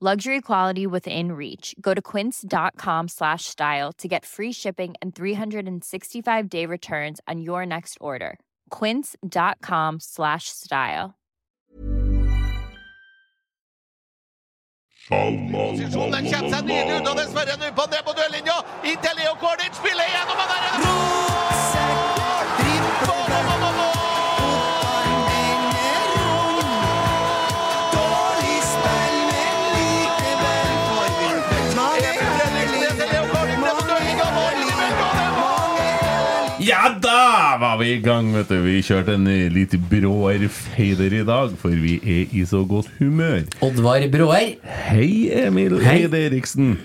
Luxury quality within reach. Go to quince.com slash style to get free shipping and 365 day returns on your next order. Quince.com slash style. Posisjonen er Kjapsand videre unna den Sverre Nypan ned på duellinja. Inntil Leo Kornic spiller gjennom han er en Ja, da var vi i gang, vet du. Vi kjørte en eh, litt bråere fader i dag, for vi er i så godt humør. Oddvar Bråer. Hei, Emil Hei. Eide Eriksen.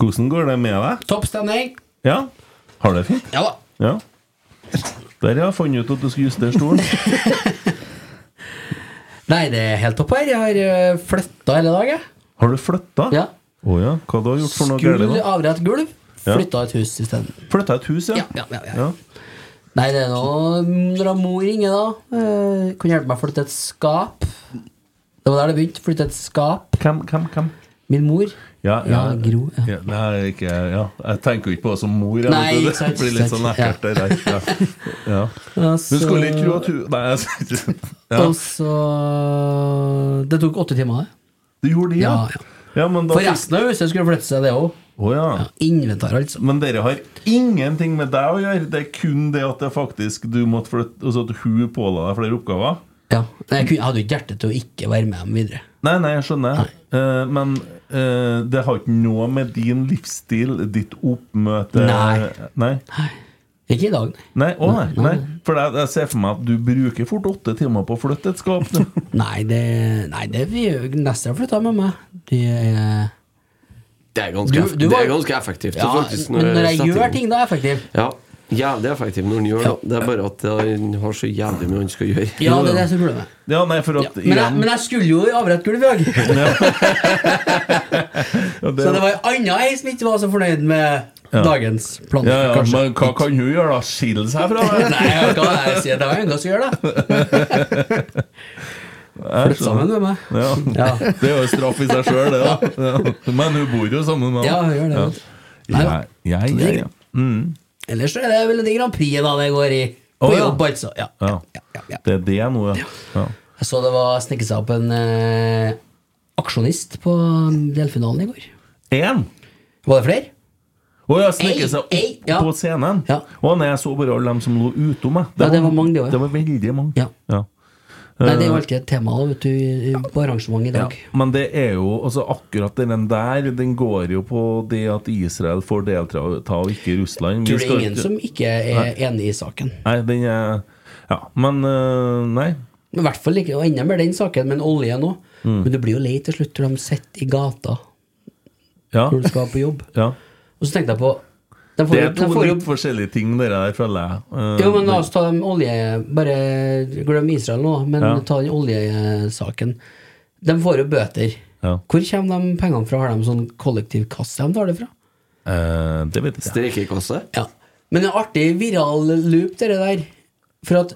Hvordan går det med deg? Topp stemning. Ja? Har du det fint? Ja da. Ja. Der har jeg funnet ut at du skal justere stolen. Nei, det er helt topp her. Jeg har flytta hele dag, jeg. Har du flytta? Ja. Å ja. Hva du har gjort for noe Skulle galt? da? avre et gulv. Ja. Flytta et hus isteden. Flytta et hus, ja? Ja, ja, ja, ja. ja. Nei, det er noe Når han mor ringer, da eh, Kunne hjelpe meg å flytte et skap. Det var der det begynte. Flytte et skap. Hvem, hvem, hvem? Min mor. Ja, Ja, Gro, ja. Nei, ikke, ja. Jeg tenker jo ikke på det som mor. Jeg, Nei, vet du. ikke sant, Det blir litt ikke sånn sant, ekkelt. det der. Ja. Ja. Du Altså- skulle ikke tro at hun Nei, jeg skal ikke ja. Og så Det tok åtte timer, det. Du gjorde det, ja? Ja, ja. Ja, men da For resten av huset skulle flytte seg, det òg. Å, ja. Inventar, altså. Men dere har ingenting med deg å gjøre. Det er kun det at det faktisk du måtte flytte Altså at hun påla deg flere oppgaver. Ja. Nei, Jeg, kunne, jeg hadde jo ikke hjerte til å ikke være med dem videre. Nei, nei, jeg skjønner. Eh, men eh, det har ikke noe med din livsstil, ditt oppmøte Nei. Nei. Ikke i dag, nei. Nei, å nei, nei. For jeg, jeg ser for meg at du bruker fort åtte timer på å flytte et skap. du. Nei, det, nei, det vi nesten har flytta med meg. Det er Det er ganske, Du- eff- du var- det er ganske effektivt. ja, faktisk, men når jeg setter i gjør gang. ting, da er jeg effektiv. Ja, jævlig effektiv når han gjør det. Det er bare at han har så jævlig mye han skal gjøre. Ja, det er det som er problemet. Ja, nei, for at Men jeg, men jeg skulle jo i avret gulv i dag. ja, det, Så det var en annen ei som ikke var så fornøyd med Ja. dagens plan. ja, ja, kanskje. men hva kan hun gjøre, da? Skille seg fra deg? Nei, jeg kan jeg si at det var ingen som gjør det. Jeg Flytt sammen skjønner. med meg. Ja. Ja. Det er jo straff i seg sjøl, det. da ja. Men hun bor jo sammen med Ja, gjør det. vet du. Nei, Ja, ja, ja, ja. Ellers så er det vel det Grand Prix da det går i. På Å, ja. jobb, altså. Ja. Ja. Ja, ja, ja. Det er det nå, ja. ja. Jeg så det var snekket seg opp en eh, aksjonist på um, delfinalen i går. En. Var det flere? Å ja, snekke seg opp Ei, ei, ja. på scenen? Ja. Å nei, jeg så bare alle dem som lå utom meg. Ja, det var mange, det også, ja. Det var veldig mange. Ja. Nei, det er jo alltid et tema da, vet du, i- i- på arrangement i Eh. Ja, dag. men det er jo altså akkurat den der Den går jo på det at Israel får delta og ikke Russland. Vi Tror det skal er ingen ikke- som ikke er enig i saken. Nei, den er Ja, men øh, Nei. Men I hvert fall ikke, og enda mer den saken, men olje nå. Mm. Men du blir jo lei til slutt når de sitter i gata Ja. når du skal på jobb. ja. Og så tenkte jeg på de får, Det jo- er to de får jo, litt forskjellige ting, det der, føler jeg. Øh, jo, men la oss ta dem olje... Bare glem Israel nå, men Ja. ta den oljesaken. De får jo bøter. Ja. Hvor kommer de pengene fra? Har de sånn kollektivkasse de tar det fra? Eh, det vet jeg ikke. Streikekasse? Ja. Men det er artig viral loop, det der. For at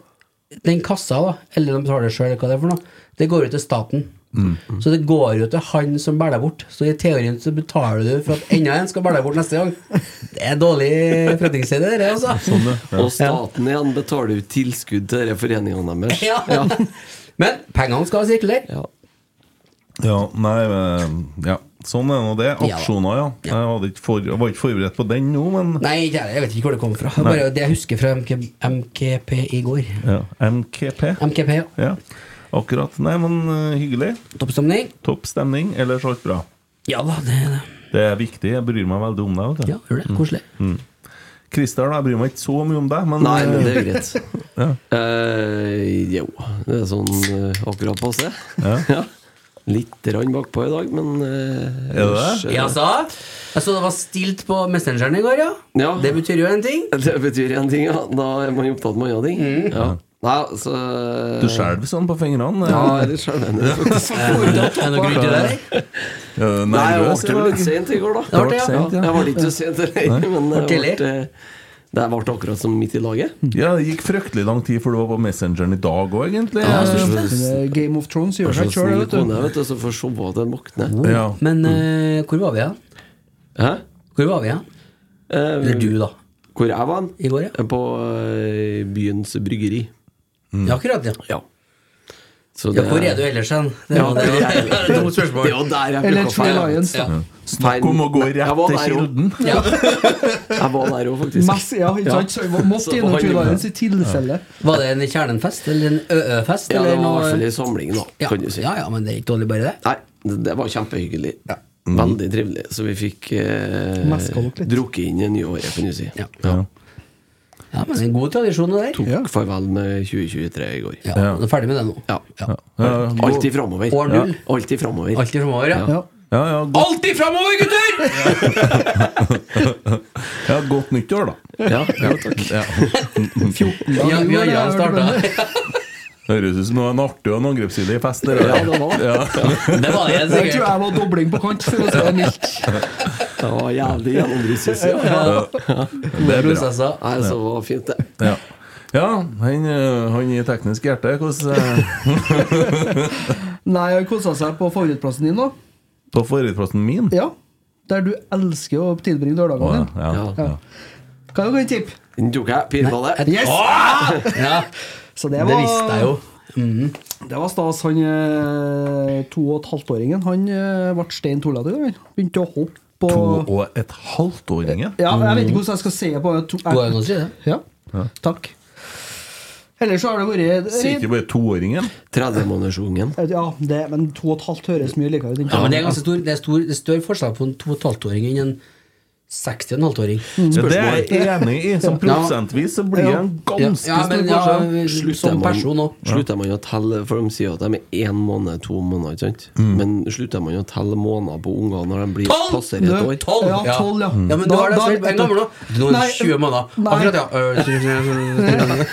den kassa, da, eller de betaler sjøl, eller hva det er for noe, det går jo til staten. Så det går jo til han som bærer deg bort. Så i teorien så betaler du for at enda en skal bære deg bort neste gang. Det er dårlig forretningsidé, det der, altså. Sånn, det. Ja. Og staten igjen betaler ut tilskudd til disse foreningene deres. Ja. Men pengene skal sirkulere. Ja. ja, nei, men- ja. Sånn er nå det. Ja. Aksjoner, ja. Jeg, hadde ikke for, jeg var ikke forberedt på den nå, men Nei, ikke jeg jeg vet ikke hvor det kommer fra. Det er bare det jeg husker fra MK, MKP i går. ja. MKP. MKP, ja. Ja, akkurat. Nei, men eh, hyggelig. Toppstemning? Topp stemning, ellers alt bra. Ja da, det er det. Mm. Det er viktig. Jeg bryr meg veldig om deg. vet du. Ja, gjør det. Koselig. Christer, da, jeg bryr meg ikke så mye om deg, men Nei, men det eh, er greit. Eh, jo, det er sånn eh, akkurat passe. Ja. Ja. Litt rann bakpå i dag, men eh, Er det ellers, det? eh, Ja, altså, så Jeg så det var stilt på Messengeren i går, ja. Ja. Det betyr jo en ting. Det betyr én ting, ja. Da er man opptatt med andre ting. Mm. Ja. Nei, så du skjelver sånn på fingrene. Ja, Ja. jeg er litt skjelvende, faktisk. Er det noe grunn til det? eller? Er du Nei, jeg Eh, nervøs i ble dag? litt sent i går, da. Det ble sent, ja. Jeg ble ikke så sent heller, men Ble jeg tidlig. ble, det ble akkurat som midt i laget. Ja, det gikk fryktelig lang tid, for du var på Messengeren i dag òg, egentlig. Ja, Ja, så Men, eh, Game of Thrones gjør så seg sjøl, snill vet du. kone, vet du, så får se på at den våkner. ja. Men eh, hvor var vi hen? Hæ? Hvor var vi hen? Eh, Eller du, da. Hvor jeg var I går, ja. På eh, byens bryggeri. Ja, akkurat, ja. Ja. Så ja hvor er du ellers hen? Det Ja, var det det er var et dumt spørsmål. Det er jo der jeg Eller plukka Tree Lions. Ja. Snakk om å gå Jeg rett var til der jo. kilden. Ja. Jeg var der òg, faktisk. Mess, ja, ikke sant? Så vi Så Måtte innom var Tree han- Lions i tilfelle. Var det en Kjernenfest eller en ØØ-fest? Ja, det var eller i noe- hvert fall en samling, da, ja. kan du si. ja, ja, men det er ikke dårlig, bare det. Nei, det, det var kjempehyggelig. Veldig trivelig. Så vi fikk Meska dere eh, litt. drukket inn det nye året, kan du si. Ja. Ja. Ja, men det er en god tradisjon, det der. Tok farvel med 2023 i går. Ja, Du er ferdig med det nå. Ja. Ja. Ja, Alltid framover. År null. Alltid framover. Alltid framover, ja. Ja. ja, ja, godt, Alltid framover, gutter! ja, godt nyttår, da. Ja, ja, takk. Ja, vi Ja, har ja, det er starta. Høres ut som det var en artig og en angrepsvillig fest. Det Ja, der. det var det. Det var det, Jeg tror sikkert. jeg var dobling på kant, for å si det mildt. Det var jævlig gjennombrudd. Ja. Det er bra. Prosesser. Nei, så var det fint, det. Ja, ja han, eh, han i teknisk hjerte, hvordan eh, Nei, han kosa seg på favorittplassen din nå. På forhåndsplassen min? Ja. Der du elsker å tilbringe Å, lørdagene. ja, ja, ja. Ja. Kan jeg gi et tipp? Den tok jeg. Pirballet. Yes! Ja, Så det det visste jeg jo. var, det var stas. Han eh, to og et halvt-åringen Han eh, ble stein tullete i dag. han. Begynte å hoppe To og og et halvt åringen? ja, Jeg vet ikke hvordan jeg skal si det på to, Mm. Går det an å si det? Ja. Takk. Ellers så har det vært Sier ikke bare toåringen? 30-månedersungen. Ja, det, men to og et halvt høres mye likere ut. enn Ja, men det er ganske stor, det er stor, det er større forskjell på en 2,5-åring enn en 60,5-åring. Ja, det er jeg enig i. Som prosentvis så blir det en Ja, ganske ja, men stor ja, forskjell. som person òg. slutter man å telle For de sier at de er én måned, to måneder, ikke sant? Men slutter man å telle måneder på unger når de blir Tolv! passerer et år? Tolv! Ja, tolv, ja. Mm. ja, men du Da- har det da- som en gammel nå. Nå er Nei, det 20 måneder. nei. Akkurat, ja. Øh,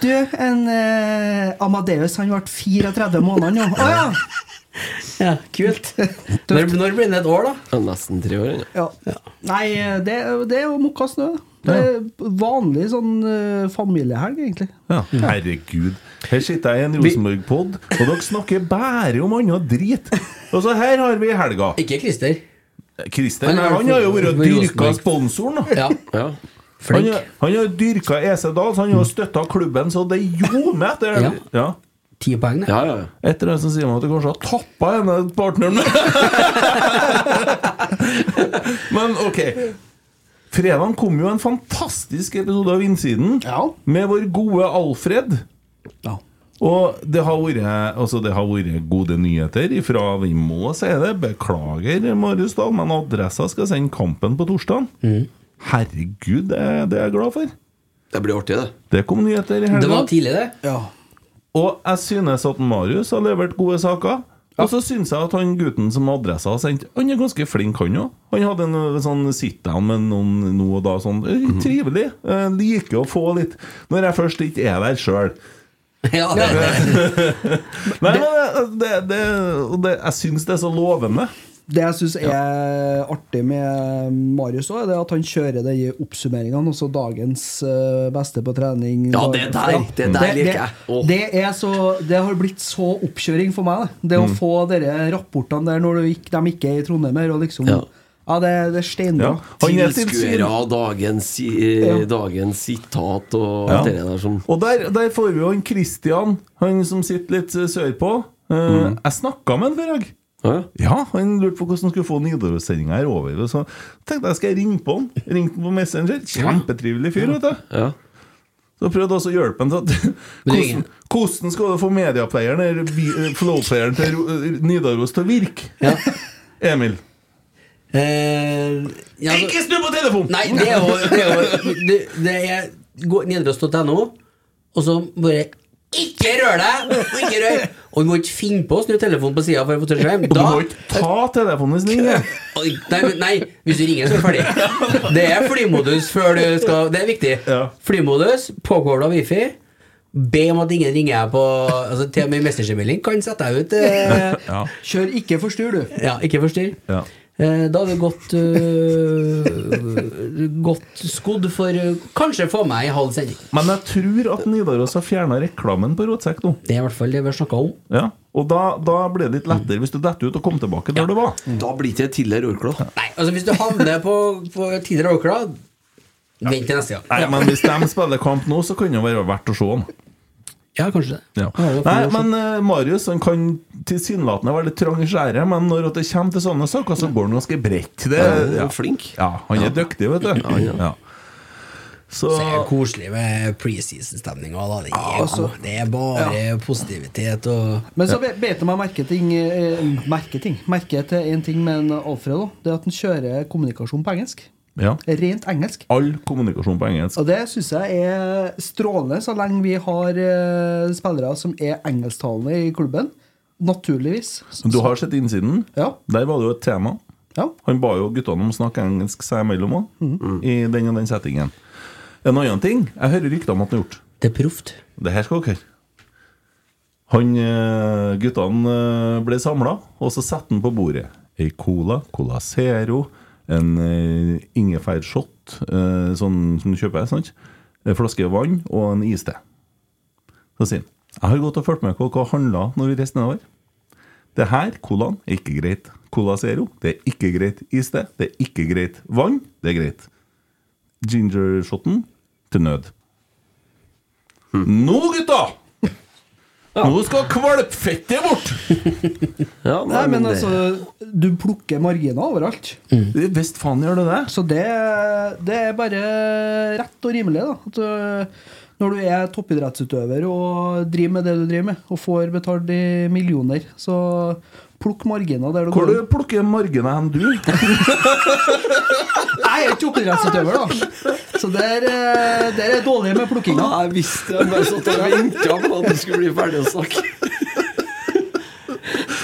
Du, en eh, Amadeus han ble 34 måneder nå. Å ja! ja, kult. Når, når blir det et år, da? Ja, Nesten tre år ennå. ja. Nei, det, det er jo mokka snø. Det er vanlig sånn eh, familiehelg, egentlig. Ja, herregud. Her sitter jeg i en Rosenborg-pod, og dere snakker bare om annet drit. Og så her har vi helga. Ikke Christer. Christer Han nei, er han har jo vært med dyrka Rosenborg. sponsoren, da. Ja, Ja. Han, flink. har- han har dyrka EC Dahl, så han har støtta klubben så det ljomer etter Ja. det. Ja. Ti poeng, det. Ja, ja, ja. Etter det så sier man at du kanskje har tappa denne partneren. Men ok. Fredagen kom jo en fantastisk episode av Innsiden Ja. med vår gode Alfred. Ja. Og det har vært, altså det har vært gode nyheter ifra Vi må si det. Beklager, Marius Dahl, men Adressa skal sende Kampen på torsdag. Herregud, det, det er jeg glad for. Det blir artig, det. Det kom nyheter i Det helga. var tidlig, det. Ja. Og jeg synes at Marius har levert gode saker. Og så synes jeg at han gutten som adressa har sendt, han er ganske flink, han òg. Han hadde en ø, sånn sit-down med noen nå og da. sånn, ø, Mhm. Trivelig. Eh, ø, Liker å få litt Når jeg først ikke er der sjøl. Ja, det, eh, Nei, men det, det, det, og det, jeg syns det er så lovende. Det jeg syns er artig med Marius òg, er at han kjører de oppsummeringene. Også dagens eh, beste på trening. Ja, det der- Ja. det der liker jeg. Åh. Det, er så, det har blitt så oppkjøring for meg. Det, det å Mm. få dere rapportene der når du ikke, de ikke er i Trondheim her, og liksom Ja, Ja. det, det er steinbra. Ja. Han er Tilskuere tilskuere. og dagens, eh, Ja. dagens sitat og Ja. alt det der som Og der, der får vi jo han Christian, han som sitter litt eh, sørpå. Eh, Mhm. Jeg snakka med han før, jeg. ja. Ja, han lurte på hvordan han skulle få Nidaros-sendinga her over. og Så tenkte jeg skal jeg ringe på han. Ringte han på Messenger. Kjempetrivelig fyr, vet du. Ja. Så prøvde jeg også å hjelpe han til at hvordan, hvordan skal du få mediaplayeren, eller vi- eh, flowplayeren til Ro- eh, Nidaros til å virke? Ja. Emil. Eh, ja, altså- Ikke snu på telefonen! Nei, det er jo Det er, jo, det, det er gå nedrøst.no, og så bare ikke rør deg! og Ikke rør! Og du må ikke finne på å snu telefonen på sida for å få til skjerm. Og du Da, må ikke ta telefonen hvis den ringer. Oi, nei, men- nei, hvis du ringer, så er det ferdig. Det er flymodus før du skal Det er viktig. Ja. Flymodus, påkobla wifi. Be om at ingen ringer deg på altså, Til og med messengermelding kan sette deg ut. Eh, Ja. Kjør ikke forstyr, du. ja, ikke forstyrr. Ja. Eh, Da hadde vi gått, eh, gått skodd for eh, Kanskje få meg en halv sending. Men jeg tror at Nidaros har fjerna reklamen på Rotsekk nå. Det er i hvert fall det vi har snakka om. Ja. Og da, da ble det litt lettere hvis du detter ut og kommer tilbake der du var. Da blir det tidligere orkla. Nei, altså Hvis du havner på, på tidligere Åkra, vent til neste gang. Nei, men hvis de spiller kamp nå, så kan det jo være verdt å se han. Ja, kanskje det. Ja. Ja, det Nei, kan vi også. men eh, Marius han kan tilsynelatende være litt trang i skjæret, men når at det kommer til sånne saker, så går han ganske bredt. Det, Han ja. er flink. ja, han er dyktig, vet du. Ja. Så Så er det koselig med preseason-stemninga. Det, er altså. god. det er bare positivitet og Men så be- bet jeg meg merke ting eh, Merke ting Merke til en ting med en Alfred også, Det er at han kjører kommunikasjon på engelsk. ja. Rent engelsk. All kommunikasjon på engelsk. Og det syns jeg er strålende, så lenge vi har eh, spillere som er engelsktalende i klubben. Naturligvis. Men Du har sett innsiden. Ja. Der var det jo et tema. Ja. Han ba jo guttene om å snakke engelsk seg imellom òg, i den og den settingen. En annen ting Jeg hører rykter om at han har gjort. Det er proft. Det her skal dere høre. Han, eh, guttene eh, ble samla, og så setter han på bordet ei cola, Cola Zero, en eh, ingefærshot, eh, sånn som du kjøper, sant? en flaske vann og en iste. Så sier han Jeg har gått og fulgt med på hva handla når vi reiste nedover. Det her, colaen, er ikke greit. Cola Zero, det er ikke greit. Iste, det er ikke greit. Vann, det er greit. Gingershoten, til nød. Nå, gutta! Nå skal kvalpfettet bort! Ja, Nei, men det- altså, du plukker marginer overalt. Hvis faen gjør det det. Så det, det er bare rett og rimelig, da. At du, når du er toppidrettsutøver og driver med det du driver med, og får betalt i millioner, så plukk marginer der det Hvor går. du plukker margene hen, du? Nei, jeg er ikke oppidrettsutøver, da. Så der, eh, der er jeg dårlig med plukkinga. Nei, jeg visste det. Jeg bare satt og venta på at du skulle bli ferdig å snakke.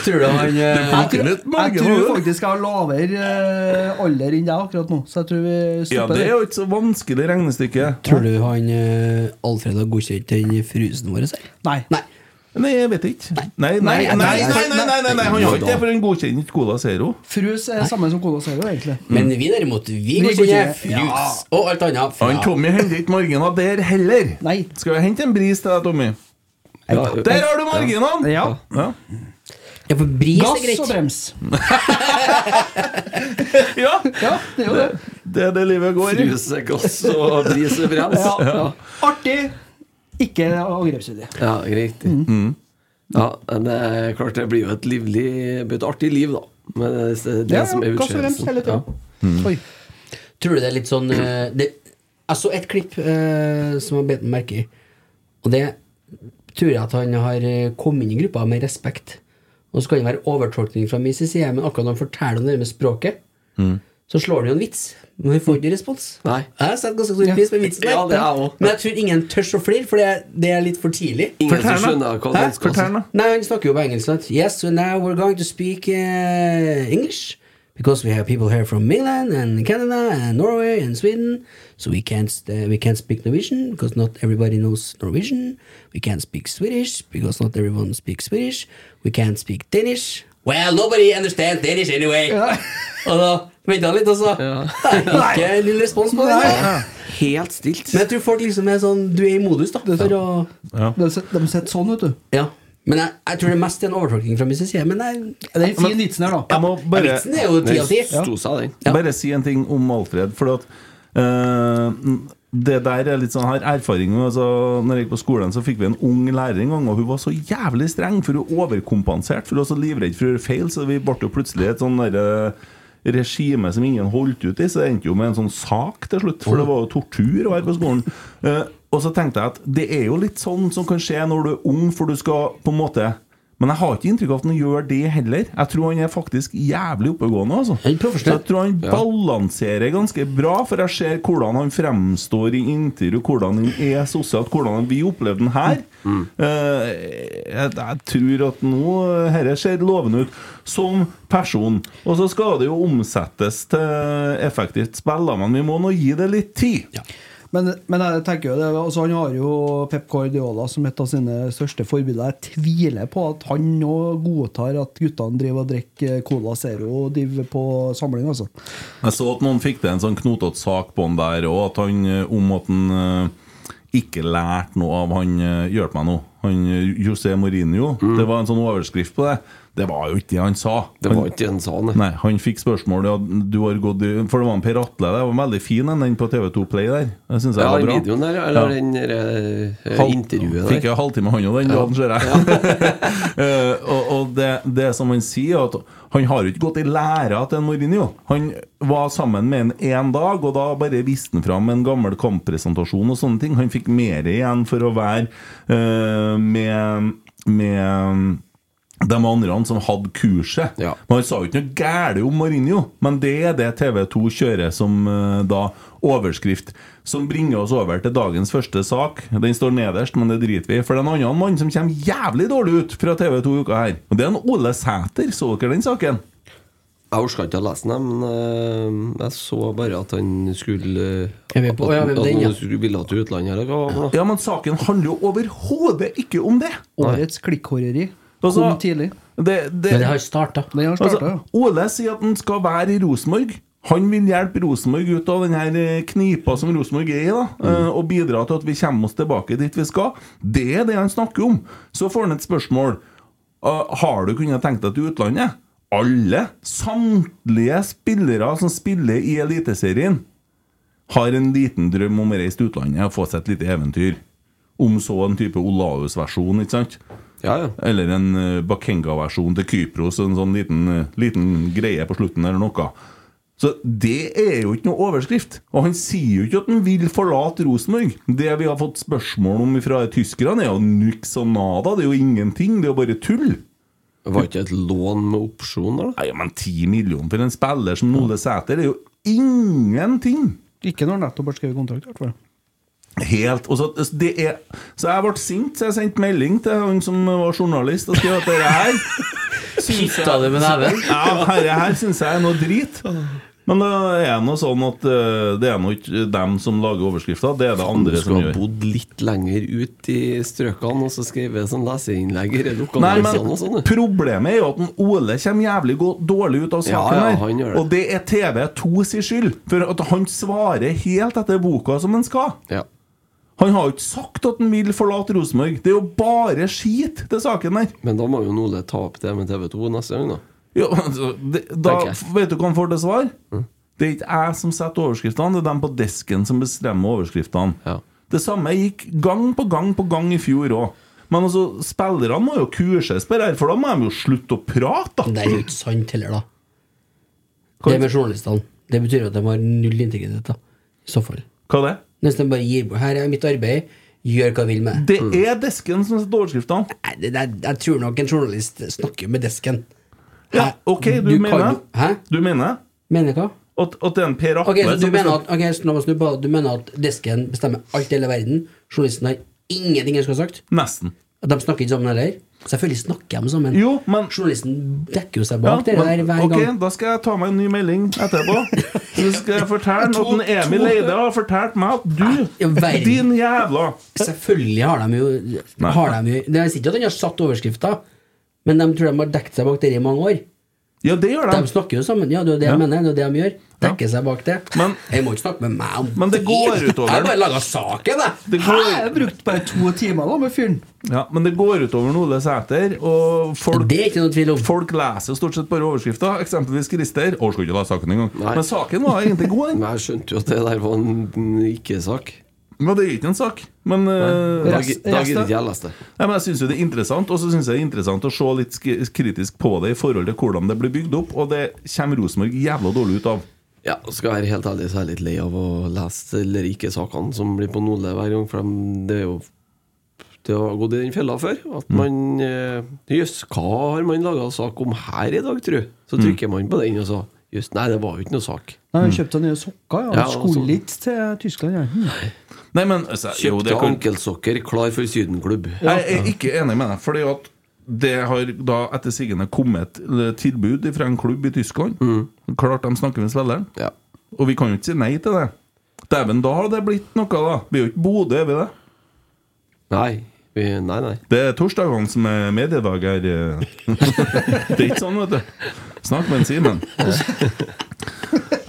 Tror du han eh, Jeg tror, litt jeg marginer, tror du. faktisk jeg har lavere eh, alder enn deg akkurat nå, så jeg tror vi Ja, stopper det er der. jo ikke så vanskelig regnestykke. Tror du han eh, Alfred har godkjent den frusen vår? Her? Nei. Nei. Nei, jeg vet ikke. Nei, nei, nei, Nei, nei, jeg- nei, nei, nei, nei. han har ikke det, for han godkjenner ikke Cola Zero. Frus er samme som Cola Zero, egentlig. Men vi derimot, vi Mm. Vi godkjenner godkjenner. frus og alt annet. fra- Han Tommy henter ikke marginer der heller. Nei. Skal vi hente en bris til deg, Tommy? Ja, Der har du marginene! Ja. Ja. Ja, for bris er Gass og greit. brems. Ja. Ja, det er jo det. Det er det livet går i. Fruse, gass og bris og brems. Ja. Ja. Artig, ikke angrepsvillig. ja, greit. Ja, men det er klart det blir jo et livlig det blir Et artig liv, da. Men det er det Ja, som ja, er gass og brems hele tida. utskjellelsen. Oi. Tror du det er litt sånn eh, det, Jeg så et klipp eh, som jeg bet meg merke i. Og det tror jeg at han har eh, kommet inn i gruppa med respekt. Og så kan det være overtolkning fra min side, men akkurat når han forteller om det med språket, så slår han jo en vits. Men han får ikke respons. Mm. Nei. Jeg setter ganske stor pris på vitsen. der. Ja, det er jeg også. men jeg tror ingen tør å flire, for det er, det er litt for tidlig. Ingen som Fortell, da. skjønner hva Hæ? den skal Fortell, da. Nei, han snakker jo på engelsk. Sant? Yes, so now we're going to speak eh, English. Because we have people here from England and Canada and Norway and Sweden. So we can't, eh, we can't speak Norwegian because not everybody knows Norwegian. We can't speak Swedish because not everyone speaks Swedish. We can't speak Danish. Well, nobody understands Danish anyway. Og da venta han litt, og så Nei, Ikke en lille respons på det. Nei. Helt stilt. Men jeg tror folk liksom er sånn Du er i modus, da. For å, De sitter sånn, vet du. ja. Men jeg, jeg tror det er mest en overtolkning fra min side. Men jeg, Det er en fin vitsen her, da. Jeg må bare vitsen er jo ti av ti. Sto seg, den. Ja. Bare si en ting om Alfred. For at eh, det der er litt sånn her erfaring med, altså, Når jeg gikk på skolen, så fikk vi en ung lærer en gang, og hun var så jævlig streng, for hun overkompenserte. For hun var så livredd for å gjøre feil, så vi ble jo plutselig et sånn derre regime som ingen holdt ut i, så det endte jo med en sånn sak til slutt, for det var jo tortur å være på skolen. Eh, og så tenkte jeg at det er jo litt sånn som kan skje når du er ung, for du skal på en måte Men jeg har ikke inntrykk av at han gjør det heller. Jeg tror han er faktisk jævlig oppegående. altså Han er Så profesjonell. jeg tror han balanserer ganske bra, for jeg ser hvordan han fremstår i intervju, hvordan han er sosialt, hvordan vi opplevde den her. Eh, jeg, jeg tror at nå eh, Dette ser lovende ut som person. Og så skal det jo omsettes til effektivt spill, da, men vi må nå gi det litt tid. Men, men jeg tenker jo det, altså han har jo Pep Guardiola som et av sine største forbilder. Jeg tviler på at han nå godtar at guttene driver og drikker Cola Zero og driver på samling. altså. Jeg så at noen fikk til en sånn knotete sak på han der òg, at han eh, om at han eh, ikke lærte noe av han eh, Hjelp meg nå. Han eh, José Mourinho. Det var en sånn overskrift på det. Det var jo ikke det han sa. Mm. Det Han- var ikke sånn. det han sa, nei. Nei, han fikk spørsmål ja, du har gått i, For det var en Per Atle der. Det var en veldig fin en, den på TV2 Play der. Jeg synes jeg Ja, var den bra. videoen der, eller Ja. den der, eh, Halv- intervjuet Fikk der. jeg halvtime hånda den dagen, ser jeg. Eh, og og det, det som han sier, er at han har jo ikke gått i læra til en Mourinho. Han var sammen med en én dag, og da bare viste han fram en gammel kamppresentasjon og sånne ting. Han fikk mer igjen for å være eh, med, med de andre som hadde kurset. Ja. Men han sa jo ikke noe gærent om Mourinho, men det er det TV2 kjører som eh, da overskrift. Som bringer oss over til dagens første sak. Den står nederst, men det driter vi i. For det er en annen mann som kommer jævlig dårlig ut fra TV2 i uka her. Og det er en Ole Sæter. Så dere den saken? Jeg orka ikke å lese den, men eh, jeg så bare at han skulle eh, Er vi på- At, ja, vi er på at den, ja. han skulle ville til utlandet, eller hva? var det? Ja, men saken handler jo overhodet ikke om det! Årets klikkhoreri Og så- kom tidlig. Det, det, Men det har starta. Den har startet, Altså, ja. Ole sier at han skal være i Rosenborg. Han vil hjelpe Rosenborg ut av den her eh, knipa som Rosenborg er i, da, eh, og bidra til at vi kommer oss tilbake dit vi skal. Det er det han snakker om. Så får han et spørsmål. Eh, Har du kunnet tenkt deg til utlandet? Alle, samtlige spillere som spiller i Eliteserien, har en liten drøm om å reise til utlandet og få seg et lite eventyr. Om så en type Olaus-versjon, ikke sant? Ja, ja. Eller en eh, Bakenga-versjon til Kypros, en sånn liten, eh, liten greie på slutten eller noe. Så det er jo ikke noe overskrift. Og han sier jo ikke at han vil forlate Rosenborg. Det vi har fått spørsmål om fra tyskerne, er jo niks og nada. Det er jo ingenting. Det er jo bare tull. Var ikke et lån med opsjon der, da? Nei, ja, men ti millioner for en spiller som Ole Sæter er jo ingenting. Ikke når han nettopp har skrevet kontrakt. i hvert fall. Helt, og så, det er, så jeg ble sint, så jeg sendte melding til han som var journalist og skrev at det her synes jeg- Kitta det med neven. Ja, herre her syns jeg er noe drit. Men det er nå sånn at eh, det er nå ikke dem som lager overskrifter, det er det Du andre som skulle ha gjør. bodd litt lenger ut i strøkene og så skrevet sånn leseinnlegg i Nei, men lokalavisene og sånn. du. Problemet er jo at en Ole kommer jævlig gå- dårlig ut av Ja, saken ja, her. han gjør det. og det er TV2 sin skyld, for at han svarer helt etter boka som han skal. Ja. Han har jo ikke sagt at han vil forlate Rosenborg. Det er jo bare skit til saken der. Men da må jo Ole ta opp det med TV2 neste gang, da. Ja, altså, det, da Takk, jeg. f- Vet du hva han får til svar? Det er ikke jeg som setter overskriftene, det er dem på desken som bestemmer overskriftene. Ja. Det samme gikk gang på gang på gang i fjor òg. Men altså, spillerne må jo kurses på det her, for da må de jo slutte å prate, Men da! det er jo ikke sant heller, da. Det med journalistene. Det betyr jo at de har null integritet, da. I så fall. Hva det? Nesten bare gir bort. Her er mitt arbeid, gjør hva jeg vil med det. Det er desken som setter overskriftene. Nei, det, det. Jeg tror nok en journalist snakker jo med desken. Ja, OK, du, Du kan- mener Hæ? Du mener Mener hva? at, at det er en Per Atle Ok, så du som mener bestemmer- at, ok, så la meg snu på det. Du mener at desken bestemmer alt i hele verden? Journalisten har ingenting han skulle ha sagt? Nesten. At de snakker ikke sammen heller? Selvfølgelig snakker de sammen. Jo, men Journalisten dekker jo seg Ja, bak det men- der hver ok, gang. Da skal jeg ta meg en ny melding etterpå. Så skal jeg fortelle at en Emil Eide har fortalt meg at Ja, du, verden. din jævla Selvfølgelig har de jo, har de jo Det er ikke at han har satt overskrifta, Men de tror de har dekket seg bak det i mange år. Ja, det gjør De de. snakker jo sammen. Ja, det er jo det Ja. jeg mener. Det er jo det de gjør. Dekker seg bak det. Men- jeg må ikke snakke med meg om Men det går utover Jeg har den. bare laga saken, jeg! Det Hæ, går, jeg brukte bare to timer da med fyren. ja, men det går utover Ole Sæter, og folk Det er ikke noe tvil om. Folk leser stort sett bare overskrifter, eksempelvis Christer. Å, skulle ikke lese saken engang. Nei. Men saken var egentlig god, den. Men jeg skjønte jo at det der var en en ikke-sak. Men det er ikke en sak. Men, eh, Da Rest- gi- da gidder resten- ikke jeg lese det. nei, men jeg syns jo det er interessant, og så syns jeg det er interessant å se litt sk- kritisk på det i forhold til hvordan det blir bygd opp, og det kommer Rosenborg jævla dårlig ut av. Ja, og skal jeg være helt ærlig, så er jeg litt lei av å lese eller ikke sakene som blir på Nordli hver gang, for de, det er jo Det har gått i den fella før. At man eh, Jøss, hva har man laga sak om her i dag, tru? Så trykker man på den, og så Jøss, nei, det var jo ikke noe sak. Nei, Han kjøpte seg nye sokker. Ja. Ja, Han og så- skulle litt til Tyskland. Ja. Hm. Nei, men altså, jo, Kjøpte det kan- ankelsokker, klar for Sydenklubb. Jeg er ikke enig med deg, fordi at det har da etter sigende kommet eh, tilbud fra en klubb i Tyskland. Klart de snakker med spilleren. Ja. Og vi kan jo ikke si nei til det. Dæven, da har det blitt noe, da. Vi er jo ikke Bodø, er vi det? Nei. Vi, nei, nei. Det er torsdagene som er mediedag her. eh. Det er ikke sånn, vet du. Snakk med en Simen.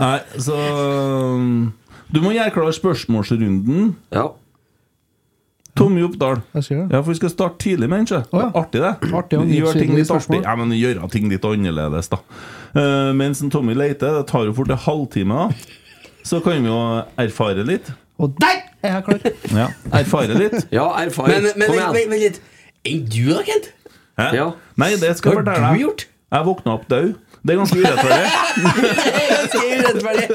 Nei, så um, Du må gjøre klar spørsmålsrunden. Ja. Tommy Oppdal. Jeg ser det. Ja, for vi skal starte tidlig med den, ikke? Å, ja. Artig, det. Artig og gjør ting nyttige litt artig. spørsmål. Ja, men gjøre ting litt annerledes, da. Eh, mens en Tommy leter, det tar jo fort en halvtime, da. Så kan vi jo erfare litt. Og der er jeg klar! Ja. Erfare litt. ja erfaring. Men, Kom men, men, igjen. men, men litt Enn du, da, Kent? Hæ? Ja. Nei, det skal jeg Hva fortelle har du deg. gjort? Jeg våkna opp død. Det er ganske urettferdig. Det er ganske urettferdig.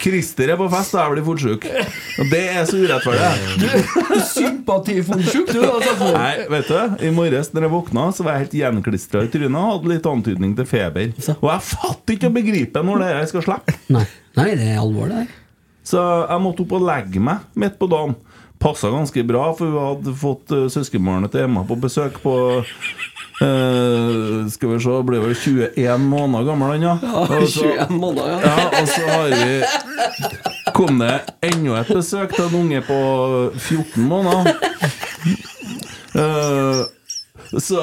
Christer er på fest, og jeg blir fort sjuk. Og Det er så urettferdig. Sympatifondsjuk, du! Altså. Nei, vet du, I morges når jeg våkna, så var jeg helt gjenklistra i trynet og hadde litt antydning til feber. Og jeg fatter ikke å begripe når det her skal slippe. Nei. Nei, det er alvor, det her. Så jeg måtte opp og legge meg midt på dagen. Passa ganske bra, for hun hadde fått eh, søskenbarnet til Emma på besøk på eh, Skal vi se, ble vel 21 måneder gammel, han, ja. Og så, 21 måneder, ja. ja. Og så har vi kom det enda et besøk til en unge på 14 måneder. Eh, så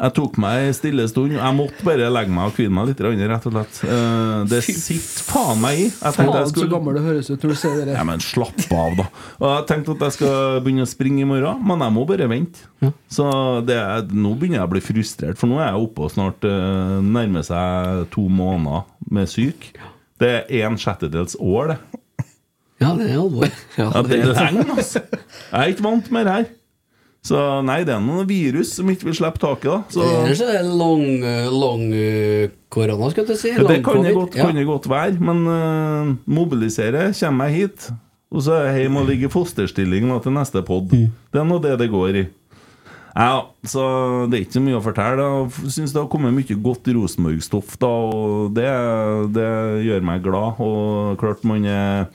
jeg tok meg en stille stund. Jeg måtte bare legge meg og hvile meg litt, grann, rett og slett. Eh, det sitter faen meg i. Jeg tenkte Faen, jeg så skulle gammel du høres ut når du ser det ja, der. men slapp av, da. Og jeg tenkte at jeg skal begynne å springe i morgen, men jeg må bare vente. Så det er, nå begynner jeg å bli frustrert, for nå er jeg oppe og snart eh, nærmer seg to måneder med syk. Det er en sjettedels år, det. Ja, det er alvor. Ja, det er lenge, altså. Jeg er ikke vant med det her. Så nei, det er noen virus som ikke vil slippe taket, da. Så Ellers er det long, eh, long eh, korona, skal jeg til å si. Ja, det Lang kan det covid. godt, Ja. kan det godt være, men eh, mobilisere, kommer jeg hit, og så er jeg hjemme og ligger i fosterstilling nå til neste pod. Det er nå det det går i. Ja, så det er ikke så mye å fortelle. da. Jeg syns det har kommet mye godt Rosenborg-stoff, da, og det, det gjør meg glad. Og klart man er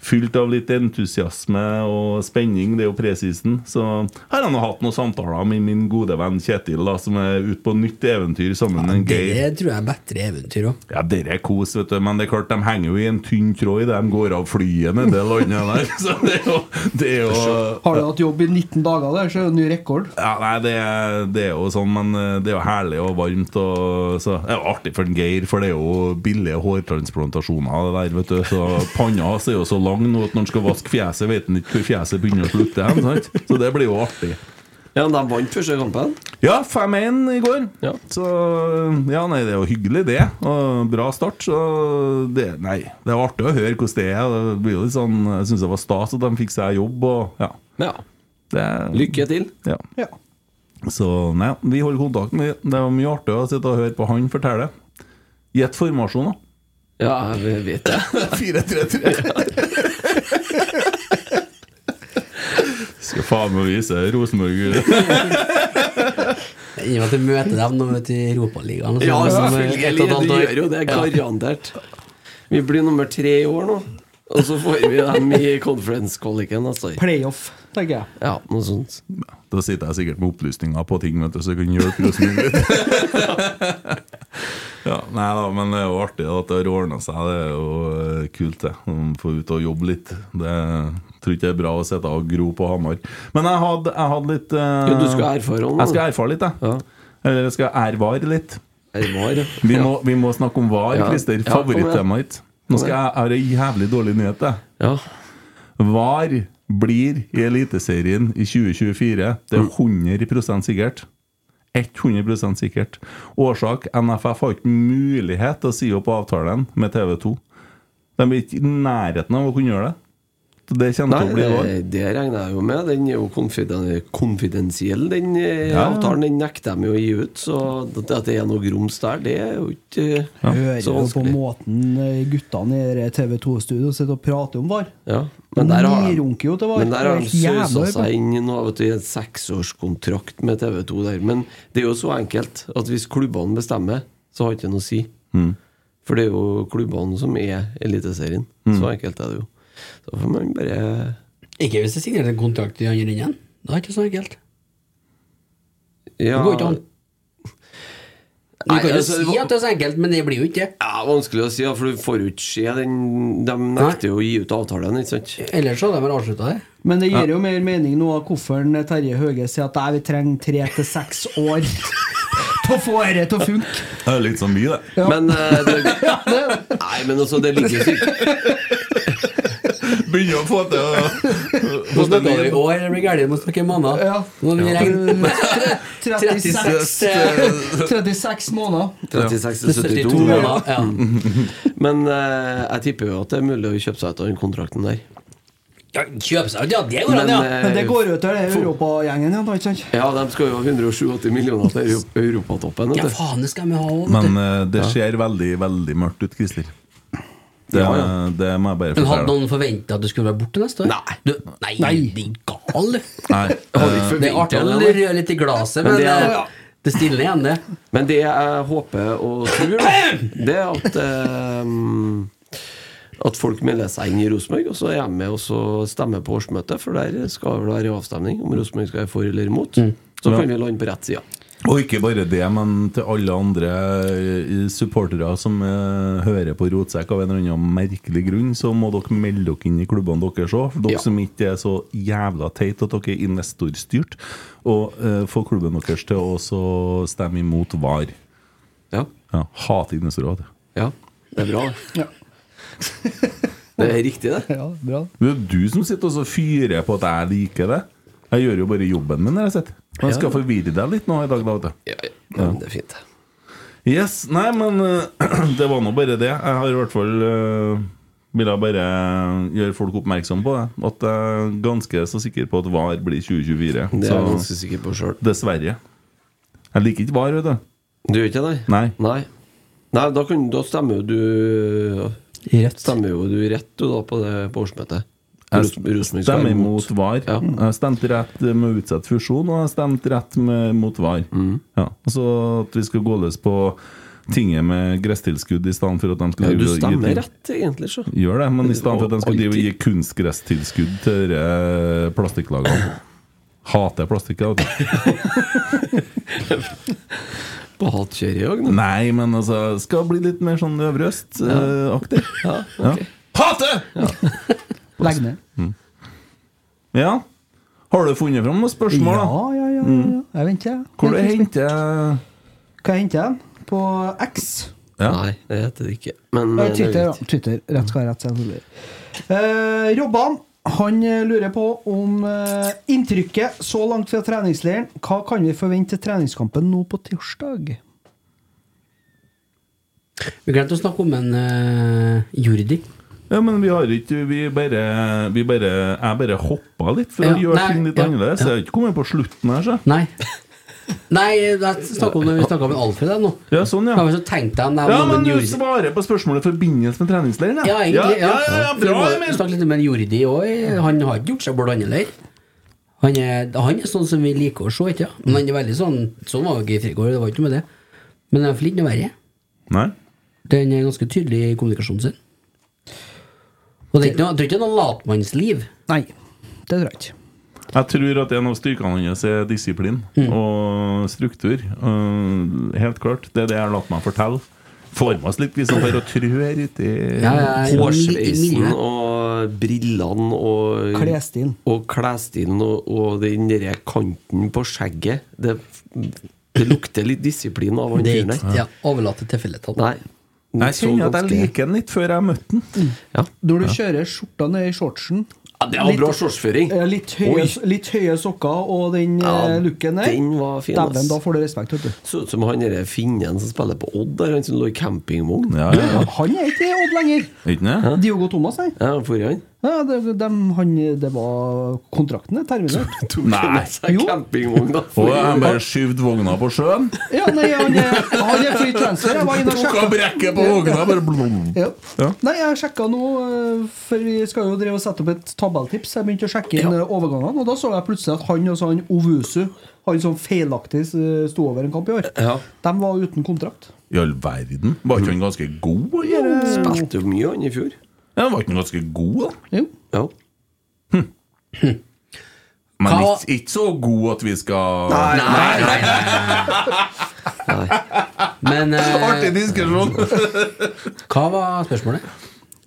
fylt av litt entusiasme og spenning, det er jo presisen. Så her har jeg nå hatt noen samtaler med min gode venn Kjetil, da, som er ute på nytt eventyr sammen med en Det Geir. tror jeg er bedre eventyr òg. Ja, dere er kos, vet du, men det er klart de henger jo i en tynn tråd idet de går av flyet nede i landet der. Så det er jo, det er jo Har du hatt jobb i 19 dager der, så er det ny rekord. ja, Nei, det er, det er jo sånn, men eh, det er jo herlig og varmt. Og så det er jo artig for en Geir, for det er jo billige hårtransplantasjoner, det der, vet du. Så panna hans er jo så lang nå at når han skal vaske fjeset, vet han ikke hvor fjeset begynner å slutte hen. Sant? Så det blir jo artig. ja, de vant første kampen. Ja, 5-1 i går. Ja. Så ja, nei, det er jo hyggelig, det. Og bra start. Så det Nei, det var artig å høre hvordan det er. Det blir jo litt sånn, Jeg syns det var stas at de fikk seg jobb, og ja. Ja. Det, Lykke til. ja. Ja. Så nei, vi holder kontakten. vi. Det var mye artig å sitte og høre på han fortelle. Gjett formasjon, da. Ja, jeg vet det. 4-3-3. Skal faen meg vise Rosenborg I og med at jeg møter dem nå vet du, i Europaligaen. og sånn, Ja, liksom, eh, selvfølgelig. et og et halvt Du år. gjør jo det, garantert. Vi blir nummer tre i år nå. Og så får vi dem i conference-kvaliken neste år. Playoff, tenker jeg. Ja, noe sånt. Da sitter jeg sikkert med opplysninger på ting, vet du, så jeg kan hjelpe Jostein litt. ja, nei da, men det er jo artig at det har ordna seg. Det er jo eh, kult, det. Man Får ut og jobbe litt. Det tror ikke det er bra å sitte og gro på Hamar. Men jeg hadde, jeg hadde litt eh, Ja, du skal erfare om det. Jeg skal erfare litt, jeg. Ja. Eller jeg skal ervare litt. Jeg var, ja. Vi, må, vi må snakke om var, Ja. Christer. Ja, kom igjen. Favorittemaet ditt. Nå skal jeg ha ei jævlig dårlig nyhet. jeg. Ja. VAR blir i Eliteserien i 2024. Det er 100 sikkert. 100 sikkert. Årsak NFF har ikke mulighet til å si opp avtalen med TV 2. De er ikke i nærheten av å kunne gjøre det. Så Det kommer Nei, til å det, bli VAR. det regner jeg jo med. Den er jo konfiden- konfidensiell, den eh, Ja. avtalen. Den nekter de jo å gi ut. Så at at det er noe grums der, det er jo ikke eh, Hører så jo på vanskelig. måten eh, guttene i TV 2-studio sitter og prater om VAR. Ja. Men der har de de, runker jo til VAR. men der har de Det er sausa jævla seg inn i noe, vet du, i en seksårskontrakt med TV 2 der. Men det er jo så enkelt at hvis klubbene bestemmer, så har ikke det noe å si. For det er jo klubbene som er Eliteserien. Så enkelt er det jo. Så får man bare Ikke hvis det signert en kontrakt i andre enden. Da er det ikke så enkelt. Det Ja, går ikke an. Du Nei, kan jo altså, det si var- at det er så enkelt, men det blir jo ikke det. Ja, vanskelig å si, da, for du får jo ikke se den De nekter jo å gi ut avtalen, ikke sant? Ellers så hadde de vel avslutta det. Men det gir jo mer mening nå av hvorfor en Terje Høge sier at nei, vi trenger tre til seks år til å få dette til å funke. Det er litt så mye, det. Men eh, det, Nei, men altså, det ligger jo sikkert Begynner å få til å Nå snakka vi i år, det blir gærent, må snakke i måneder. Ja. Nå må vi regne. Tre- 36, 36 eh, måneder. 36 til 72 72 måneder. Ja. Men eh, jeg tipper jo at det er mulig å kjøpe seg ut av den kontrakten der. Ja, kjøpe seg ut, ja. Det går an, ja. eh, Men det går jo til det Europagjengen igjen, da, ikke sant? Ja, de skal jo ha 187 millioner til Euro- europatoppen. Ja, Vet du. faen, det skal vi ha òg, vet Men du. eh, det ser veldig, veldig mørkt ut, Christer. Det, Ja, ja. det må jeg bare Men hadde fortelle. noen forventa at du skulle være borte neste år? Nei. Du, nei, nei. din gal! Nei, Har eh, ikke Det er forventet artig å det, nei. røre litt i glasset, Men men det er- eh, det stiller igjen, det. Men det jeg håper og tror, da, det er at eh, At folk melder seg inn i Rosenborg, og så er jeg med og så stemmer på årsmøtet. For der skal vel være avstemning om Rosenborg skal være for eller imot. Mm. Så kan vi lande på rett side. Og ikke bare det, men til alle andre eh, supportere som eh, hører på Rotsekk av en eller annen merkelig grunn, så må dere melde dere inn i klubbene deres òg. Dere Ja. som ikke er så jævla teite at dere er investorstyrt. Og eh, få klubben deres til å også stemme imot VAR. Ja, Ja, Hat investorer. vet du. ja. Det er bra. det. det er riktig, det. Ja, bra. Det er du som sitter og så fyrer på at jeg liker det. Jeg gjør jo bare jobben min. rett og slett. Men jeg skal forvirre deg litt nå i dag. da, vet du. Ja, ja. Men det er fint. Yes, nei, men eh, det var nå bare det. Jeg har i hvert fall uh, Ville bare gjøre folk oppmerksom på det. At jeg er ganske så sikker på at VAR blir 2024. Det er jeg Så ganske sikker på sjøl. dessverre. Jeg liker ikke VAR, vet du. Du gjør ikke det? Nei. Nei, Nei da, kan, da stemmer jo du Rett. Stemmer jo du rett du da på det på årsmøtet? Jeg Ros- Rosenborg skal stemmer være imot. mot VAR. Mm. Ja. Jeg stemte rett med utsatt fusjon, og jeg stemte rett med, mot VAR. Mm. Ja. Og så at vi skal gå løs på tinget med gresstilskudd i stedet for at de skal Ja, du drive og gi stemmer ting. rett, egentlig. Så. Gjør det, men i stedet for at de skal drive og gi Alltid. kunstgresstilskudd til dere plastikklagene. Hater plastikk. jeg, vet du. På hatkjerre i dag, nå. Nei, men altså Skal bli litt mer sånn eh, Øvre Øst-aktig. Ja, Ja. ok. Hate! Legg ned. Ja. Har du funnet fram noen Ja, spørsmål, da? ja, ja. ja, ja. Jeg venter, jeg. Hvor du Jeg er litt spent. henter Hva henter jeg? På X? Ja. Nei, det heter det ikke. Men Nei, eh, det er Twitter, greit. ja. Twitter. Rett skal være rett, selvfølgelig. Eh, Robban han eh, lurer på om eh, inntrykket så langt fra treningsleiren. Hva kan vi forvente til treningskampen nå på tirsdag? Vi glemte å snakke om en eh, Jordi. Ja, men vi har ikke Vi bare, vi bare Jeg bare hoppa litt for Ja, å gjøre nei, ting litt ja, annerledes. ja. Jeg har ikke kommet på slutten her, så. Nei. Nei, jeg snakket om det, vi snakka om en Alfred her nå. Ja, sånn, ja. Kanskje tenkte han Ja, men men du Jordi svarer på spørsmålet i forbindelse med treningsleiren, Ja, egentlig. Ja, ja, ja, For bra, vi må Emil! snakke litt om en Jordi òg. Han har ikke gjort seg bort annerledes. Han er, han er sånn som vi liker å se, ikke sant? Men han er veldig sånn Sånn var jo Geir Frigård, det var ikke noe med det. Men det er iallfall ikke noe verre. Nei? Den er ganske tydelig i kommunikasjonen sin. Og det er ikke noe, det er ikke noe latmannsliv. Nei, det tror jeg ikke. Jeg tror at en av styrkene hans er disiplin Mm. og struktur. Eh, helt klart. Det er det jeg har latt meg fortelle. Får meg litt liksom for å trør uti Ja, ja, ja. Hårsveisen Miljø. og brillene og Klesstilen. Og klesstilen og, og den derre kanten på skjegget. Det, det lukter litt disiplin av han Det er fyren ikke der. ja, overlatt til tilfeldighetene. Nei. Jeg kjenner at jeg liker den litt før jeg møtte den. ja. Når du kjører skjorta ned i shortsen ja, det var bra shortsføring. ja, litt, høye, Oi. litt høye sokker og den eh, looken der. den var fin, ass. Dæven, da får du respekt, vet du. Så ut som han derre finnen som spiller på Odd, der, han som lå i campingvogn. Ja, ja, ja. Han er ikke i Odd lenger. Ikke det? Diogo Thomas, nei. Ja, forrige han. Ja, det, dem- han, det var kontrakten er terminert. Nei. Jo. Campingvogn, da. Og jeg bare skyvd vogna på sjøen. Ja, nei, han er, han er free transfer. Jeg var inne og Tok av sjekka. brekket på vogna, bare blum. Ja. Ja. Nei, jeg sjekka nå, eh, for vi skal jo drive og sette opp et tabelltips. Jeg begynte å sjekke inn eh, overgangene, og da så jeg plutselig at han og så han Ovusu, han som feilaktig eh, sto over en kamp i år, Ja. de var uten kontrakt. I all verden. Var ikke han ganske god? Eller? Spilte jo mye, han i fjor. Ja, var ikke han ganske god, da? Jo. Ja. Men Hva- ikke, ikke så god at vi skal Nei, nei, nei. Men eh, Artig diskusjon! hva var spørsmålet?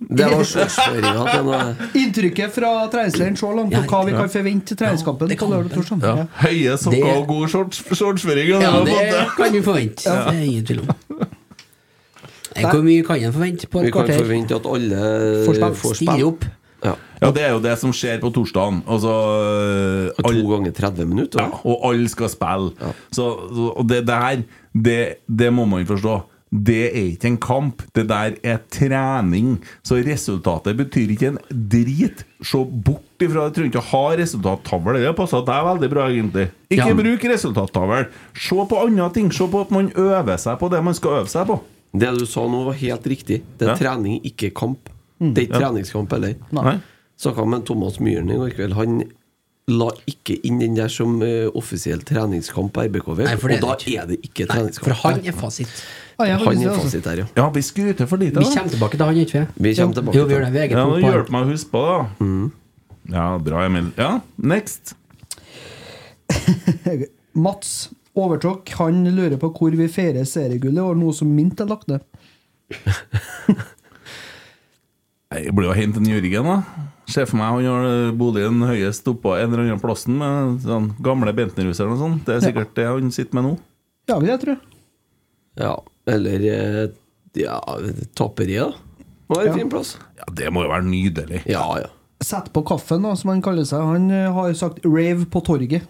Det var shortsføringa til han eh, Inntrykket fra treningsleiren så langt, og hva vi kan forvente i treningskampen det på kan- lørdag og torsdag. Ja. Høye sokker Det- og god shorts- shortsføring. Ja, har vi det fått det. kan vi forvente. Det er ingen tvil om. Nei, Hvor mye kan en forvente på Vi et kan kvarter? forvente at Får alle spille. får Stille opp. Ja. Ja, det er jo det som skjer på torsdagen. Altså, To alle- ganger 30 minutter. ja, og alle skal spille. Så, så og det der, det, det må man forstå. Det er ikke en kamp, det der er trening. Så resultatet betyr ikke en drit. Se bort ifra Jeg trenger ikke å ha resultattavle. Det passer deg veldig bra, egentlig. Ikke Ja. bruk resultattavle. Se på andre ting. Se på at man øver seg på det man skal øve seg på. Det du sa nå var helt riktig. Det er Ja. trening, ikke kamp. Mm. Det er ikke treningskamp heller. Nei. Snakka med Thomas Myhren i går kveld. Han la ikke inn den der som eh, offisiell treningskamp på RBKV, Nei, for det og da er det ikke. er det ikke Nei, treningskamp. for han er fasit. Ja, jeg er Han er faktisk det, altså. fasit her, ja. Ja, vi skryter for lite. Vi da. kommer tilbake til han, ikke vi? Vi kommer tilbake Jo, vi gjør det. til Vi er eget Ja, punkt nå på han. hjelp meg å huske på det, da. Mm. Ja, bra, Emil. Ja, next. Mats overtok. Han lurer på hvor vi feirer seriegullet, og noe som Mint er lagt ned. Nei, Jeg blir jo hent en Jørgen, da. Ser for meg han har boligen høyest oppå en eller annen plassen med sånn gamle Bentner-huset eller noe sånt. Det er sikkert det han sitter med nå. Ja, vil jeg tro. Ja, eller eh, ja, tapperiet, da. Nå er det en fin plass. Ja, det må jo være nydelig. Ja, ja. Sett på kaffen, da, som han kaller seg. Han eh, har sagt 'rave på torget'.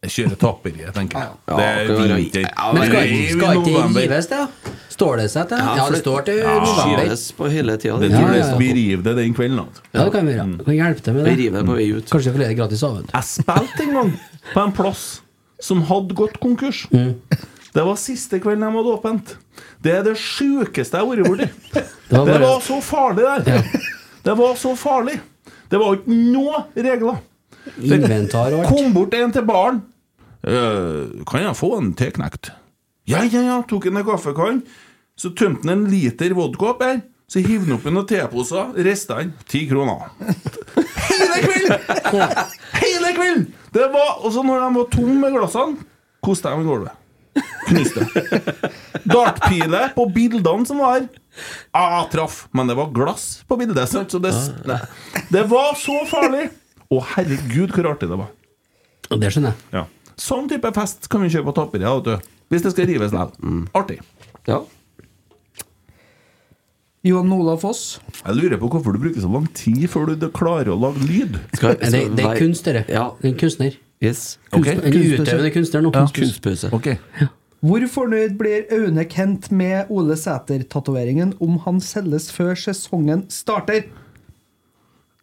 Jeg kjører tapperiet, tenker jeg. Ja, det det er var- vinter. Ja, Men men skal, Det er i ikke- skal ikke det november. gives, det? da? Står det seg til? Ja, det står til november. Skyves på hele tida. Det Det tror Ja, jeg ja, ja. Vi river det den kvelden. altså. da. Ja, det kan vi gjøre. Vi kan hjelpe til med Vi det. river på vei ut. Kanskje flere gratis avhørt. Jeg spilte en gang på en plass som hadde gått konkurs. Det var siste kvelden de hadde åpent. Det er det sjukeste jeg har vært borti. Det var Det bare- var så farlig der. Det var så farlig. Det var ikke noe regler. Inventar og alt. Kom bort en til baren. «Eh, kan jeg få en teknekt? Ja, ja, ja. Tok en en kaffekann. Så tømte han en liter vodka opp her. Så hiv han opp i noen teposer. Rista han. Ti kroner. Hele kvelden! Hele kvelden! Det var, og så når de var tomme glassene, koste de i gulvet. Knuste. Dartpile på bildene som var her. Ah, traff, men det var glass på bildet. Sant? Så det, det var så farlig! Å, herregud, hvor artig det var. Og Det skjønner jeg. Ja. Sånn type fest kan vi kjøre på Tapperiet, ja, vet du. Hvis det skal rives likevel. Artig. Ja. Johan Olav Foss. Jeg lurer på hvorfor du bruker så lang tid før du d- klarer å lage lyd. Skal- Men Det, det er skal- kunst, dere. Ja. Det er en kunstner. Yes. Ok. Kunst- En utøvende kunstner nå. Kunstpause. Ok. Hvor fornøyd blir Aune Kent med Ole Sæter-tatoveringen om han selges før sesongen starter?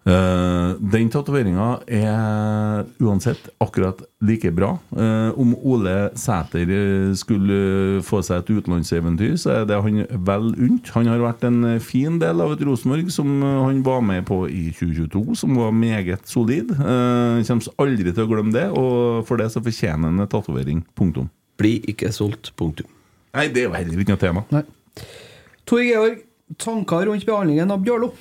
Eh, den tatoveringa er uansett akkurat like bra. Eh, om Ole Sæter eh, skulle få seg et utenlandseventyr, så er det han vel unt. Han har vært en eh, fin del av et Rosenborg som eh, han var med på i 2022, som var meget solid. Eh, kommer aldri til å glemme det, og for det så fortjener han en tatovering. Punktum. Bli ikke solgt. Punktum. Nei, det er jo heller ikke noe tema. Nei. Tor Georg, tanker rundt behandlingen av Bjørlo?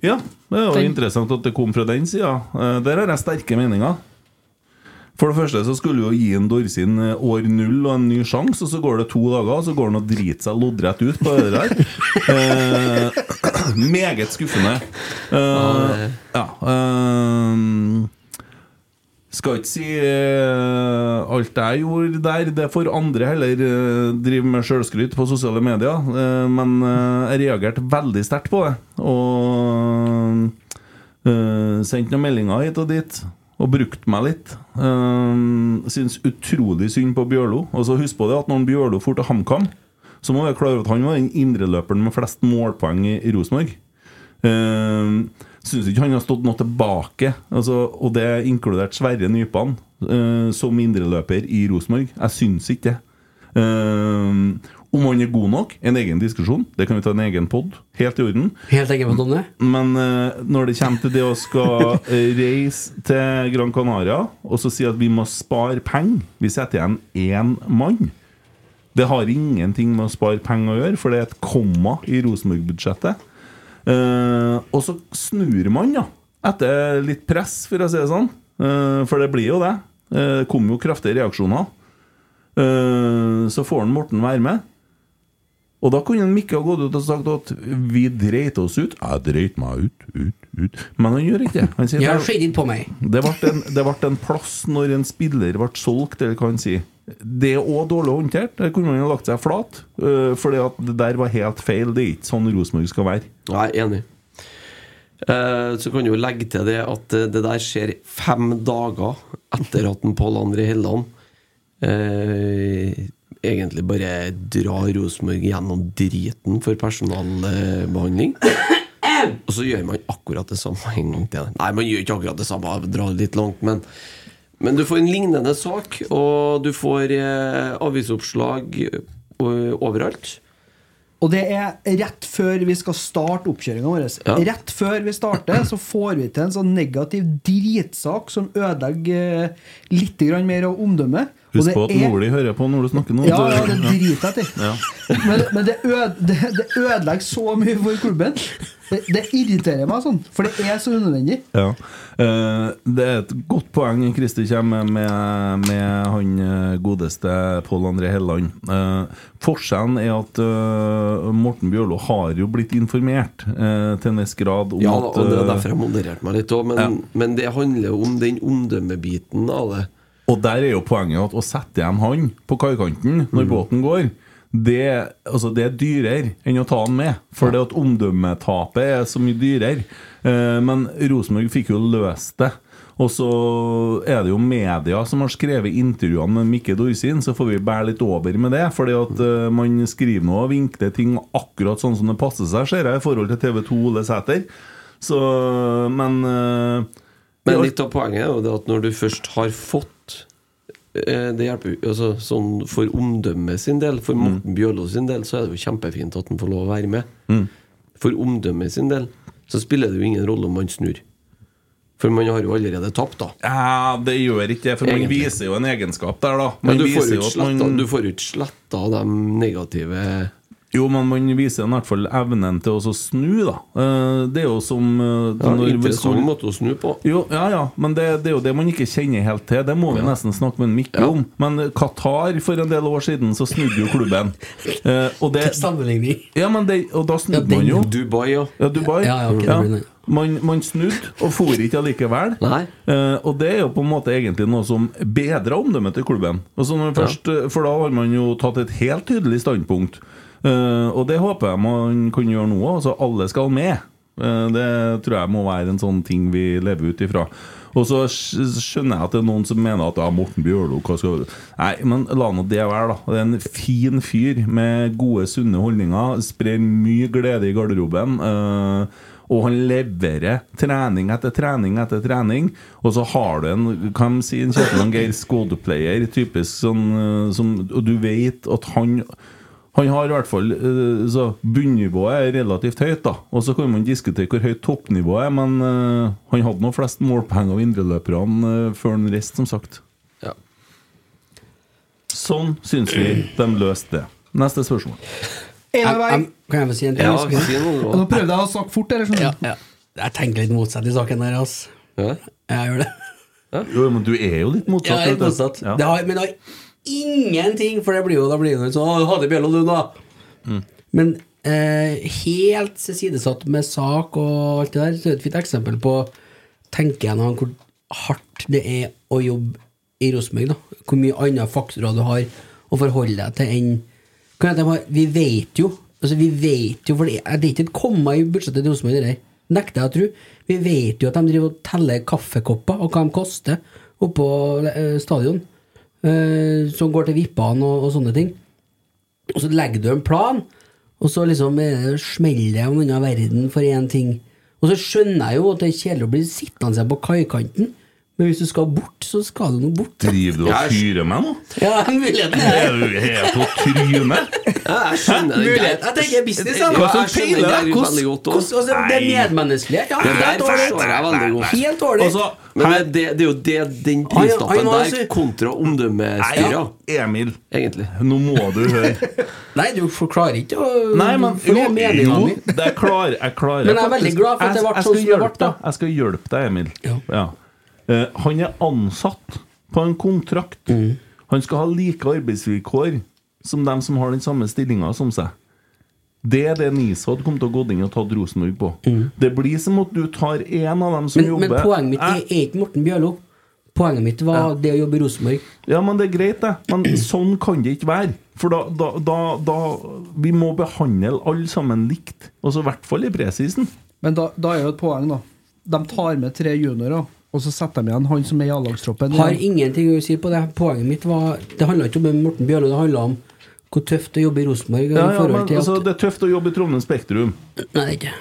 Ja, det er jo Den- interessant at det kom fra den sida. Eh, Der har jeg sterke meninger. For det første så skulle vi jo gi en Dorsin eh, år null og en ny sjanse, og så går det to dager, og så går han og driter seg loddrett ut på det der. Eh, meget skuffende. Eh, ja. eh, skal ikke si eh, alt jeg gjorde der. Det får andre heller eh, drive med sjølskryt på sosiale medier. Eh, men eh, jeg reagerte veldig sterkt på det. Og eh, sendte noen meldinger hit og dit. Og brukte meg litt. Eh, Syns utrolig synd på Bjørlo. Og så husk på det at når han Bjørlo for til HamKam, så må vi være klar over at han var den indreløperen med flest målpoeng i i Rosenborg. Uh, Syns ikke han har stått noe tilbake, altså, og det er inkludert Sverre Nypan eh, som indreløper i Rosenborg. Jeg syns ikke det. Eh, om han er god nok, en egen diskusjon. Det kan vi ta en egen pod. Helt i orden. Helt enkelt på Tonje. Men eh, når det kommer til det å skal eh, reise til Gran Canaria og så si at vi må spare penger Vi setter igjen én mann. Det har ingenting med å spare penger å gjøre, for det er et komma i Rosenborg-budsjettet. Eh, og så snur man, ja. Etter litt press, for å si det sånn. Eh, for det blir jo det. Eh, det kommer jo kraftige reaksjoner. Eh, så får han Morten være med. Og da kunne han Mikke ha gått ut og sagt at vi dreit oss ut. Jeg dreit meg ut, ut, ut. Men han gjør ikke det. Han sier Jeg har «Det- skittet på meg. det ble, en, det ble en plass når en spiller ble solgt, eller hva han sier. Det er òg dårlig håndtert. Der kunne man jo lagt seg flat. Uh, fordi at det der var helt feil. Det er ikke sånn Rosenborg skal være. Jeg er enig. Eh, Så kan du jo legge til det at eh, det der skjer fem dager etter at en Pål André Helland eh, egentlig bare drar Rosenborg gjennom driten for personalbehandling. Og så gjør man akkurat det samme en gang til. Nei, man gjør ikke akkurat det samme, drar litt langt, men men du får en lignende sak, og du får eh, avisoppslag eh, overalt. Og det er rett før vi skal starte oppkjøringa vår. Ja. Rett før vi starter, så får vi til en sånn negativ dritsak som ødelegger eh, litt grann mer av omdømmet. Og Husk det på at er- Nordli hører på når du snakker nå. Ja, så- ja, det driter jeg til. Ja. Men, men det, øde, det, det ødelegger så mye for klubben. Det, det irriterer meg sånn, for det er så unødvendig. Ja. Eh, det er et godt poeng Christer kommer med, med han eh, godeste Pål André Helland. Eh, forskjellen er at eh, Morten Bjørlo har jo blitt informert eh, til en viss grad om Ja, at og det er eh, derfor jeg modererte meg litt òg. Men, men det handler jo om den omdømmebiten av det. Og der er jo poenget at å sette igjen han på kaikanten når båten går, det, altså det er dyrere enn å ta han med. For det at omdømmetapet er så mye dyrere. Eh, men Rosenborg fikk jo løst det. Og så er det jo media som har skrevet intervjuene med Mikke Dorsin, så får vi bære litt over med det. Fordi at eh, man skriver nå og vinkler ting akkurat sånn som det passer seg, ser jeg, i forhold til TV 2 Ole Sæter. Så Men eh, Men Ja. litt av poenget er jo det at når du først har fått eh, Det hjelper jo altså, sånn For omdømmet sin del, Mm. for Morten Bjørlo sin del, så er det jo kjempefint at han får lov å være med. Mm. For omdømmet sin del så spiller det jo ingen rolle om man snur. For man har jo allerede tapt, da. Ja, det gjør ikke det, for man Egentlig. viser jo en egenskap der, da. Men Man du får viser jo jo ikke at man- sletta- du får jo ikke sletta de negative Jo, men man viser i hvert fall evnen til å så snu, da. Eh, Det er jo som eh, ja, når vi Interessant står måte å snu på. jo, ja, ja, men det, det er jo det man ikke kjenner helt til. Det må vi nesten snakke med Mikke om. Men eh, Qatar for en del år siden, så snudde jo klubben. Eh, og, det, Sammenligning. ja, men det, og da snudde Ja, den- man jo. Dubai, ja. Ja, Dubai. Ja, ja, ok, det blir det. Man, man snudde og for ikke allikevel. Nei. Eh, og det er jo på en måte egentlig noe som bedrer omdømmet til klubben. Og så når man først, eh, For da har man jo tatt et helt tydelig standpunkt. Eh, og det håper jeg man kan gjøre nå òg. Alle skal med. Eh, det tror jeg må være en sånn ting vi lever ut ifra. Og så skj- skjønner jeg at det er noen som mener at ja, Morten Bjørlo hva skal du Nei, men la nå det være, da. Det er en fin fyr med gode, sunne holdninger. Sprer mye glede i garderoben. Eh, og han leverer trening etter trening etter trening. Og så har du en kan de si, en Kjetil og Geir Skodplayer, typisk sånn eh, som, Og du vet at han han har i hvert fall eh, så Bunnivået er relativt høyt, da. Og så kan man diskutere hvor høyt toppnivået er, men eh, han hadde nå flest målpoeng av indreløperne eh, før han reiste, som sagt. Ja. Sånn syns vi de løste det. Neste spørsmål. En Jeg- av hver. jeg- Kan jeg få si en ting? Ja, si noe, Nå da. prøvde jeg å snakke fort. Eller sånn. Ja, ja. Jeg tenker litt motsatt i saken der, altså. Ja. Jeg gjør det. Jo, men du er jo litt motsatt. Jeg er vet helt du. motsatt. Ja. Det har, men det har ingenting, for det blir jo, da blir det jo sånn «Å, Hadde Bjello, du, da? Men eh, helt sidesatt med sak og alt det der, så er det et fint eksempel på Tenker jeg nå hvor hardt det er å jobbe i Rosenborg, da. Hvor mye andre faktorer du har å forholde deg til enn Kan jeg tenke meg, Vi vet jo Altså, vi vet jo, for det er det er ikke et komma i budsjettet til Rosenborg. det der. Nekter jeg å tro. Vi vet jo at de driver og teller kaffekopper og hva de koster oppå eh, stadion. eh, som går til vippene og, og sånne ting. Og så legger du en plan, og så liksom eh, smeller det om unna verden for én ting. Og så skjønner jeg jo at det er kjedelig å bli sittende på kaikanten, men hvis du skal bort, så skal du nå bort. Driver du og fyrer meg nå? Ja, muligheten er Er du helt på trynet? Ja, jeg skjønner den Mulighet. Jeg tenker business, da. Ja, Hva som jeg skjønner peiler den deg? der veldig godt også. Hvordan- altså, det er Nei. medmenneskelige. Ja, Det der helt forstår jeg ålreit. veldig godt. Helt ålreit. Altså, Men det, det, det er jo det, den Han- prislappen han har der sy- kontra Nei, omdømmestyret, Emil, egentlig. nå må du høre. Nei, du forklarer ikke å Nei, men jo, For det er meningen jo min. det er klar, jeg klarer Men jeg er faktisk. veldig glad for at det Jeg- jeg ble skal sånn som det hjelpe ble, da. deg. Jeg skal hjelpe deg, Emil. Ja. Eh, han er ansatt på en kontrakt. Mm. Han skal ha like arbeidsvilkår som dem som har den samme stillinga som seg. Det er det Nisod kom til å gå inn og tatt Rosenborg på. Det blir som at du tar én av dem som Mm. Men, jobber men poenget mitt er, Jeg- er ikke Morten Bjørlo. Poenget mitt var det å jobbe i Rosenborg. Ja, men det er greit, det. Men sånn kan det ikke være. For da, da, da, da Vi må behandle alle sammen likt. Altså i hvert fall i presisen. Men da, da er jo et poeng, da. De tar med tre juniorer, og så setter de igjen han som er i A-lagstroppen. Har ingenting å si på det. Poenget mitt var Det handla ikke om Morten Bjørlo, det handla om hvor tøft det er å jobbe i Rosenborg. Ja, i ja, forhold men til at, altså, Det er tøft å jobbe i Trondheim Spektrum. Nei, det er ikke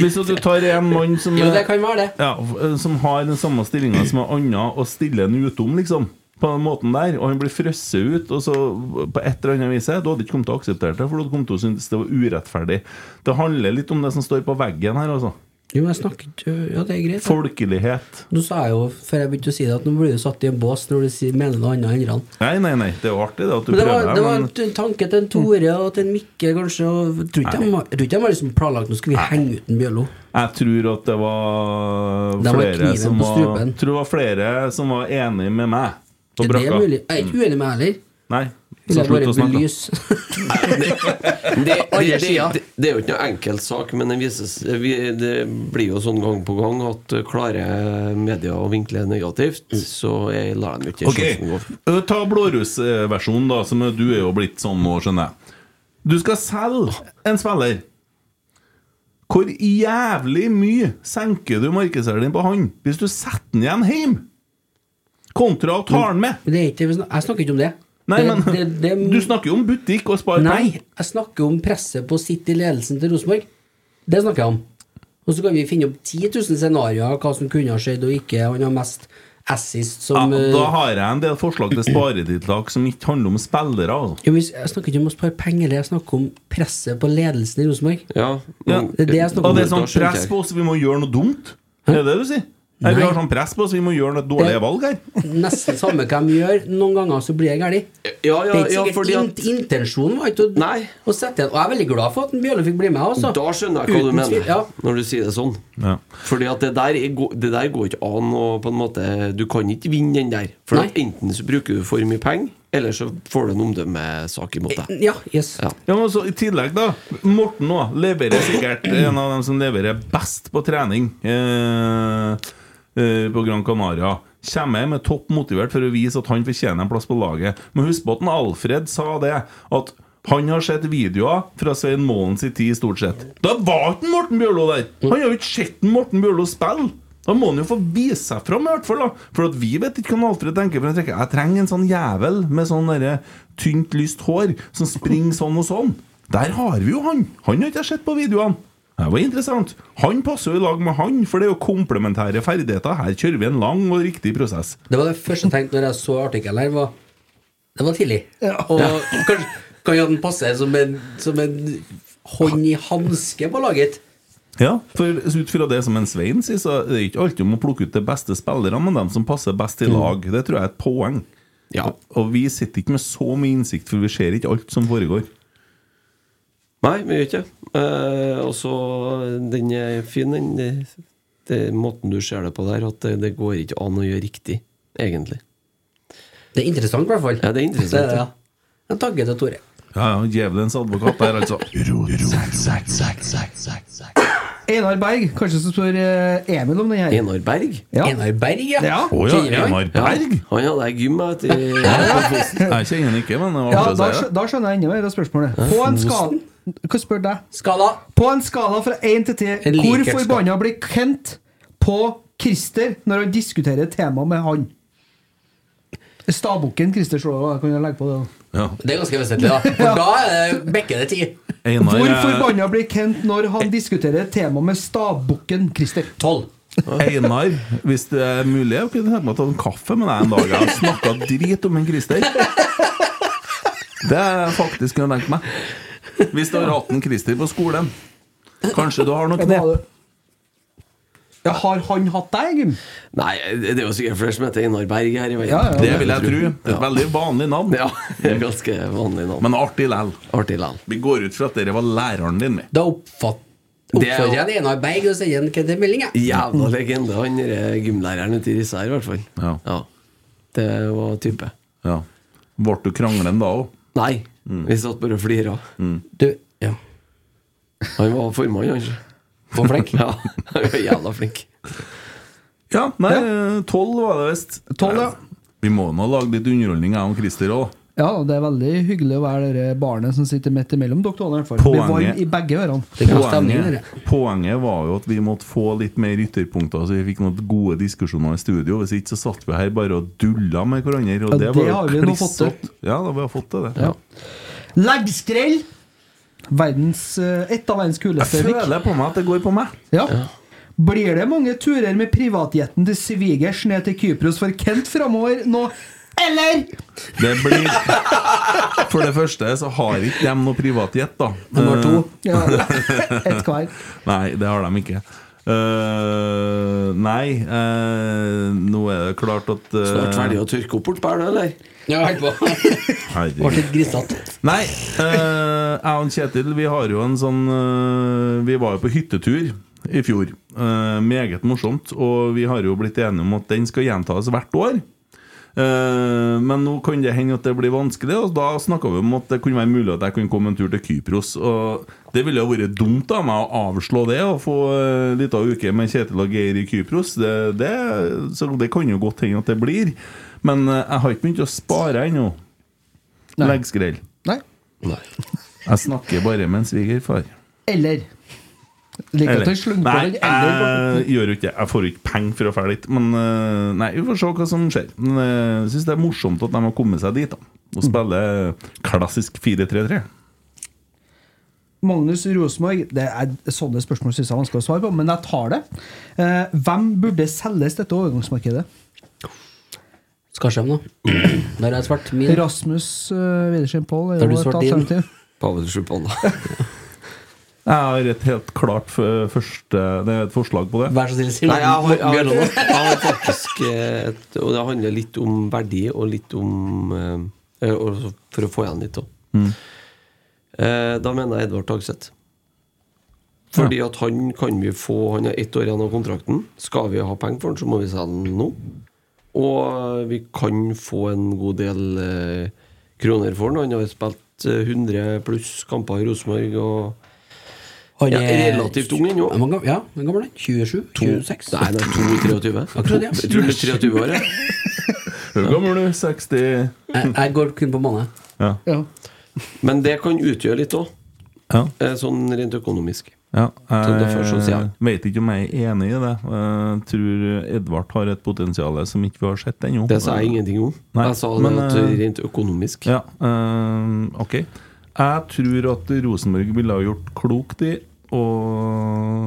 Hvis du tar en mann som, Jo, det er- kan være det. ja, f- som har den samme stillinga som en annen, og stiller den utom, liksom, på den måten der, og han blir frosset ut og så på et eller annet vis Du hadde ikke kommet til å akseptere det, for du hadde kommet til å synes det var urettferdig. Det handler litt om det som står på veggen her, altså. Jo, men jeg snakket Ja, det er greit. det. Folkelighet. Nå sa jeg jo, før jeg begynte å si det, at nå blir du satt i en bås når du sier- mener noe annet enn han. Nei, nei, nei, det er jo artig det at du Men det prøver var, det var men- en tanke til en Tore og til en Mikke, kanskje. Og jeg tror ikke de har- jeg tror ikke de har liksom planlagt nå skal vi henge ut en Bjørlo. Jeg tror at det var Det var flere kniven som på var, strupen. tror det var flere som var enig med meg på Det er brakka. mulig. Jeg er ikke uenig med deg heller. Nei, Vil så jeg slutt å bare snakke. belyse Det, det, Alle det, sider. det, det er jo ikke noe enkelt sak, men den vises, vi, det blir jo sånn gang på gang at eh, klarer media å vinkle negativt, så jeg lar dem ikke Mm. Ok, sjansen gå. eh, Ta blårussversjonen, da, som du er jo blitt sånn nå, skjønner jeg. Du skal selge en spiller. Hvor jævlig mye senker du markedsverdien på han hvis du setter den igjen hjem? Kontra å ta den med. Men det er ikke, Jeg snakker ikke om det. Nei, det, men det- det- Du snakker jo om butikk og spare Nei, penger. jeg snakker om presset på å sitte i ledelsen til Rosenborg. Det snakker jeg om. Og så kan vi finne opp 10 000 scenarioer hva som kunne ha skjedd og ikke. Han har mest assist som Ja, eh, da har jeg en del forslag til sparetiltak som ikke handler om spillere. altså. jo, hvis- Jeg snakker ikke om å spare penger, eller jeg snakker om presset på ledelsen i Rosenborg. Ja, Ja. men- Det er det jeg snakker Og om. det er sånn Da skjønte jeg. press på oss, vi må gjøre noe dumt. Er det det du sier? Nei, vi Nei. har sånn press på oss, vi må gjøre noe dårlige Det- valg her. Nesten samme hva de gjør. Noen ganger så blir jeg gæren. Ja, ja, Det er ikke ja, sikkert fordi at int- intensjonen var ikke å, Nei. å sette igjen. Og jeg er veldig glad for at Bjørle fikk bli med. altså. Også. Da skjønner jeg hva Uten du mener, tvil, ja. når du sier det sånn. Ja. Fordi at det der, er, gå- det der går ikke an å på en måte Du kan ikke vinne den der. For Nei. at enten så bruker du for mye penger, eller så får du en omdømmesak imot deg. Ja, yes. Ja. Ja, men så I tillegg, da. Morten nå leverer sikkert en av dem som leverer best på trening eh, eh, på Gran Canaria. Kommer hjem er topp motivert for å vise at han fortjener en plass på laget. Men husk på at en Alfred sa det. At han har sett videoer fra Svein Målen sin tid, stort sett. Da var ikke Morten Bjørlo der! Han har jo ikke sett Morten Bjørlo spille! Da må han jo få vise seg fram, i hvert fall. da For at vi vet ikke hva Alfred tenker. For han tenker jeg trenger en sånn jævel med sånn derre tynt, lyst hår som springer sånn og sånn. Der har vi jo han! Han har ikke jeg sett på videoene. Det var interessant. Han passer jo i lag med han, for det er jo komplementære ferdigheter. Her kjører vi en lang og riktig prosess. Det var det første jeg tenkte når jeg så artikkelen her. Var, det var tidlig. Og kanskje kan jo den passe som en, som en hånd i hanske på laget. Ja, for ut fra det som en Svein sier, så er det ikke alltid om å plukke ut de beste spillerne, men dem som passer best i lag. Det tror jeg er et poeng. Ja. Og vi sitter ikke med så mye innsikt, for vi ser ikke alt som foregår. Nei, vi gjør ikke det. Eh, og så den er fin, den. Det, det er måten du ser det på der, at det, det går ikke an å gjøre riktig, egentlig. Det er interessant, i hvert fall. Ja, det er interessant, Det ja. ja. En tanke til Tore. Ja, ja, Djevelens advokat der, altså. Einar Berg, kanskje som spør eh, Emil om den her. Einar Berg. Ja. Einar Berg, ja. Ja. Å ja, Einar Berg? Han hadde jeg gym med etter Jeg kjenner han ikke, men det var Ja, artig da, å si skjø- det. da skjønner jeg enda mer av spørsmålet. På en skala Hva spør deg? Skala. På en skala fra 1 til 10, En hvor likhetsskala. forbanna blir Kent på Christer når han diskuterer temaet med han? Stabukken Christer Slåva, kan jeg legge på det? da? Ja. Det er ganske vesentlig, da. For da er det bekker det ti. Einar eh, Hvor er- forbanna blir Kent når han diskuterer temaet med stabukken Christer? Tolv. Einar, hvis det er mulig, jeg kunne tenkt meg å ta en kaffe med deg en dag. Jeg har snakka drit om en Christer. Det er faktisk kunne jeg tenkt meg. Hvis du har hatt en Christer på skolen. Kanskje du har noe knep? Ja, har han hatt deg, Gym? Nei, det er jo sikkert flere som heter Einar Berg her i verden. Ja, ja. Det vil jeg tro. Det er et veldig vanlig navn, Ja, det er ganske vanlig navn. men artig lell. Artig land. Vi går ut fra at dette var læreren din. vi. Da oppfatt, Det er jo- oppfordrer jeg det Einar Berg og sender en Kent en melding, jeg. Jævla legende, han derre gymlæreren ute i Rissa her, i hvert fall. Ja. Det var type. Ja. Ble du kranglen da òg? Nei, Mm. vi satt bare og flira. Du, ja. Han var formann, han. For flink. Ja, han var jævla flink. Ja, nei, tolv var det visst. 12, ja. Vi må nå lage litt underholdning, jeg og Christer òg. Ja, det er veldig hyggelig å være det barnet som sitter midt imellom dere to. i hvert fall. Blir Poenget- varm i begge ørene. Det er god stemning, dere. Poenget, poenget var jo at vi måtte få litt mer ytterpunkter, så vi fikk noen gode diskusjoner i studio. Hvis ikke så satt vi her bare og dulla med hverandre. Og det, Ja, det var jo har vi nå kliss fått til. opp. Ja, da vi har fått til det. Leggskrell! Verdens, eh, et av verdens kuleste Jeg vik. føler på meg at det går på meg. Ja. Blir det mange turer med privatjeten til svigers ned til Kypros for Kent framover nå? Eller? Det blir For det første så har ikke de noe privatjet, da. Nummer to. Eh. Ja. Et hver. Nei, det har de ikke. Eh, nei, eh, nå er det klart at eh, Snart ferdig å tørke opp bort bær, da, eller? Ja, helt på. herregud. Ble litt grisete. Nei, eh, jeg og Kjetil Vi har jo en sånn eh, Vi var jo på hyttetur i fjor eh, Meget morsomt Og vi har jo blitt enige om at den skal gjentas hvert år Eh, Men nå kan det hende at det blir vanskelig Og da snakket vi om at det kunne være mulig At jeg kunne komme en tur til Kypros Og det ville jo vært dumt av meg å avslå det Og få eh, litt av uke med Kjetil og Geir i Kypros det, det, Så det kan jo godt hende at det blir Men eh, jeg har ikke begynt å spare ennå Leggskrell Nei. jeg snakker bare med en svigerfar. Eller? Liker at han slenger på Nei, eh. den eller. jeg gjør jo ikke det. Jeg får jo ikke penger for å dra dit. Men eh, nei, vi får se hva som skjer. Men eh, jeg syns det er morsomt at de har kommet seg dit da og spiller klassisk 4-3-3. Magnus Rosenborg, det er sånne spørsmål synes jeg er vanskelig å svare på, men jeg tar det. Eh, hvem burde selges dette overgangsmarkedet? Skal skje om nå. Der er jeg svart. Min. Rasmus uh, Widersen Pohl er Da har jo du et svart din. alternativ. Pavel Sjupanda. Jeg har et helt klart f- første Det er et forslag på det. Vær så snill, si Nei, jeg har, jeg, har, Bjørnson. jeg har faktisk eh, et, Og det handler litt om verdi og litt om eh, og så For å få igjen litt òg. Da mener jeg Edvard Tagseth. Fordi at han kan vi få Han har ett år igjen av kontrakten. Skal vi ha penger for han, så må vi selge den nå. Og vi kan få en god del eh, kroner for han. Han har spilt eh, 100 pluss kamper i Rosenborg. og Han Ja, relativt ung ennå. Ja, men gam- Ja, hvor gammel er han? 27? 26? Nei, det er 22-23. Akkurat, ja. Jeg tror det er 23 år, jeg. Hvor gammel er du? 60 Jeg, jeg går kun på måned. Ja. Ja. Men det kan utgjøre litt òg, ja. sånn rent økonomisk. Ja, Så derfor så sier jeg jeg- vet ikke om jeg er enig i det. Jeg tror Edvard har et potensial som ikke vi har sett ennå. Det sa jeg ingenting om. Nei, jeg sa men, det at eh, rent økonomisk. Ja, ehm, ok. Jeg tror at Rosenborg ville ha gjort klokt i å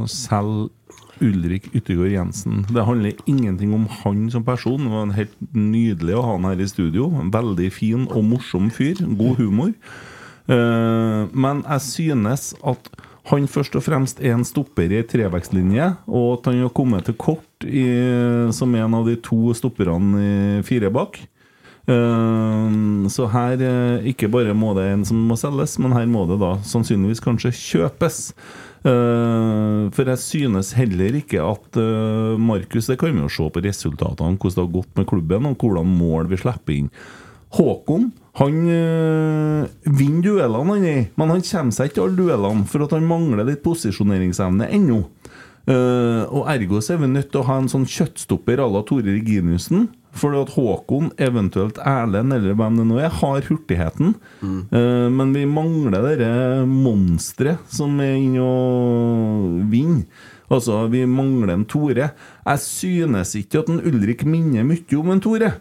selge Ulrik Yttergård Jensen. Det handler ingenting om han som person. Det var en helt nydelig å ha han her i studio. En veldig fin og morsom fyr. God humor. Eh, men jeg synes at han først og fremst er en stopper i en trevekstlinje, og at han har kommet til kort i, som en av de to stopperne i fire bak. Eh, Eh, Så her eh, ikke bare må det en som må selges, men her må det da sannsynligvis kanskje kjøpes. Eh, For jeg synes heller ikke at eh, Markus Det kan vi jo se på resultatene, hvordan det har gått med klubben, og hvordan mål vi slipper inn. Håkon han øh, vinner duellene, han er, men han kommer seg ikke til alle duellene, for at han mangler litt posisjoneringsevne ennå. Eh, og Ergo så er vi nødt til å ha en sånn kjøttstopper à la Tore Reginiussen. For at Håkon, eventuelt Erlend eller hvem det nå er, har hurtigheten. Eh, men vi mangler dette monsteret som er inne og vinner. Altså, vi mangler en Tore. Jeg synes ikke at en Ulrik minner mye om en Tore.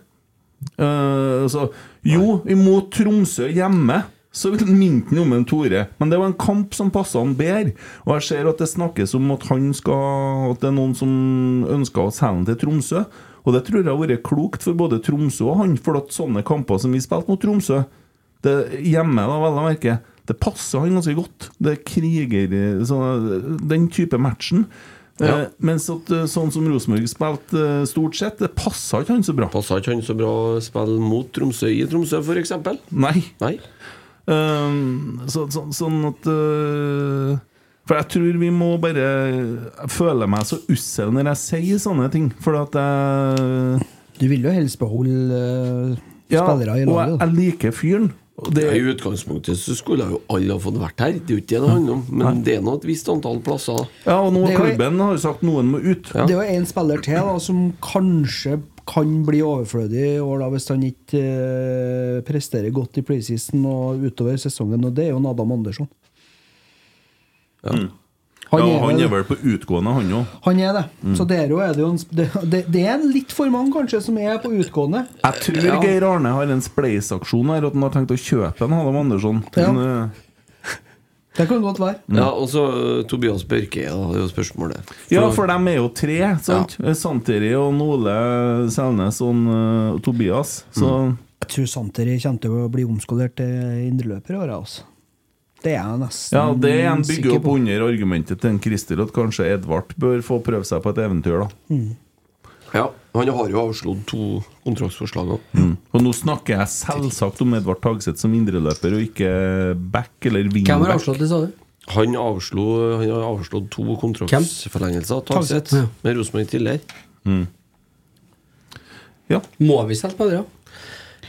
Eh, altså, jo, imot Tromsø hjemme så minte han om en Tore, men det var en kamp som passa han bedre. Og jeg ser at det snakkes om at han skal At det er noen som ønsker å selge han til Tromsø. Og det tror jeg har vært klokt for både Tromsø og han, for at sånne kamper som vi spilte mot Tromsø det, Hjemme, da, vel å merke, det passer han ganske godt. Det er kriger så, Den type matchen. Ja. Eh, mens at, eh, sånn som Rosenborg spilte eh, stort sett, det passa ikke han så bra. Passa ikke han så bra å spille mot Tromsø i Tromsø, f.eks.? Nei. Nei. Um, så, så, sånn at uh, For jeg tror vi må bare Jeg føler meg så ussel når jeg sier sånne ting, for at jeg Du vil jo helst beholde eh, ja, spillere i Og jeg, laget. da. jeg liker fyren. Og det, Ja, I utgangspunktet så skulle jo alle ha fått vært her, det er jo ikke det det handler om. Men det er nå et visst antall plasser. ja, og nå Det er jo- klubben har jo sagt noen må ut. Ja. Det er jo én spiller til da, som kanskje kan bli overflødig i år da, hvis han ikke eh, presterer godt i preseason og utover sesongen, og det er jo en Adam Andersson. Mm. Han, ja, vel- han er Mm. vel på utgående, han òg. Han er det. Så der òg er det jo en sp- det, det, det er litt for mange, kanskje, som er på utgående. Jeg tror Geir Arne har en spleisaksjon her, at han har tenkt å kjøpe en Adam Andersson. Ja. Men, uh, Det kan godt være. Mm. Ja, og så eh, Tobias Børke, da, det er jo spørsmålet. Ja, for de er jo tre, sant? Eh, Santeri og Nole Selnes og eh, Tobias. Så Jeg tror Santeri kommer til å bli omskolert til indreløper i år, jeg, altså. Det er jeg nesten ja, det en bygger sikker opp under argumentet til en Christer at kanskje Edvard bør få prøve seg på et eventyr, da. Ja, Han har jo avslått to kontraktsforslag òg. Mm. Og nå snakker jeg selvsagt om Edvard Tagseth som indreløper, og ikke back eller Hvem har wingback. avslått det, sa du? Han, avslo, han har avslått to kontraktsforlengelser, Tagseth, Ja. med Rosenborg tidligere. Ja. Må vi selge spillere?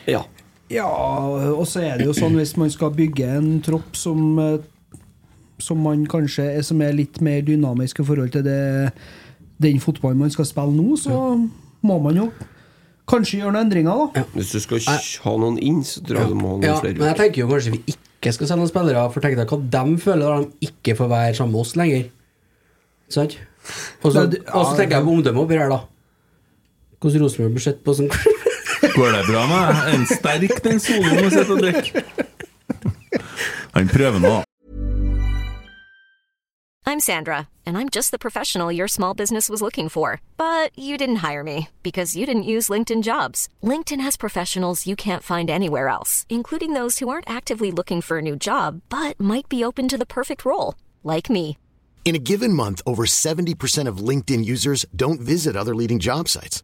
Ja. Ja, og så er det jo sånn hvis man skal bygge en tropp som eh, Som man kanskje er, som er litt mer dynamisk i forhold til det, den fotballen man skal spille nå, så må man jo kanskje gjøre noen endringer, da. Hvis du skal kj- ha noen inn, så tror jeg du må ha noen Ja, men flere jeg ut. tenker jo kanskje vi ikke skal selge noen spillere, for tenk deg hva de føler når de ikke får være sammen med oss lenger. Sant? Og så Nei, det- og så tenker jeg på omdømmet oppi her, da. Hvordan Rosenborg blir sett på sånn- som Går det bra med deg? en sterk den soloen du sitter og drikker? Han prøver nå, da. I'm Sandra, and I'm just the professional your small business was looking for. But you didn't hire me because you didn't use LinkedIn jobs. LinkedIn has professionals you can't find anywhere else, including those who aren't actively looking for a new job but might be open to the perfect role, like me. In a given month, over 70% of LinkedIn users don't visit other leading job sites.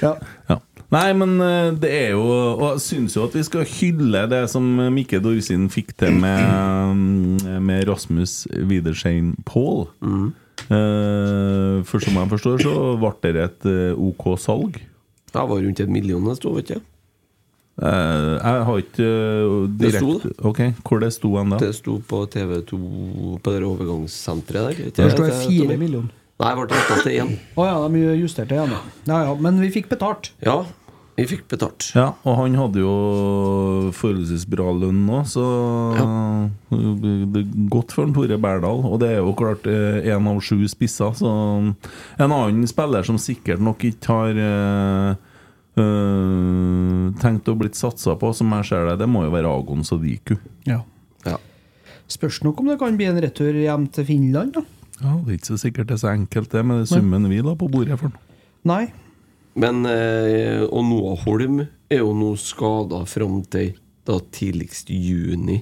Ja. Ja. Nei, men eh, det er jo Og jeg syns jo at vi skal hylle det som eh, Mikke Dorsin fikk til med, mm, med Rasmus Widerschein Paul. Mm. Eh, for som jeg forstår, så ble det et eh, OK salg. Det var rundt en million det sto, vet du. Eh, jeg har ikke eh, Det sto direkte Ok, Hvor det sto hen da? Det sto på TV2 på det overgangssenteret der. vet du. Jeg forstår det er Til- til fire meg. millioner. Nei, det ble retta til én. Å ja, de justerte igjen, da. Ja, ja, men vi fikk betalt. Ja, vi fikk betalt. Ja, og han hadde jo forholdsvis bra lønn nå, så det er godt for en Tore Berdal. Og det er jo klart én av sju spisser, så En annen spiller som sikkert nok ikke har eh, eh, tenkt å blitt satsa på, som jeg ser det, det må jo være Agon Sadiku. Ja. Ja. Spørs nok om det kan bli en retur hjem til Finland, da. Ja, det er ikke så sikkert det er så enkelt, det, med summen vi la på bordet for den. Nei. Men, eh, og Noah Holm er jo nå skada fram til da tidligst juni.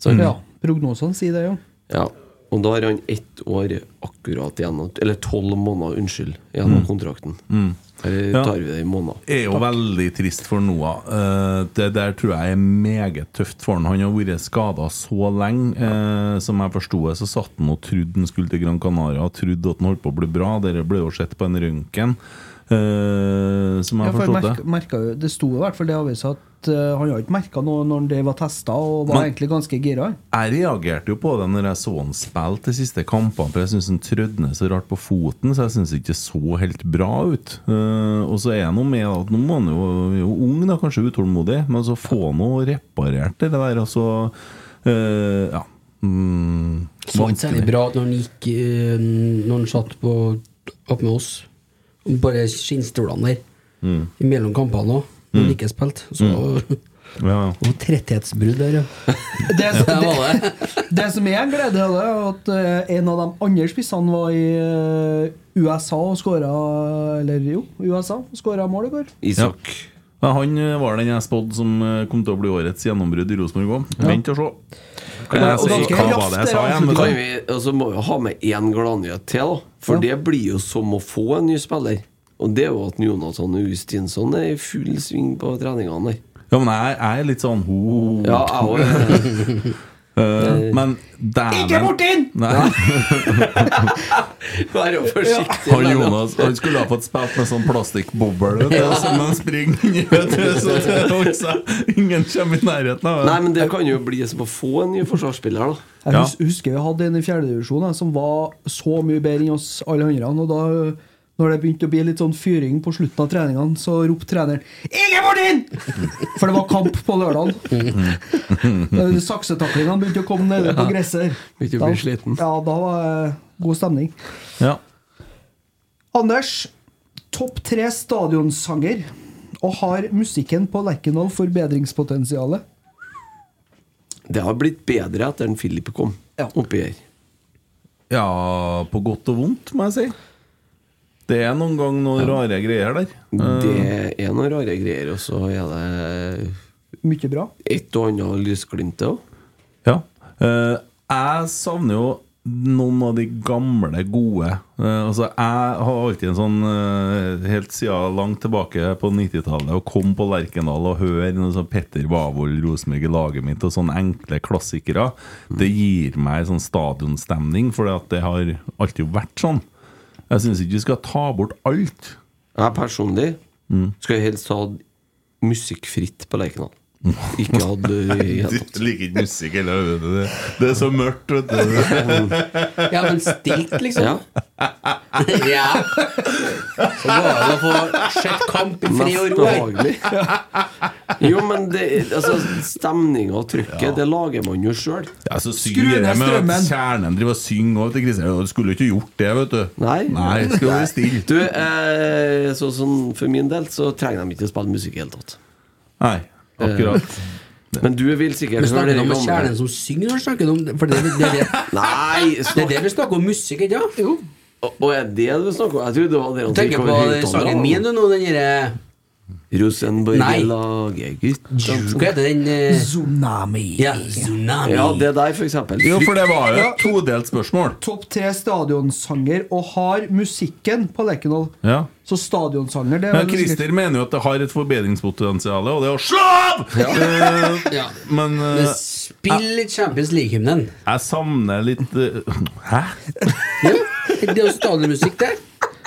Så, Ja, prognosene sier det, jo. ja. Og da har han ett år akkurat igjen av- Eller tolv måneder, unnskyld, igjen av kontrakten. Eller Ja. tar vi det i måneder? er jo veldig trist for Noah. Eh, det der tror jeg er meget tøft for han. Han har vært skada så lenge. eh, som jeg forsto det, så satt han og trodde han skulle til Gran Canaria og trodde at han holdt på å bli bra. Dere ble jo sett på en røntgen, eh, som jeg Ja, for forstod merka- det. merka jo- det sto i hvert fall det i avisa at eh, han har ikke merka noe når det var testa, og var Men- egentlig ganske gira. Jeg reagerte jo på det når jeg så han spilte de siste kampene, for jeg syns han trødner så rart på foten, så jeg syns ikke det så helt bra ut. Eh, og så er det noe med at nå må han jo, er jo ung, da, kanskje utålmodig, men så få noe reparert det der, og så eh, Ja. Mm, Så ikke særlig bra at når han gikk eh, Når han satt på, opp med oss Bare skinnstolene der Mm. Mellom kampene også Når han ikke spilt Så Ja. Og tretthetsbrudd der ja. Det, som- Der var det, det som er en glede, det er at eh, en av de andre spissene var i eh, USA og skåra Eller jo, USA og skåra mål i går. Isak. Ja, han eh, var den jeg spådde som eh, kom til å bli årets gjennombrudd i Rosenborg òg. Vent og se. Kan jeg Og si ganske hva var det jeg sa raskt, igjen? det vet Kan du? vi, altså, må vi ha med én gladnyhet til, da. For Ja. det blir jo som å få en ny spiller. Og det er jo at Jonathan Austinsson er i full sving på treningene der. Ja, men jeg, jeg er litt sånn ho. Ja, jeg òg. Eh, men dæven Ikke borti den! Nei. Vær jo forsiktig. Han med det. Jonas han skulle ha fått spilt med sånn plastikkboble ja. som han springer inn i, vet du, så det holder seg. Ingen kommer i nærheten av Nei, men det kan jo bli som å få en ny forsvarsspiller, da. Jeg Ja. hus- husker vi hadde en i fjerdedivisjon som var så mye bedre enn oss alle andre. Og da når det begynte å bli litt sånn fyring på slutten av treningene, så ropte treneren 'Ingen Martin!' For det var kamp på lørdagen. Saksetaklingene begynte å komme nede på gresset. Begynte å Da- bli sliten. Ja, da var det god stemning. Ja. Anders, topp tre stadionsanger. Og har musikken på Lerkendal forbedringspotensialet? Det har blitt bedre etter at Philip kom Ja. oppi her. ja, på godt og vondt, må jeg si. Det er noen gang noen rare greier der. Det er noen rare greier, og så er det Mye bra. et og annet lysglimt til òg. Ja. Eh, jeg savner jo noen av de gamle, gode. Eh, altså, jeg har alltid en sånn eh, Helt siden langt tilbake på 90-tallet å komme på Lerkendal og høre noe sånn Petter Wavold, Rosenborg i laget mitt og sånne enkle klassikere. Det gir meg sånn stadionstemning, for det har alltid vært sånn. Jeg syns ikke vi skal ta bort alt. Jeg personlig Mm. skal jeg helst ha musikkfritt på Lerkendal. Ikke hatt det i det hele tatt. liker ikke musikk heller, vet du. Det er så mørkt, vet du. Ja, men stilt liksom Ja. Ja, Så går det an å få sett kamp i fri Mest og ro behagelig. Jo, men det, altså, stemninga og trykket, det lager man jo sjøl. Ja, så Skru synger ned det med strømmen. at kjernen driver og synger over til Kristian. Ja, Du skulle jo ikke gjort det, vet du. Nei. Nei skal være stille. Du, eh, så, sånn for min del så trenger de ikke å spille musikk i det hele tatt. Nei, Eh, akkurat. Men du vil sikkert Men snakker du om gamle. kjernen som synger når du snakker om For det, det, det, det, Nei! det er Snakk. det vi snakker om musikk, ikke? Ja? Jo Og og er det det du snakker om? Jeg trodde det var det han gikk Tenker på over høyttaleren. eh, sangen min du, nå, den derre Rosenborg-laget, gutt. Hva heter den eh, Tsunami. Ja, Tsunami. Ja, det der, for eksempel. Jo, for det var jo Ja. et todelt spørsmål. Topp tre stadionsanger og har musikken på Lerkendal. Ja. Så stadionsanger, det er Men vel sikkert- Christer mener jo at det har et forbedringspotensial, og det er å slå av! Eh, Ja. Men Men eh, Spill litt Champions League-hymnen. jeg savner litt eh, Hæ? Ja, det er jo stadionmusikk, det.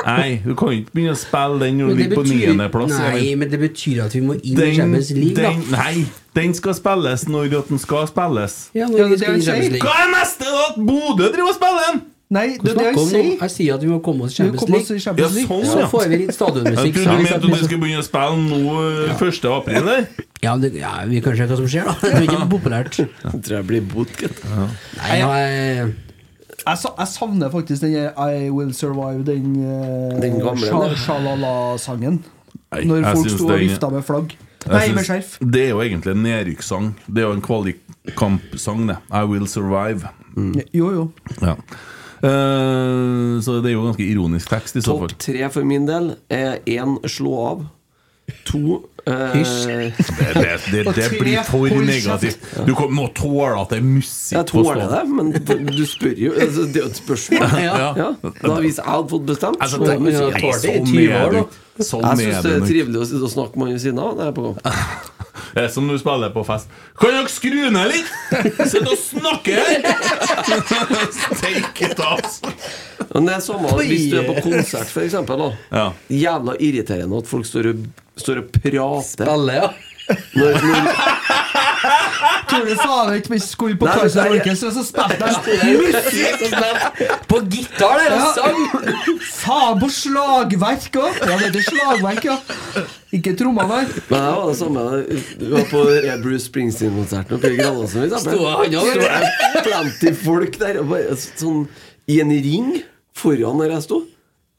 Nei, du kan ikke begynne å spille den når du Men det ligger på betyr- niendeplass. Nei, men det betyr at vi må inn i Den, Champions League, da. den, nei, den skal spilles når at den skal spilles. Ja, Ja, det når vi er det skal inn i jeg Champions sier. League. Hva er neste da? At Bodø driver og spiller den? Nei, det er det Snakk jeg om noe. sier. Jeg sier at vi må komme oss Vi til Champions kommer oss i League. Ja, Champions League. sånn, Så ja. får vi litt Jeg stadionmusikk. trodde så du vi mente at setter du oss- skulle begynne å spille nå eh, 1. april, der? Ja, det, ja, vi kan se hva som skjer, da. Det blir ikke populært. Jeg tror jeg blir bot, gutt. Nei, eh, jeg, Jeg, sa, jeg savner faktisk den der I Will Survive, den, eh, Den gamle, sha- eller? Shalala-sangen. Nei, Når jeg folk syns sto og den- vifta med flagg. Jeg Nei, med syns- skjerf. Det er jo egentlig en nedrykkssang. Det er jo en kvalikkampsang, det. I Will Survive. Jo, jo. Ja. Eh, så det er jo ganske ironisk tekst, i så fall. Topp tre for min del er én slå av. To eh, Det, det, det, det tre, blir for hold negativt. Du kom- må tåle at det er musikk Jeg tåler det, men du spør jo altså, Det er jo et spørsmål. Ja. Ja. Da Hvis jeg hadde fått bestemt Altså, så- tenk- men jeg nei, tålte det i sånn 20 er år, det da. ikke. Sånn Jeg er syns det det er nok. trivelig å sitte og snakke med han ved siden av. Det er på gang. Det er som når du spiller på fest. Kan dere skru ned litt? Sitt og snakke her! Take it off! Men det er samme hvis du er på konsert, for eksempel, da. Ja. Jævla irriterende at folk står og, står og prater. alle, ja. Når, når, Tror du faen ikke vi skulle på Nei, Karlsson nei, Orkester, så spilte Det jeg er musikk som spiller På gitar, det er Ja. en sang! faen på slagverk òg! Ja, det heter slagverk, ja. Ikke trommer der. men det var det samme Du var på Bruce Springsteen-konserten oppe i Granåsen. for eksempel. Stod han også, Stod det plenty folk der. og Bare, sånn, I en ring foran der jeg sto,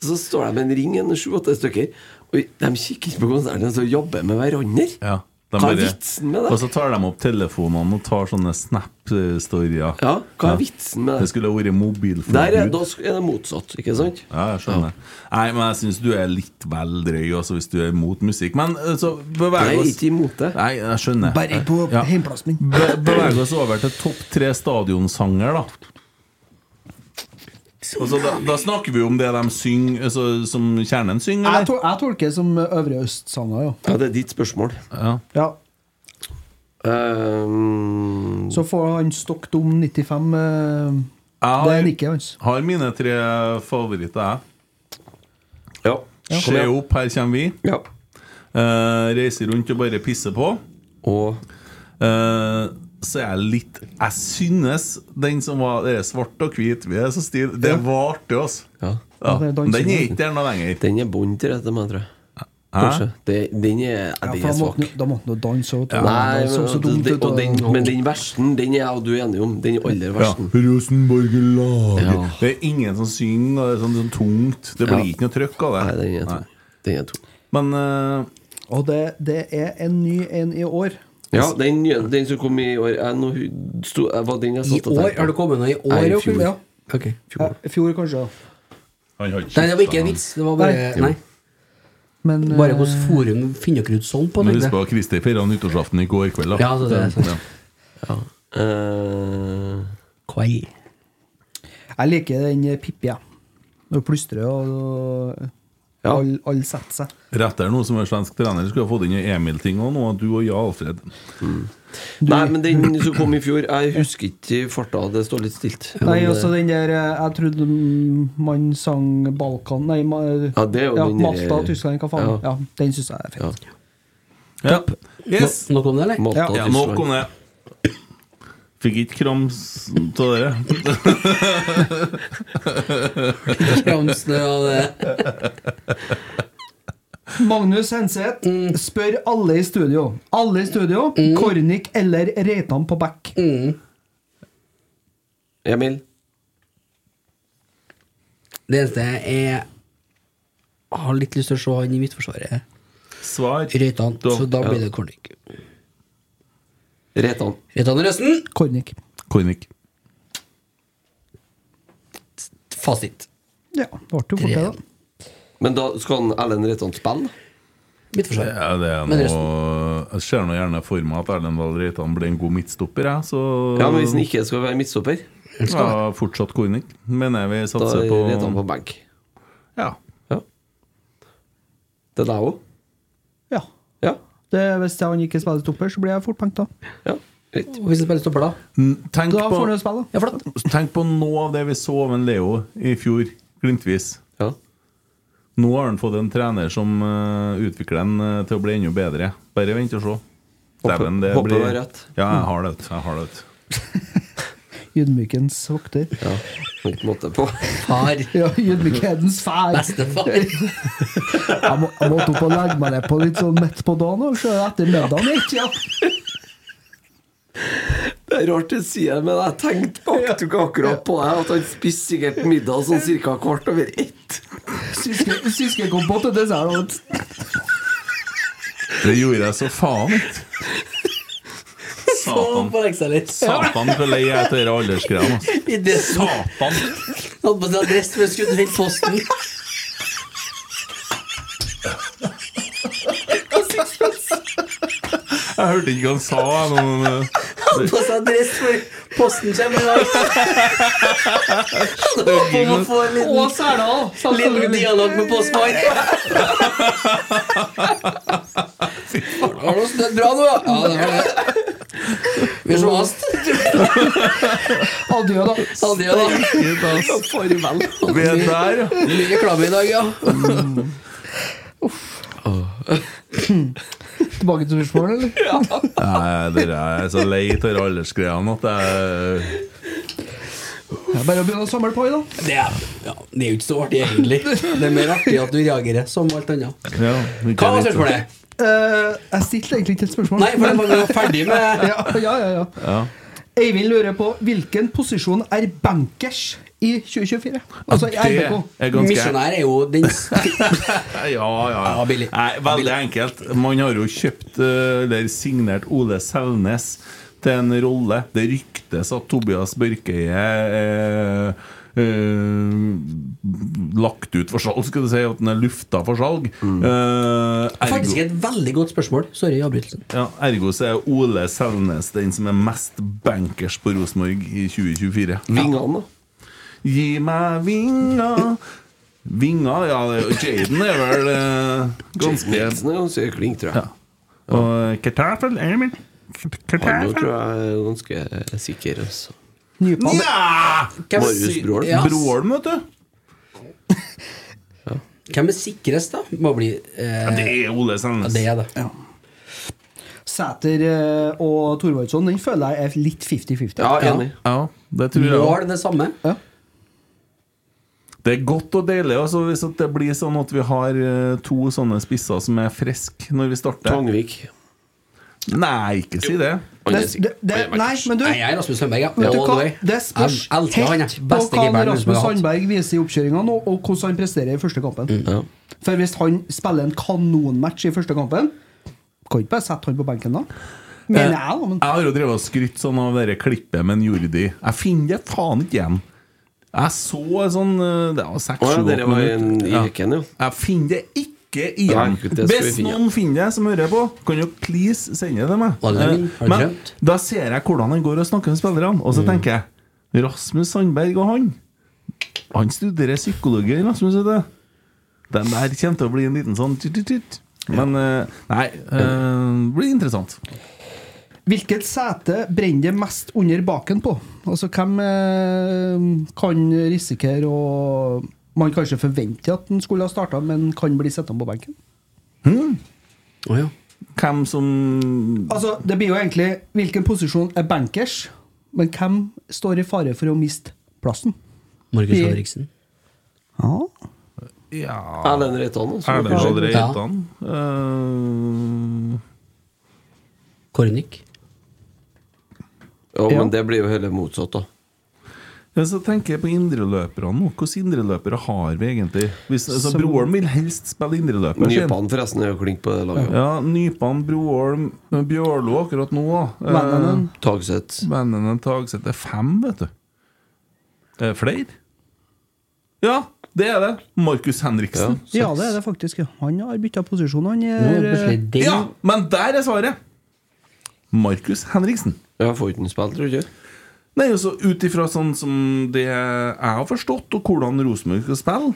så står de med en ring, en sju-åtte stykker. Og de kikker på konserten og så jobber med hverandre. Ja, de Hva er bare- vitsen med det? Og så tar de opp telefonene og tar sånne Snap-storyer. Ja, hva er vitsen med Det det? skulle ha vært Der er, da mobilforbud. sk- er det motsatt, ikke sant? Ja, jeg skjønner. Nei, men jeg syns du er litt vel drøy altså, hvis du er imot musikk. Men eh, så Jeg beveger er oss ikke imot det. Nei, jeg skjønner. Bare på Ja. hjemplassen min. Be beveger oss over til topp tre stadionsanger, da. Altså, da, da snakker vi om det de synger, altså, som kjernen synger, Jeg, eller? tol jeg tolker det som eh, Øvre Øst-sanger, ja. Ja, det er ditt spørsmål. ja. Ehm, Så får han stokk dum 95 eh, Jeg Det har- er nikket hans. Har mine tre favoritter, ja. jeg. Kom Se igjen. opp, her kommer vi. Ja. Eh, reiser rundt og bare pisser på. Og Eh, så er jeg litt Jeg synes den som var det er svart og hvit Vi er så stil Det var artig, altså. ja. Ja. Ja, det er Den dansing, er altså. ikke der noe lenger. Den er bånd til rette med, tror jeg. Kanskje. Hæ? Det, den er, ja, Ja, den for er da måtte svak. han- Da måtte han jo danse og Nei, det så så men, dumt den, ut. og den, og- men den versten, den er jeg og du enig om. Den aller Ja. versten. Rosenborg-laget Ja. Det er ingen som synger, og det er sånn, sånn tungt. Det blir Ja. ikke noe trøkk av det. Nei, den er tung. Den er tung. Men eh, Og det, det er en ny en i år. Ja, den, nye- den som kom i år jeg, nå, hu- sto, jeg, var den jeg I satt og år? tenkte på. Har det kommet noe i Nei, i år? fjor. Joakim? Ja. Ok. Ja, I fjor, kanskje. ja. han har ikke Nei, det var ikke en vits. Det var bare Nei. Nei. Men eh, Bare hvilket forum finner dere ut sånn på? Men tenkte husk jeg. på Kristi feira nyttårsaften i går kveld, da. Ja, altså, det er sant. Ja. Eh, Kvei. jeg liker den Pippi, jeg. Når hun plystrer og Ja. alle all setter seg. Rett der nå som er svensk trener, skulle jeg fått inn en Emil-ting òg nå, at du og jeg, Alfred. Nei, men den som kom i fjor Jeg husker ikke farta. Det står litt stilt. Nei, også den der eh, Jeg trodde mm, man sang Balkan Nei, ma, Ja, det er jo ja, den der- Malta, Tyskland, hva faen. Ja. Ja. den syns jeg er Ja. fett. Ja. Yes! No, noe om det, eller? Malta, Ja, Tyskland. nok om det. Fikk ikke krams av dere. Kramsnø og det. Magnus Henseth Mm. spør alle i studio. Alle i studio. Kornik eller Reitan på back? Mm. Emil? Det eneste jeg har litt lyst til å se han i Midtforsvaret. Svar. Reitan. Da- Så da ja. blir det Kornik. Reitan. Reitan og Røsten. Kornik. Kornik. Fasit. Ja, det ble jo fort det, da. Men da skal han Ellen Reitan spille? Midtforsvar. Ja, det er Men noe, jeg ser nå gjerne for meg at Erlend Dahl Reitan blir en god midtstopper. Jeg, så Ja, men hvis han ikke skal være midtstopper ja, Fortsatt Kornik, mener jeg vi Da satser på. retter han på benk. Ja. Det er deg òg. Ja. Ja. Det, hvis han ikke spiller stopper, så blir jeg fort pengt, da. Ja. Greit. Og hvis han spiller stopper, da? N- Tenk Da på, får han jo spille, da. Ja, flott. tenk på noe av det vi så av en Leo i fjor, glimtvis. Ja. Nå har han fått en trener som eh, utvikler han eh, til å bli enda bedre. Bare vent og se. Håper- Dæven, det håper blir- det er rett. Ja, jeg har det. vet du. Jeg har det. vet du. Ydmykens vokter. ja. På en måte på. Far. Ja, ydmykhetens fær. Bestefar. Jeg, må, jeg måtte opp og legge meg ned på litt sånn midt på dagen og se etter middagen. ikke, Ja. Det er rart du sier det, men jeg tenkte bak- tok akkurat på det at han spiste sikkert middag sånn cirka kvart over ett. Syske- Søskenkompott til dessert. da. Det gjorde jeg så faen ikke. Sånn Satan. på leksa litt. Satan, hvor lei jeg er av denne aldersgreia. altså. I det som Satan. Holdt på å si adresse, for jeg skulle finne posten. Jeg hørte ikke hva han sa. jeg, Men, eh, Holdt på å si adresse, for posten kommer i dag. Håper om å få en Og liten, Særdal! liten dialog med postmann. Har du snødd bra nå? Ja, det har det. Vi ses. Adjø, da. Aldri, da. shit, ass. Farvel. Vi er der, ja. Mye reklame i dag, ja. Tilbake til spørsmålet, eller? Nei, dere er så lei av denne aldersgreia at jeg Det er bare å begynne å samle på i, da. Det er, ja, det er jo ikke så artig, egentlig. Det er mer artig at du reagerer, som alt annet. ja, ikke Hva var vet. spørsmålet? Eh, jeg stilte egentlig ikke et spørsmål. Nei, for det var vi var ferdig med ja, ja, ja, ja. Ja. Eivind lurer på hvilken posisjon er bankers i 2024? Altså i Det RBK. er ganske Misjonær er jo den st- Ja, ja. Ja, billig. Nei, veldig enkelt. Man har jo kjøpt eh, eller signert Ole Selnes til en rolle. Det ryktes at Tobias Børkeie er eh, lagt ut for salg, skal du si. At den er lufta for salg. Eh, Mm. Faktisk ergo, et veldig godt spørsmål. Sorry, avbrytelsen. ja, ergo så er Ole Selnes den som er mest bankers på Rosenborg i 2024. Vingene, da. Gi meg vinger Vinger, ja, det- Jaden er vel eh, ganske Nilsen er ganske klink, tror jeg. Og eh, kartoffel, Emil Han nå tror jeg er ganske sikker. Altså. Nypan. Nja! Hvem er Marius si- Broholm. Ja, Broholm, vet du. Hvem er sikrest, da? Må bli eh, Det er Ole ja, Selnes. Det er det. Sæter eh, og Thorvaldsson, den føler jeg er litt 50-50. Ja, enig. Ja, det tror jeg også. Mål det samme. Det er godt og deilig altså, hvis at det blir sånn at vi har eh, to sånne spisser som er friske når vi starter. Tangvik. Nei, ikke si det. Han Det, er det, sikker. det, Han er nei, bankers. men du, Nei, jeg er Rasmus Sandberg, ja. Vet du All hva? the way. Det spørs Jeg elsker han, helt jeg. på Beste hva keeperen Rosenborg Rasmus har hatt. Sandberg viser i oppkjøringa nå, og hvordan han presterer i første kampen. Ja. For hvis han spiller en kanonmatch i første kampen, kan ikke bare sette han på benken da? Mener jeg, da. Men Jeg har jo drevet og skrytt sånn av det klippet med en Jordi. Jeg finner det faen ikke igjen. Jeg så sånn eh, Det var Å ja, dere seks-sju var i en- i hekken, jo. Jeg finner det ikke igjen. Nei, det skal vi Hvis finne. noen finner det som hører på, kan jo please sende det til meg. Var det min? Eh, Har du Mm. Men drømt? da ser jeg hvordan han går og snakker med spillerne, og så tenker jeg Rasmus Sandberg og han Han studerer psykologi, Rasmus. vet du. Den der kommer til å bli en liten sånn tut-tut-tut. Men eh, nei, eh, blir interessant. hvilket sete brenner det mest under baken på? Altså, hvem eh, kan risikere å Man kanskje forventer at han skulle ha starta, men kan bli sittende på benken? Å, ja. Hvem som Altså, Det blir jo egentlig hvilken posisjon er bankers, men hvem står i fare for å miste plassen? Markus Vi- Henriksen. Ja. Ja Erlend Reitan, altså. Erlend Dahl Ja. Reitan. Eh, Kornik. Ja, Ja. men det blir jo heller motsatt, da. ja, så tenker jeg på indreløperne nå. Hvilke indreløpere har vi egentlig? Hvis, altså, Som- Broholm vil helst spille indreløper. sier han. Nypan forresten er jo klink på det laget. Ja, Nypan, Broholm, eh, Bjørlo akkurat nå. da. Eh, Vennene. Tagseth. Vennene Tagseth. Det er fem, vet du. Er det flere? Ja! Det er det. Markus Henriksen. Ja, det er det faktisk. ja. Han har bytta posisjon. Han eh, Nå er er, det Eh, plutselig det. Ja, men der er svaret! Markus Henriksen. Jeg får ikke den spilt, tror jeg. Nei, altså Ut ifra sånn som det jeg har forstått, og hvordan Rosenborg skal spille,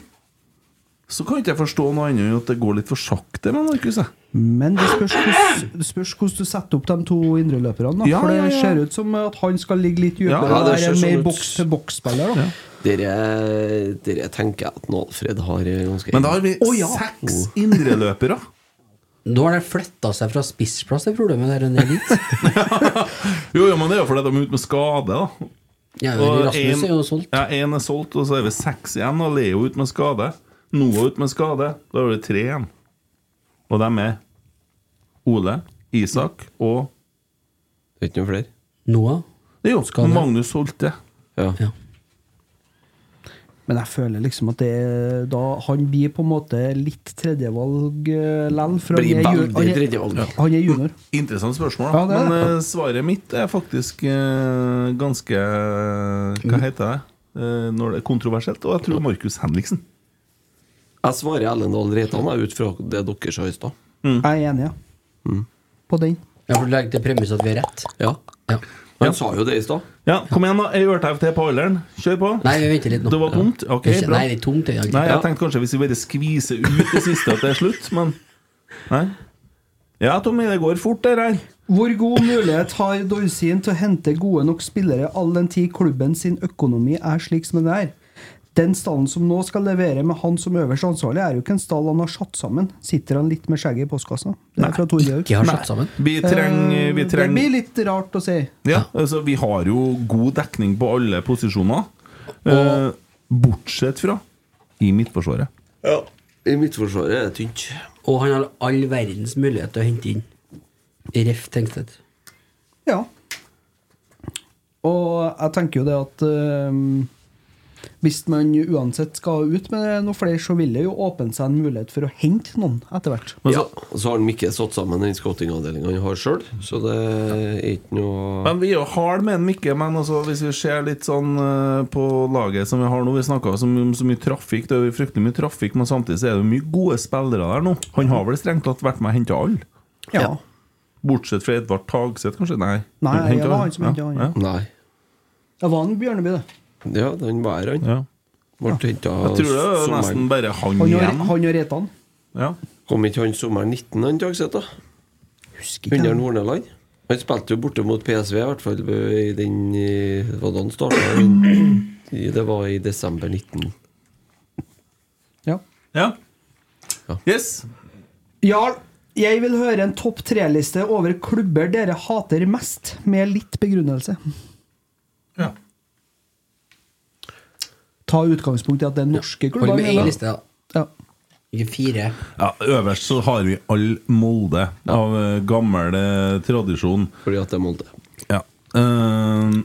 så kan ikke jeg forstå noe annet enn at det går litt for sakte med Markus. jeg. Men det spørs hvordan, det spørs hvordan du setter opp de to indreløperne. da. Ja, For det ja, ja. ser ut som at han skal ligge litt dypere. Ja, ja, og det være ser sånn mer ut. boks-til-boks-spiller. da Dere, dere tenker jeg at nå Alfred har eh, ganske Men da har vi seks indreløpere. Nå har de flytta seg fra spissplass, det er problemet der. enn det er dit. Jo, jo, men det er jo fordi de er ute med skade, da. Ja, Og Rasmus en- er jo solgt. Ja, én er solgt, og så er vi seks igjen. Og Leo ute med skade. Noah ute med skade. Da er det tre igjen. Og dem er Ole, Isak og Det er ikke noe flere. Noah. Det er jo Skade. Magnus solgte. Ja. Men jeg føler liksom at det, da, han blir på en måte litt tredjevalg eh, lell. for han Blir er ju- veldig han er- tredjevalg. Han er junior. Interessant spørsmål, da. Ja, det er det. Men eh, svaret mitt er faktisk eh, ganske Mm. Hva heter det? Eh, når det er kontroversielt. Og jeg tror Markus Henriksen. Jeg svarer Ellen Dahl Reitan jeg, ut fra det dere sa i stad. Jeg er enig, ja. Mm. På den. Ja, for du legger til premiss at vi er rett. Ja. Ja. Han sa jo det i stad. Ja, kom igjen, da. Ei ørtev til på alderen. Kjør på. Nei, vi venter litt nå. Det var tomt? Ja. Ok, bra. Nei, det er tomt i dag. Nei, Ja. jeg tenkte kanskje hvis vi bare skviser ut det siste at det er slutt, men Nei. Ja, Tommy, det går fort, det her. Hvor god mulighet har Dorsin til å hente gode nok spillere all den tid klubben sin økonomi er slik som den er? Den stallen som nå skal levere med han som øverste ansvarlig, er jo ikke en stall han har satt sammen. Sitter han litt med skjegget i postkassa? Det er fra Torgeir. Ikke har slått sammen. Vi trenger vi Eh, Det treng, blir litt rart å si. ja, altså, Vi har jo god dekning på alle posisjoner, eh, bortsett fra i Midtforsvaret. Ja. I midtforsvaret er det tynt. Og han har all verdens mulighet til å hente inn. Ref Tengstedt. Ja. Og jeg tenker jo det at øhm, hvis man uansett skal ut med noen flere, så vil det jo åpne seg en mulighet for å hente noen etter hvert. Men Ja. så- Så har han ikke satt sammen den scoutingavdelinga han har sjøl, så det er ikke noe Men vi er jo hard med den, Mikke. Men altså, hvis vi ser litt sånn eh, på laget som vi har nå Vi snakka om så mye trafikk, det er jo fryktelig mye trafikk, men samtidig så er det jo mye gode spillere der nå. Han har vel strengt tatt vært med og henta alle? Ja. Bortsett fra Edvard Tagseth, kanskje? Nei. Nei, Han hentet det var han. han som hentet han, ja. Nei. Det var en Bjørneby, det. Ja, den var han. Ja. Ble henta Jeg tror det er nesten sommeren bare han, Han og, igjen. han og Reitan. Ja. Kom ikke han sommeren 19, han Tagseth, da? Husker ikke. Under jeg. Horneland? Han spilte jo borte mot PSV, i hvert fall i den i- Hva da han starta? Det var i desember 19. Ja. ja. Ja. Yes. Jarl, jeg vil høre en topp tre-liste over klubber dere hater mest, med litt begrunnelse. Ja. Ta utgangspunkt i at det er norske klubber. Hold med én mener jeg. liste, da. Ja. Ikke fire. Øverst så har vi all Molde, av eh, gammel eh, tradisjon. Fordi at det er Molde. Ja. Eh,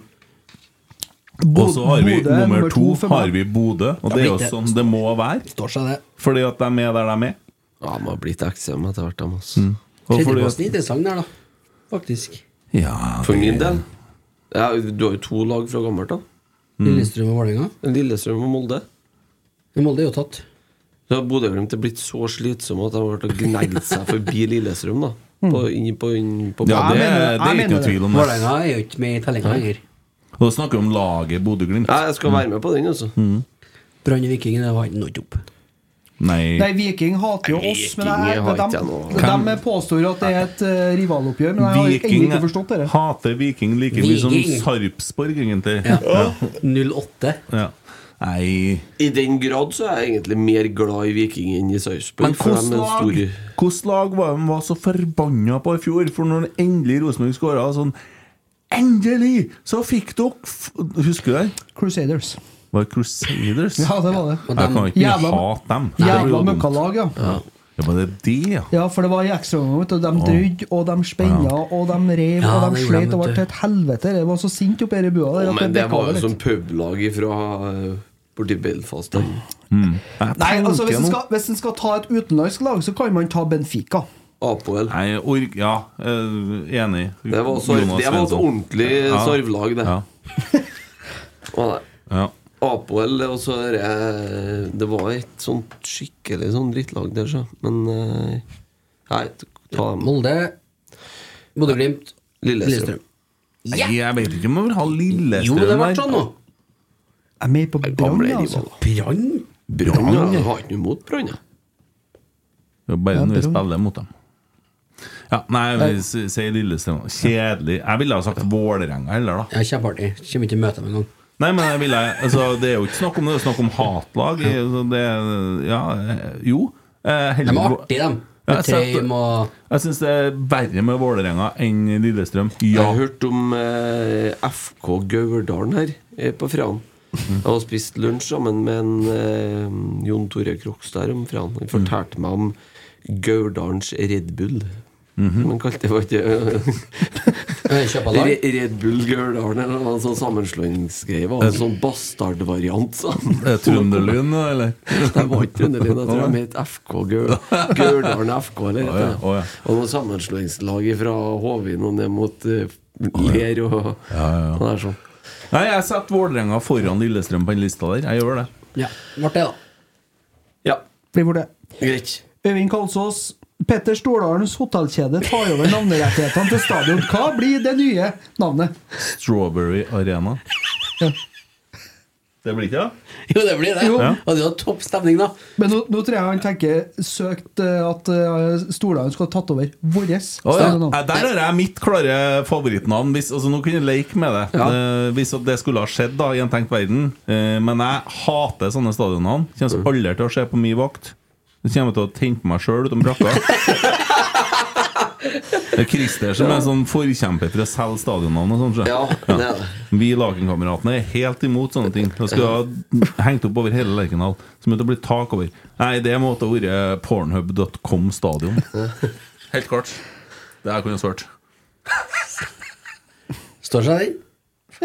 og så har vi Bodø er nummer nummer to to for meg. har vi Bodø, og det er jo blitt det. sånn det må være. Står seg det. Fordi at de er der de er. Ja, De har blitt eksem etter hvert, dem, altså. Mm. Og fordi at, Tredjeplassen er interessant der, da. Faktisk. ja, For min del. Ja, du har jo to lag fra gammelt, da. Lillestrøm og Vålerenga. Lillestrøm og Molde. Men Molde er jo tatt. Så har Bodø-Glimt er blitt så slitsomme at de har vært og gnagd seg forbi Lillestrøm, da. Mm. På, inn, på, inn, på ja, banen. det, det er mener det. Jeg ikke mener noe det. tvil om det. Vålerenga er jo ikke med i tellinga lenger. Og da snakker vi om laget Bodø-Glimt. Ja, jeg skal være med på den, altså. Mm. Brann og Vikingen har han nådd opp. Nei. Nei, Viking hater jo oss, men jeg, Viking hater de, jeg nå. de påstår jo at det er et eh, rivaloppgjør, men jeg har ennå Viking ikke forstått det. hater Viking like mye som Viking. Sarpsborg, egentlig. Ja. 08. Ja. Nei I den grad så er jeg egentlig mer glad i Viking enn i Sarpsborg. Men for de er hvordan en lag, stor- hvordan lag var de var så forbanna på i fjor? For når endelig Rosenborg skåra sånn Endelig! Så fikk dere f Husker du det? Crusaders. Var det Crusaders? Ja, det var det. Jeg kan ikke Jævla- mye hate dem. Det blir jo Jævla dumt. møkkalag, ja. ja. Ja, var det de, ja? for det var i ekstraomgang, vet du. De drødde, og de spenna, og de rev, Ja, og det de gjorde sleit, de, og vet ble du. til et helvete. Jeg var så sint oppi i bua der. Å, at Men jeg det bekka var litt. jo som publag fra eh, borti Belfast. der. Hmm. Jeg Nei, altså, tenker hvis en, nå- skal, hvis en skal ta et utenlandsk lag, så kan man ta Benfica. Apoel. Nei, org... Ja, eh, enig. Det var, sorg, Jonas det var et Svensson. ordentlig Ja. sarvlag, det. Ja. Å, nei. ja. Apoel, og så er det eh, Det var et sånt skikkelig sånn drittlag der, så. Men eh, Nei, ta dem. Molde, Bodø-Glimt, Lillestrøm. Nei, Jeg vet ikke om jeg vil ha Jo, Lillestrøm det ble sånn nå. Jeg er med på Brann, Gamle altså. rivaler. Brann? Brann, ja. Jeg har ikke noe imot Brann, jeg. Det er Bare når vi Ja, bra. spiller mot dem. Ja, nei, vi s- sier Lillestrøm. Kjedelig. Jeg ville ha sagt Vålerenga heller, da. Ja, Kjempeartig. Kommer ikke til å møte dem engang. Nei, men jeg ville, altså, det er jo ikke snakk om det, det er snakk om hatlag. Så det, ja, eh, jo. eh, De heller- er artige, dem. Ja, Med jeg setter- Trøim og Jeg syns det er verre med Vålerenga enn Lillestrøm. Jeg Ja, har hørt om eh, FK Gauldalen her eh, på fredag. Jeg har spist lunsj sammen med en eh, Jon Tore Krokstad her om fredagen. Han fortalte meg om Gauldalens Red Bull. Som han kalte det, var ikke Øh, kjøpa lag. Re- Red Bull Gauldalen eller noe sånn sammenslåingsgreie. var En sånn bastardvariant. sa han. Er det Trønderlyn, nå, eller? Det var ikke Trønderlyn, jeg tror de het FK Gaul- Gauldalen FK. Eller, Å ja, å ja. Og noe sammenslåingslag fra Håvin og ned mot eh, Ler og og det er sånn. Nei, jeg setter Vålerenga foran Lillestrøm på den lista der. Jeg gjør det. Ja, ble det, da. Ja, Blir borte. greit. Øyvind Kalsås. Petter Stordalens hotellkjede tar over navnerettighetene til stadion. Hva blir det nye navnet? Strawberry Arena. Det blir ikke det? Jo, det blir det. Jo. Og det var topp stemning, da. Men nå, nå tror jeg han tenker søkt eh, at eh, Stordalen skal ha tatt over vårt stadionnavn. ja. Der har jeg mitt klare favorittnavn. Hvis, altså, nå kunne jeg leke med det. Eh, hvis at det skulle ha skjedd da, i en tenkt verden. Eh, men jeg hater sånne stadionnavn. Mm. Kommer aldri til å skje på min vakt. Det kommer til å tente meg sjøl utom brakka. Det er Christer som er sånn forkjemper for å selge stadionnavn og sånt. skjønner du. Ja, det er det. Vi lakenkameratene er helt imot sånne ting. Det skulle ha hengt opp over hele Lerkendal. Som måtte bli tak over. Nei, det måtte ha vært pornhub.com stadion. Helt klart. Det her kunne jeg svart. Står seg den?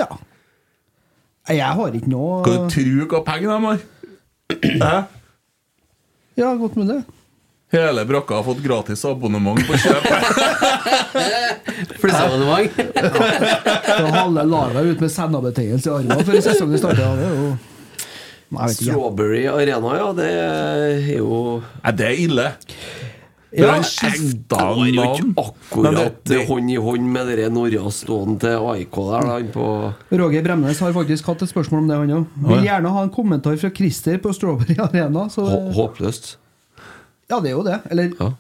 Ja. Nei, Jeg har ikke noe Hva du tror hva penger de har? Hæ? Ja, godt mulig. Hele brakka har fått gratis abonnement på kjøp. Plussabonnement. Da halve laget ut med sendabetingelse i armen før sesongen starter. Ja, det er jo Nei, jeg vet ikke. Strawberry Arena, ja, det er jo Nei, det er ille. Ja, Men skifta navn. Men akkurat det- det- hånd i hånd med det Norra stående til AIK der, da, han på Roger Bremnes har faktisk hatt et spørsmål om det, han òg. Vil gjerne ha en kommentar fra Christer på Strawberry Arena. Så Hå- Håpløst. ja, det er jo det. Eller Ja.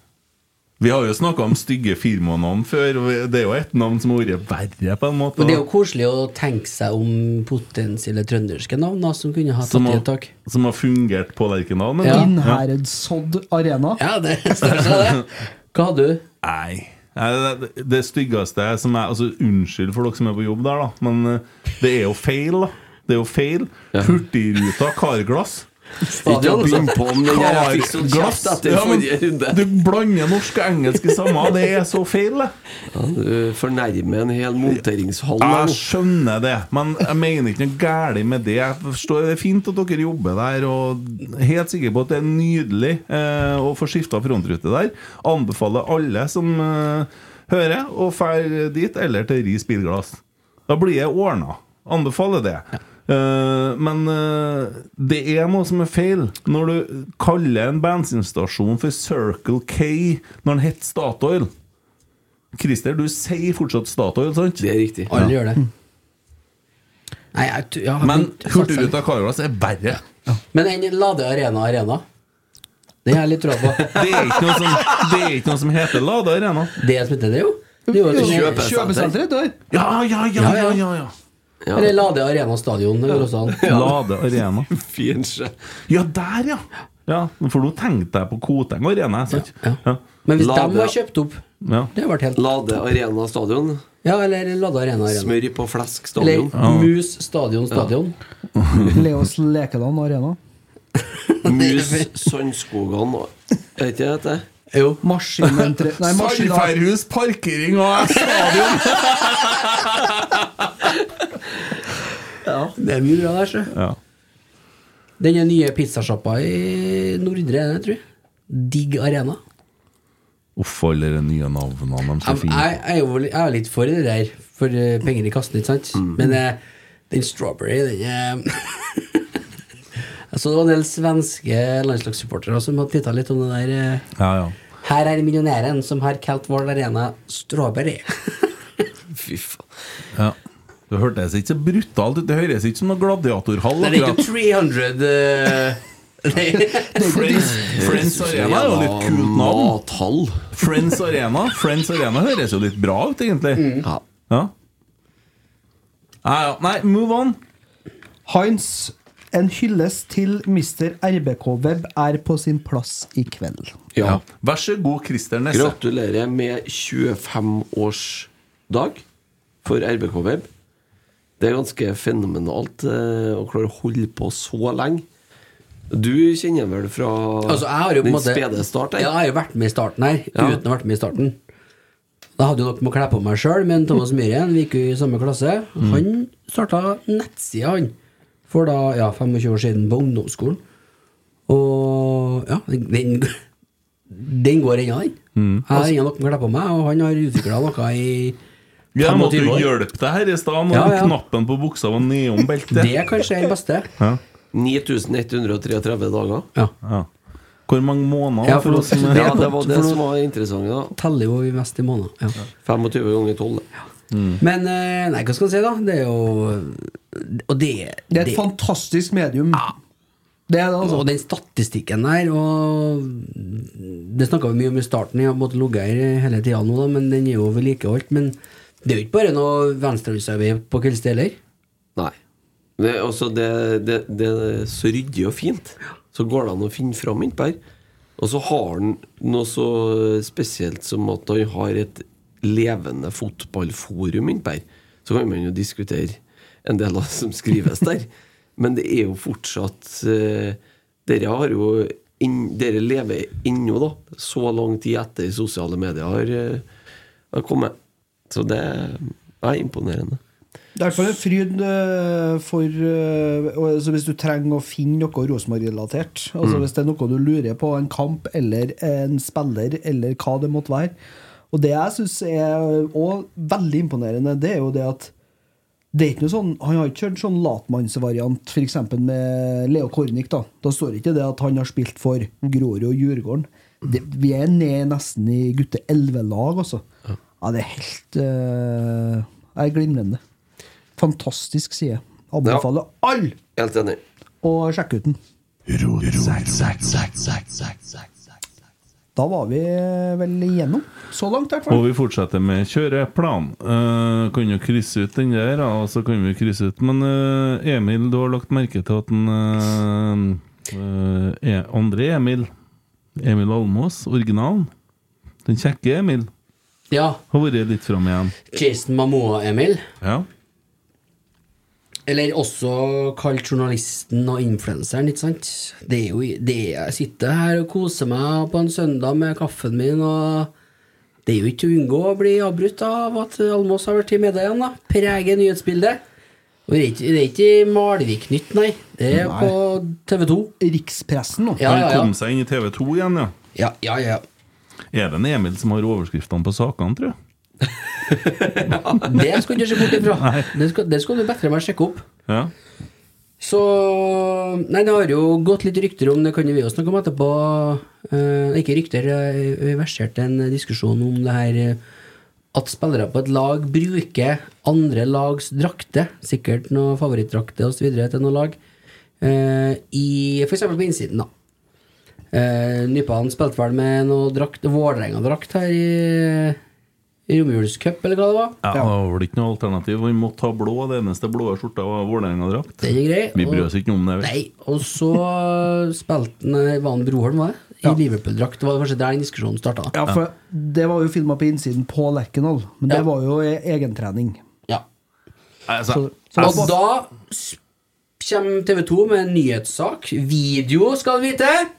Vi har jo snakka om stygge firmanavn før. og Det er jo et navn som har vært verre, på en måte. Men det er jo koselig å tenke seg om potensielle trønderske navn da, som kunne ha som, tatt i et har, tak. som har fungert på Lerkendal. men- Ja. Innherredsodd Arena. Ja, det står seg, det. Hva hadde du? Nei. Nei, Det, det- det styggeste som er altså, Unnskyld for dere som er på jobb der, da, men eh, det er jo feil. da Det er jo feil. Hurtigruta karglass. Ikke Stadion? begynn på altså. om den der. Jeg fikk sånn Karglass! kjeft etter Ja, men forrige runde. du blander norsk og engelsk i samme. Det er så feil, det. Ja, du fornærmer en hel monteringshall. nå. Jeg skjønner det, men jeg mener ikke noe galt med det. Jeg forstår Det er fint at dere jobber der, og helt sikker på at det er nydelig eh, å få skifta frontrute der. Anbefaler alle som eh, hører, å dra dit eller til Ris bilglass. Da blir det ordna. Anbefaler det. Eh, men eh, det er noe som er feil når du kaller en bensinstasjon for Circle K når den heter Statoil. Christer, du sier fortsatt Statoil, sant? Det er riktig. Alle gjør det. Nei, jeg, t- ja, Men jeg- Hurtigruta Carglass er verre. Men den Lade Arena Arena, den har jeg litt tro på. Det er ikke noe som, det er ikke noe som heter Lade Arena. Det som heter det, jo. Det er jo et sånt- Kjøpesenter. Kjøpesenteret dør. Ja, ja, ja, ja, ja, ja. Eller Lade Arena Stadion. Det går også an. Lade Arena. Fin skje. Ja, der, ja! ja for nå tenkte jeg på Koteng Arena. Sant? Ja. Men hvis Lade- de var kjøpt opp, Ja. det har vært helt Lade Arena Stadion. Ja, eller Lade Arena Arena. Smør på flesk Eller stadion. Mus Stadion Stadion. Leos Lekeland Arena. Mus Sandskogan og- Er ikke det det? Jo. Maskinentre... Nei, maskina- Sandfærhus, parkering og stadion! Det er mye bra der, sjø. Ja. Den er nye pizzasjappa i Nordre, er det, tror jeg. Digg Arena. Uff, alle de nye navnene de skal Jeg, jeg, finne. jeg, er jo li- jeg er litt for det der, for eh, penger i kassen, ikke sant? Men eh, den strawberry, den er Så det var en del svenske landslagssupportere som hadde titta litt om det der. eh, Ja, ja. Her er millionæren som har kalt Vål Arena Strawberry. Fy faen. Ja. Det hørtes ikke så brutalt ut. Det høres ikke som noe gladiatorhall. Nei, det er ikke akkurat. 300 eh, nei. Friends, Friends Arena er jo litt kult navn. Mathall. Friends Arena Friends Arena høres jo litt bra ut, egentlig. Ja. Ja. Nei, ja. Nei, move on. Heinz, en hyllest til Mr. RBK-web er på sin plass i kveld. ja. Vær så god, Christer Nesse. Gratulerer med 25-årsdag for RBK Web. Det er ganske fenomenalt eh, å klare å holde på så lenge. Du kjenner vel fra Altså, jeg har jo på en din måte spede start her? Ja, jeg har jo vært med i starten her, Ja. uten å ha vært med i starten. Da hadde jo nok med å kle på meg sjøl, men Thomas Myhren vi gikk jo i samme klasse. Mm. Han starta nettsida, han, for da ja, 25 år siden, på ungdomsskolen. Og ja, den, den går ennå, den. Mm. Jeg har ennå noe å kle på meg, og han har utvikla noe i Jeg måtte 25 jo år. hjelpe deg her i stad når Ja, ja. knappen på buksa var nedom beltet. Det er kanskje den beste. 9133 dager. Ja. Ja. Hvor mange måneder? Ja, for for oss som nå- er Ja, det var det for nå- som var interessant. da Teller jo mest i måneder. Ja. 25 ganger 12. Mm. Men eh, nei, hva skal man si, da? Det er jo Og det, Det er et fantastisk medium. Det er det, altså. Og den statistikken der, og Det snakka vi mye om i starten, jeg har på en måte ligget her hele tida nå, da, men den er jo vedlikeholdt. Men det er jo ikke bare noe venstrehåndsarbeid på Kveldsted heller. Nei. Det, er også det, det, det er så ryddig og fint. Så går det an å finne fram innpå her. Og så har han noe så spesielt som at han har et levende fotballforum innpå her. Så kan man jo diskutere en del av det som skrives der. Men det er jo fortsatt eh, Dere har jo inn, Dere lever ennå, da. Så lang tid etter sosiale medier har, eh, har kommet. Så det er imponerende. Det er i hvert fall en fryd eh, for eh, og- altså Hvis du trenger å finne noe Rosenborg-relatert. Altså Hvis det er noe du lurer på, en kamp eller en spiller eller hva det måtte være. Og det jeg syns er også veldig imponerende, det er jo det at det er ikke noe sånn, Han har ikke kjørt sånn latmannsvariant, f.eks. med Leo Kornik. Da Da står ikke det at han har spilt for Grorud og Djurgården. Det, vi er ned nesten i gutte 11-lag, altså. Ja. det er helt eh, Det er glimrende. Fantastisk side. Anbefaler alle Helt enig. å sjekke ut den. Da var vi vel igjennom. Så langt, i hvert fall. Og vi fortsetter med kjøreplan. Eh, kan jo krysse ut den der, og så kan vi krysse ut Men eh, Emil, du har lagt merke til at den eh, eh, andre Emil, Emil Almås, originalen, den kjekke Emil, Ja. har vært litt fram igjen. Jason Mamoa, Emil. Ja. Eller også kalt journalisten og influenseren, ikke sant? Det er jo det jeg sitter her og koser meg på en søndag med kaffen min, og det er jo ikke til å unngå å bli avbrutt av at Almås har vært i media igjen, da. Preger nyhetsbildet. Og det er ikke, det er ikke Malvik-nytt, nei. Det er Nei. på TV 2. Rikspressen nå. Ja, Han ja, kom ja. seg inn i TV2 igjen, ja. ja, ja, ja. Er det en Emil som har overskriftene på sakene, tror jeg? Det skal du ikke se bort ifra. Det skal, det skal du bedre meg sjekke opp. Ja. Så Nei, det har jo gått litt rykter om det, kan jo vi jo snakke om etterpå. Eh, ikke rykter, eh, vi verserte en diskusjon om det her eh, at spillere på et lag bruker andre lags drakter, sikkert noen favorittdrakter osv. til noen lag, eh, i f.eks. på innsiden, da. Eh, Nypan spilte vel med noe drakt, Vålerenga-drakt her i, i romjulscup, eller hva det var. ja. Det var vel ikke noe alternativ. Vi måtte ha blå. Det eneste blå skjorta var Vålerenga-drakt. Den er grei. Vi bryr og- oss ikke om det. vi. Nei, og så spilte han eh, Van Broholm, var det? I Liverpool-drakt. Det var kanskje der den diskusjonen starta. Ja, for Det var jo filma på innsiden på Lerkendal, men Ja. det var jo e- egentrening. Ja. Altså, Så- Og da s- kommer TV 2 med en nyhetssak. Video, skal du vite!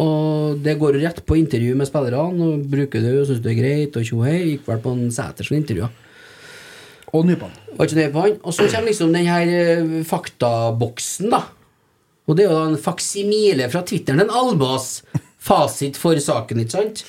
Og det går jo rett på intervju med spillerne, og bruker det og syns det er greit, og tjohei. Gikk vel på en Sæters intervju. Og Nypan. Var ikke det på han? Og så kommer liksom den her eh, faktaboksen, da. Og det er jo da en faksimile fra Twitteren til en Almås. Fasit for saken, ikke sant?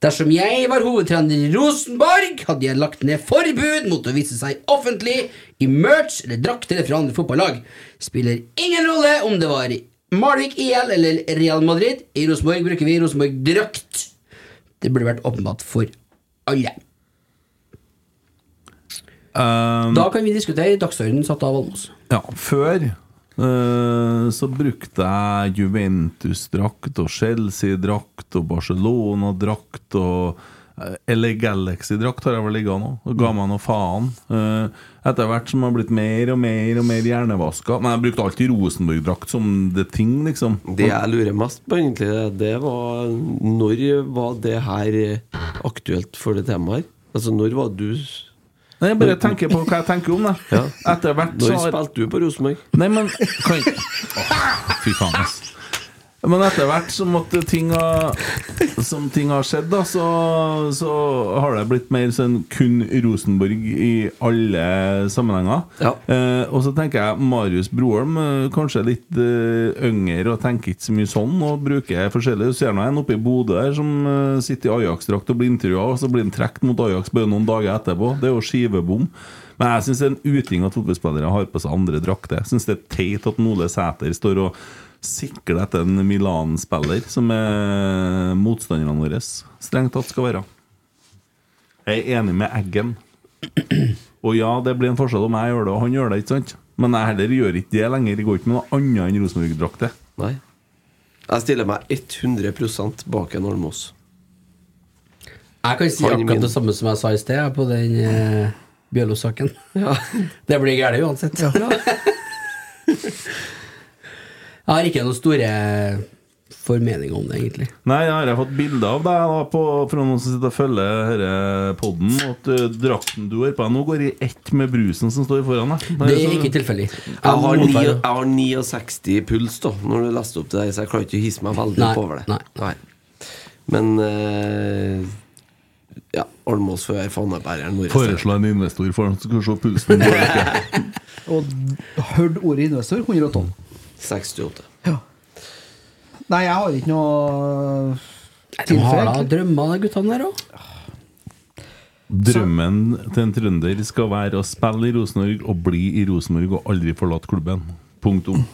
Dersom jeg var hovedtrener i Rosenborg, hadde jeg lagt ned forbud mot å vise seg offentlig i merch eller drakter fra andre fotballag. Spiller ingen rolle om det var Malvik IL eller Real Madrid. I Rosenborg bruker vi Rosenborg-drakt. Det burde vært åpenbart for alle. da kan vi diskutere Dagsordenen satt av Almås. Ja, før eh, så brukte jeg Juventus-drakt og Chelsea-drakt og Barcelona-drakt og eh, LA Galaxy-drakt har jeg vel ligget nå. Og ga meg noe faen. Eh, etter hvert som jeg har blitt mer og mer og mer hjernevaska. Men jeg brukte alltid Rosenborg-drakt som the thing, liksom. Det jeg lurer mest på, egentlig, det var når var det her aktuelt for det temaet her? Altså, når var du Nei, jeg bare tenker på hva jeg tenker om det. Ja. Etter hvert så Når har- spilte du på Rosenborg? Nei, men kan... Åh, Fy faen, ass. Men etter hvert som at ting har, som ting har skjedd, da, så, så har det blitt mer sånn kun Rosenborg i alle sammenhenger. Eh, og så tenker jeg Marius Broholm, eh, kanskje litt eh, yngre og tenker ikke så mye sånn, og bruker forskjellig. Så ser jeg en oppe i Bodø her som eh, sitter i Ajax-drakt og blir intervjua, og så blir han trukket mot Ajax bare noen dager etterpå. Det er jo skivebom. Men jeg syns det er en uting at fotballspillere har på seg andre drakter. Jeg syns det er teit at Ole Sæter står og sikle etter en Milan-spiller som er motstanderne våre strengt tatt skal være. Jeg er enig med Eggen. Og ja, det blir en forskjell om jeg gjør det og han gjør det, ikke sant? Men jeg heller gjør ikke det lenger. Jeg går ikke med noe annet enn Rosenborg-drakter. Nei. Jeg stiller meg 100 bak en Almås. Jeg kan si Han i akkurat min. det samme som jeg sa i sted jeg, på den eh, Bjørlo-saken. Det blir gærent uansett. jeg har ikke noen store formeninger om det, egentlig. Nei, jeg har fått bilde av deg da på, fra noen som sitter og følger denne podden, at eh, drakten du har på deg nå, går i ett med brusen som står foran deg. Det er ikke tilfeldig. Jeg har, ni, mottar- jeg har 69 puls da Når du leste opp det der, så jeg klarer ikke å hisse meg veldig Nei, opp over det. nei. Men eh, ja, Almås får være fanebæreren vår. Foreslå en investor for han som skal se pulsen. Og hørt ordet investor 112. 68. Nei, jeg har ikke noe De har tilfelle. da drømmer, de guttene der òg. Drømmen til en trønder skal være å spille i Rosenborg og bli i Rosenborg og aldri forlate klubben. Punktum.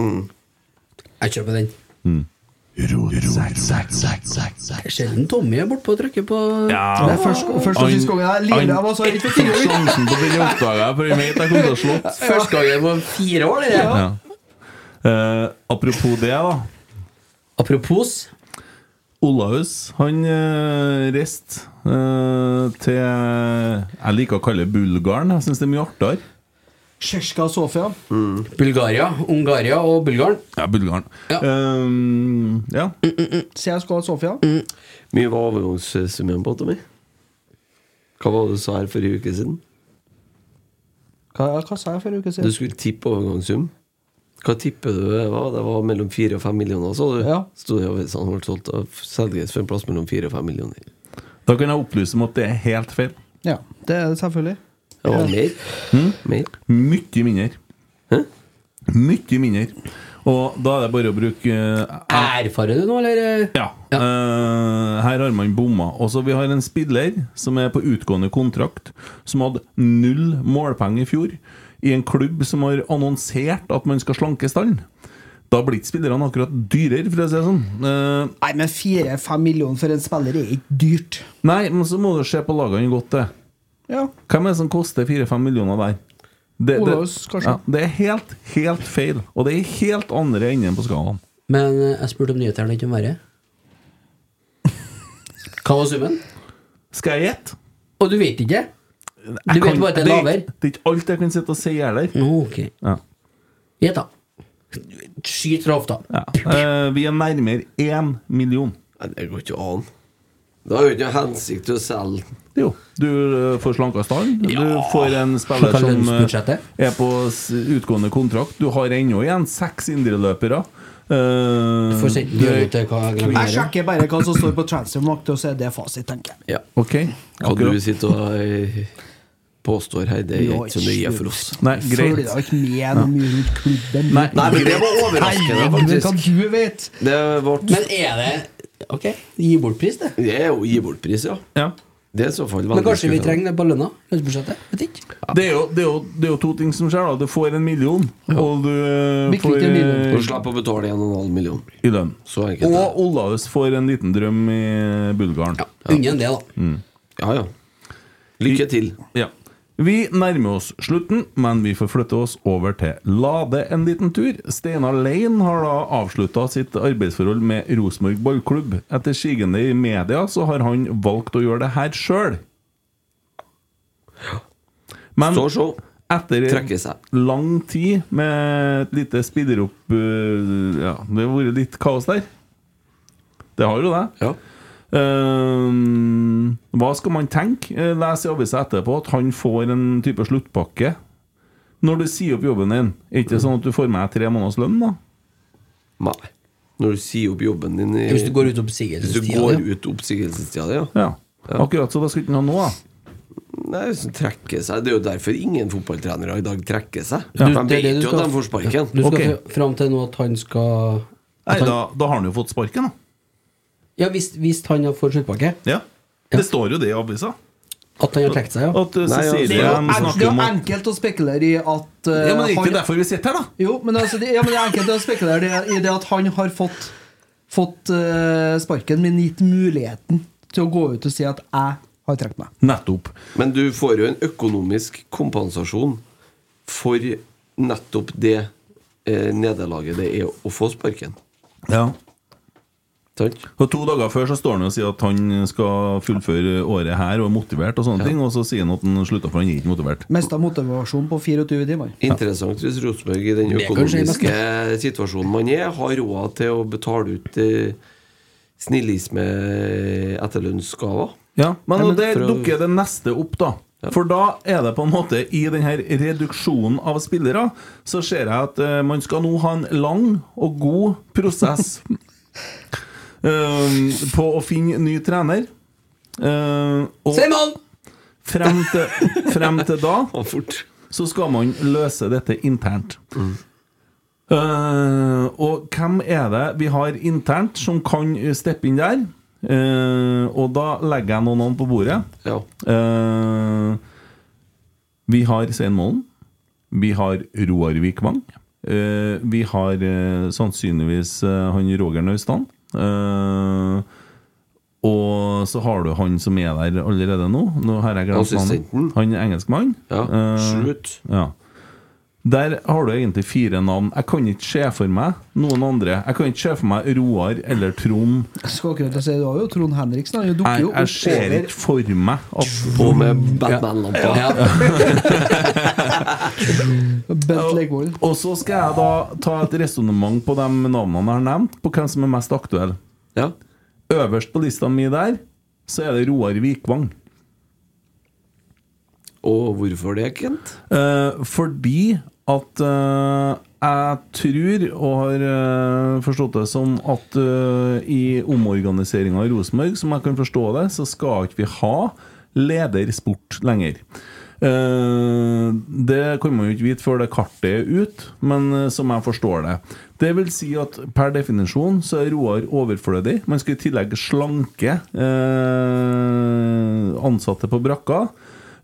Jeg kjøper den. Ja, Det er Sjelden Tommy er bortpå og trykker på Det er først- først og sist gangen jeg er livredd. Jeg var så redd for tidlig. Jeg fikk sjansen på den oppdaga jeg, for jeg vet jeg kom til å slått. Første gangen på fire år, det der. Ja. Eh, apropos det, da. Apropos Olaus, han uh, reiste eh, til Jeg liker å kalle det Bulgaren. Jeg syns det er mye artigere. Kjerska Sofia. Bulgaria, Ungaria og Bulgaren. Ja, Bulgaren. Ja. Eh, ja. CSKA Sofia. Mm. mye var eh, overgangssummen på Tommy? Hva var det du sa her for en uke siden? Hva, hva sa jeg for en uke Du siden? skulle tippe overgangssum. Hva tipper du det var? Det var mellom 4 og 5 millioner, sa du? Ja. Stod det og sa han ble solgt av Selges for en plass mellom 4 og 5 millioner. Da kan jeg opplyse om at det er helt feil. Ja, det er det selvfølgelig. Det var mer. Hmm? mer. Mye mindre. Mye mindre. Og da er det bare å bruke eh, Erfarer du nå, eller? Ja. eh, her har man bomma. Og så vi har en spiller som er på utgående kontrakt, som hadde null målpoeng i fjor, i en klubb som har annonsert at man skal slanke stallen. Da blir ikke spillerne akkurat dyrere, for å si det sånn. Eh, Nei, men fire-fem millioner for en spiller er ikke dyrt. nei, men så må du se på lagene godt til. Ja. Hvem er det som koster 4-5 millioner der? Det, det, Olaus, kanskje? ja, det er helt, helt feil. Og det er helt andre enden på skalaen. Men eh, jeg spurte om nyheter, det ikke om verre. Hva var summen? Skal jeg gjette? Og du vet ikke? Jeg Du vet kan- bare at det er Mm. lavere. Det er ikke alt jeg kan sitte og si heller. Nå, ok. Ja. Gjett, da. Skyt fra hofta. Ja. Eh, vi er nærmere én million. Nei, det går ikke an. Det har jo ikke noe hensikt til å selge. Jo. Du eh, får slanka stallen. Du får en spiller Hva er som eh, lønnsbudsjettet? er på s- utgående kontrakt. Du har ennå igjen seks indreløpere. Uh, Får sendt den videre til hva Jeg grann er. sjekker bare hva som står på transfermarkt, og så er det fasit, tenker jeg. Ok. Hva Akkurat. du sitter og eh, påstår her, det er ikke så nøye for oss. Nei, Følger greit. deg ikke med noe mye rundt klubben? Nei, Nei, men det var overraskende, Herregud, hva faktisk. du vet! Det ble Men er det Ok, gi bort pris, det. Det er jo gi bort pris, ja. Det er i så fall veldig Men kanskje vi skuffende. trenger det på lønna? Lønnsbudsjettet? Vet ikke. Det er, jo, det, er jo, det er jo to ting som skjer. da Du får en million, og du eh, Blir får kvitt en million. Du slipper å betale 1,5 million i lønn. Så enkelt. Og Olaus får en liten drøm i Bulgaren. Unngå det, da. Mm. Ja, ja. Lykke til. Ja. Vi nærmer oss slutten, men vi forflytter oss over til Lade en liten tur. Steinar Lein har da avslutta sitt arbeidsforhold med Rosenborg ballklubb. Etter sigende i media så har han valgt å gjøre det her sjøl. Men Står så. etter Trekker seg. lang tid med et lite spilleropp eh, Ja, det har vært litt kaos der. Det har jo det. Ja. Ehm, hva skal man tenke? Eh, Les i avisa etterpå at han får en type sluttpakke. Når du sier opp jobben din, er ikke det sånn at du får med tre måneders lønn, da? Nei. Når du sier opp jobben din i, Hvis du går ut Hvis du oppsigelsestida. går ja. ut oppsigelsestida di, ja. Ja. Akkurat så da skal ikke han ha noe, da. Nei, hvis du trekker seg Det er jo derfor ingen fotballtrenere i dag trekker seg. Du- De det er det vet du jo at skal- de får sparken. Du skal Ok. fr- fram til nå at han skal Nei, da, da har han jo fått sparken, da. Ja, hvis, hvis han har fått sluttpakke. Ja. Det står jo det i avisa. At han har trukket seg, ja. At eh, Nei, ja, Cecilie det altså, Det er de jo en- det snakker er om jo at enkelt å spekulere i at eh, Ja, men det er han- ikke derfor vi sitter her, da. Jo, men, altså, det, ja, men det er enkelt å spekulere det- i det at han har fått, fått eh, sparken, men gitt muligheten til å gå ut og si at 'jeg har trukket meg'. Nettopp. Men du får jo en økonomisk kompensasjon for nettopp det eh, nederlaget det er å få sparken. Ja. Sant? Og To dager før så står han og sier at han skal fullføre året her og er motivert, og sånne ting Og så sier han at han slutta, for han er ikke motivert. Mista motivasjon på 24 timer. Interessant hvis Rosenborg i den Det kan skje økonomiske situasjonen man er, har råd til å betale ut eh, snillisme etterlønnsgaver. Ja, men, Nei, men og der for å- dukker det neste opp, da. For da er det på en måte i denne reduksjonen av spillere, så ser jeg at eh, man skal nå ha en lang og god prosess eh, på å finne ny trener. Eh, og Simon! frem til, frem til da Og fort. så skal man løse dette internt. Mm. Eh, og hvem er det vi har internt som kan steppe inn der? Eh, og da legger jeg noen navn på bordet. Ja. Eh, vi har Svein Målen. Vi har Roar Vikvang. Eh, vi har eh, sannsynligvis eh, han Roger Naustdal. Eh, og så har du han som er der allerede nå. Nå har jeg glemt Assistenten. navnet. Han er engelskmann. ja. Eh, Slutt. ja. Der har du egentlig fire navn. Jeg kan ikke se for meg noen andre. Jeg kan ikke se for meg Roar eller Trond. Jeg Skal akkurat til å si det var jo Trond Henriksen. Han dukker Jeg, jo jeg ser opp ikke for meg at På med Batman-lampa. over Bent Legvold. Og så skal jeg da ta et resonnement på de navnene jeg har nevnt, på hvem som er mest aktuell. Ja. Øverst på lista mi der, så er det Roar Vikvang. Og hvorfor det, Kent? Eh, fordi at eh, jeg tror, og har eh, forstått det som, at eh, i omorganiseringa i Rosenborg, som jeg kan forstå det, så skal ikke vi ha ledersport lenger. Eh, det kan man jo ikke vite før det kartet er ut, men eh, som jeg forstår det. Det vil si at per definisjon så er Roar overflødig. Man skal i tillegg slanke eh, ansatte på brakka.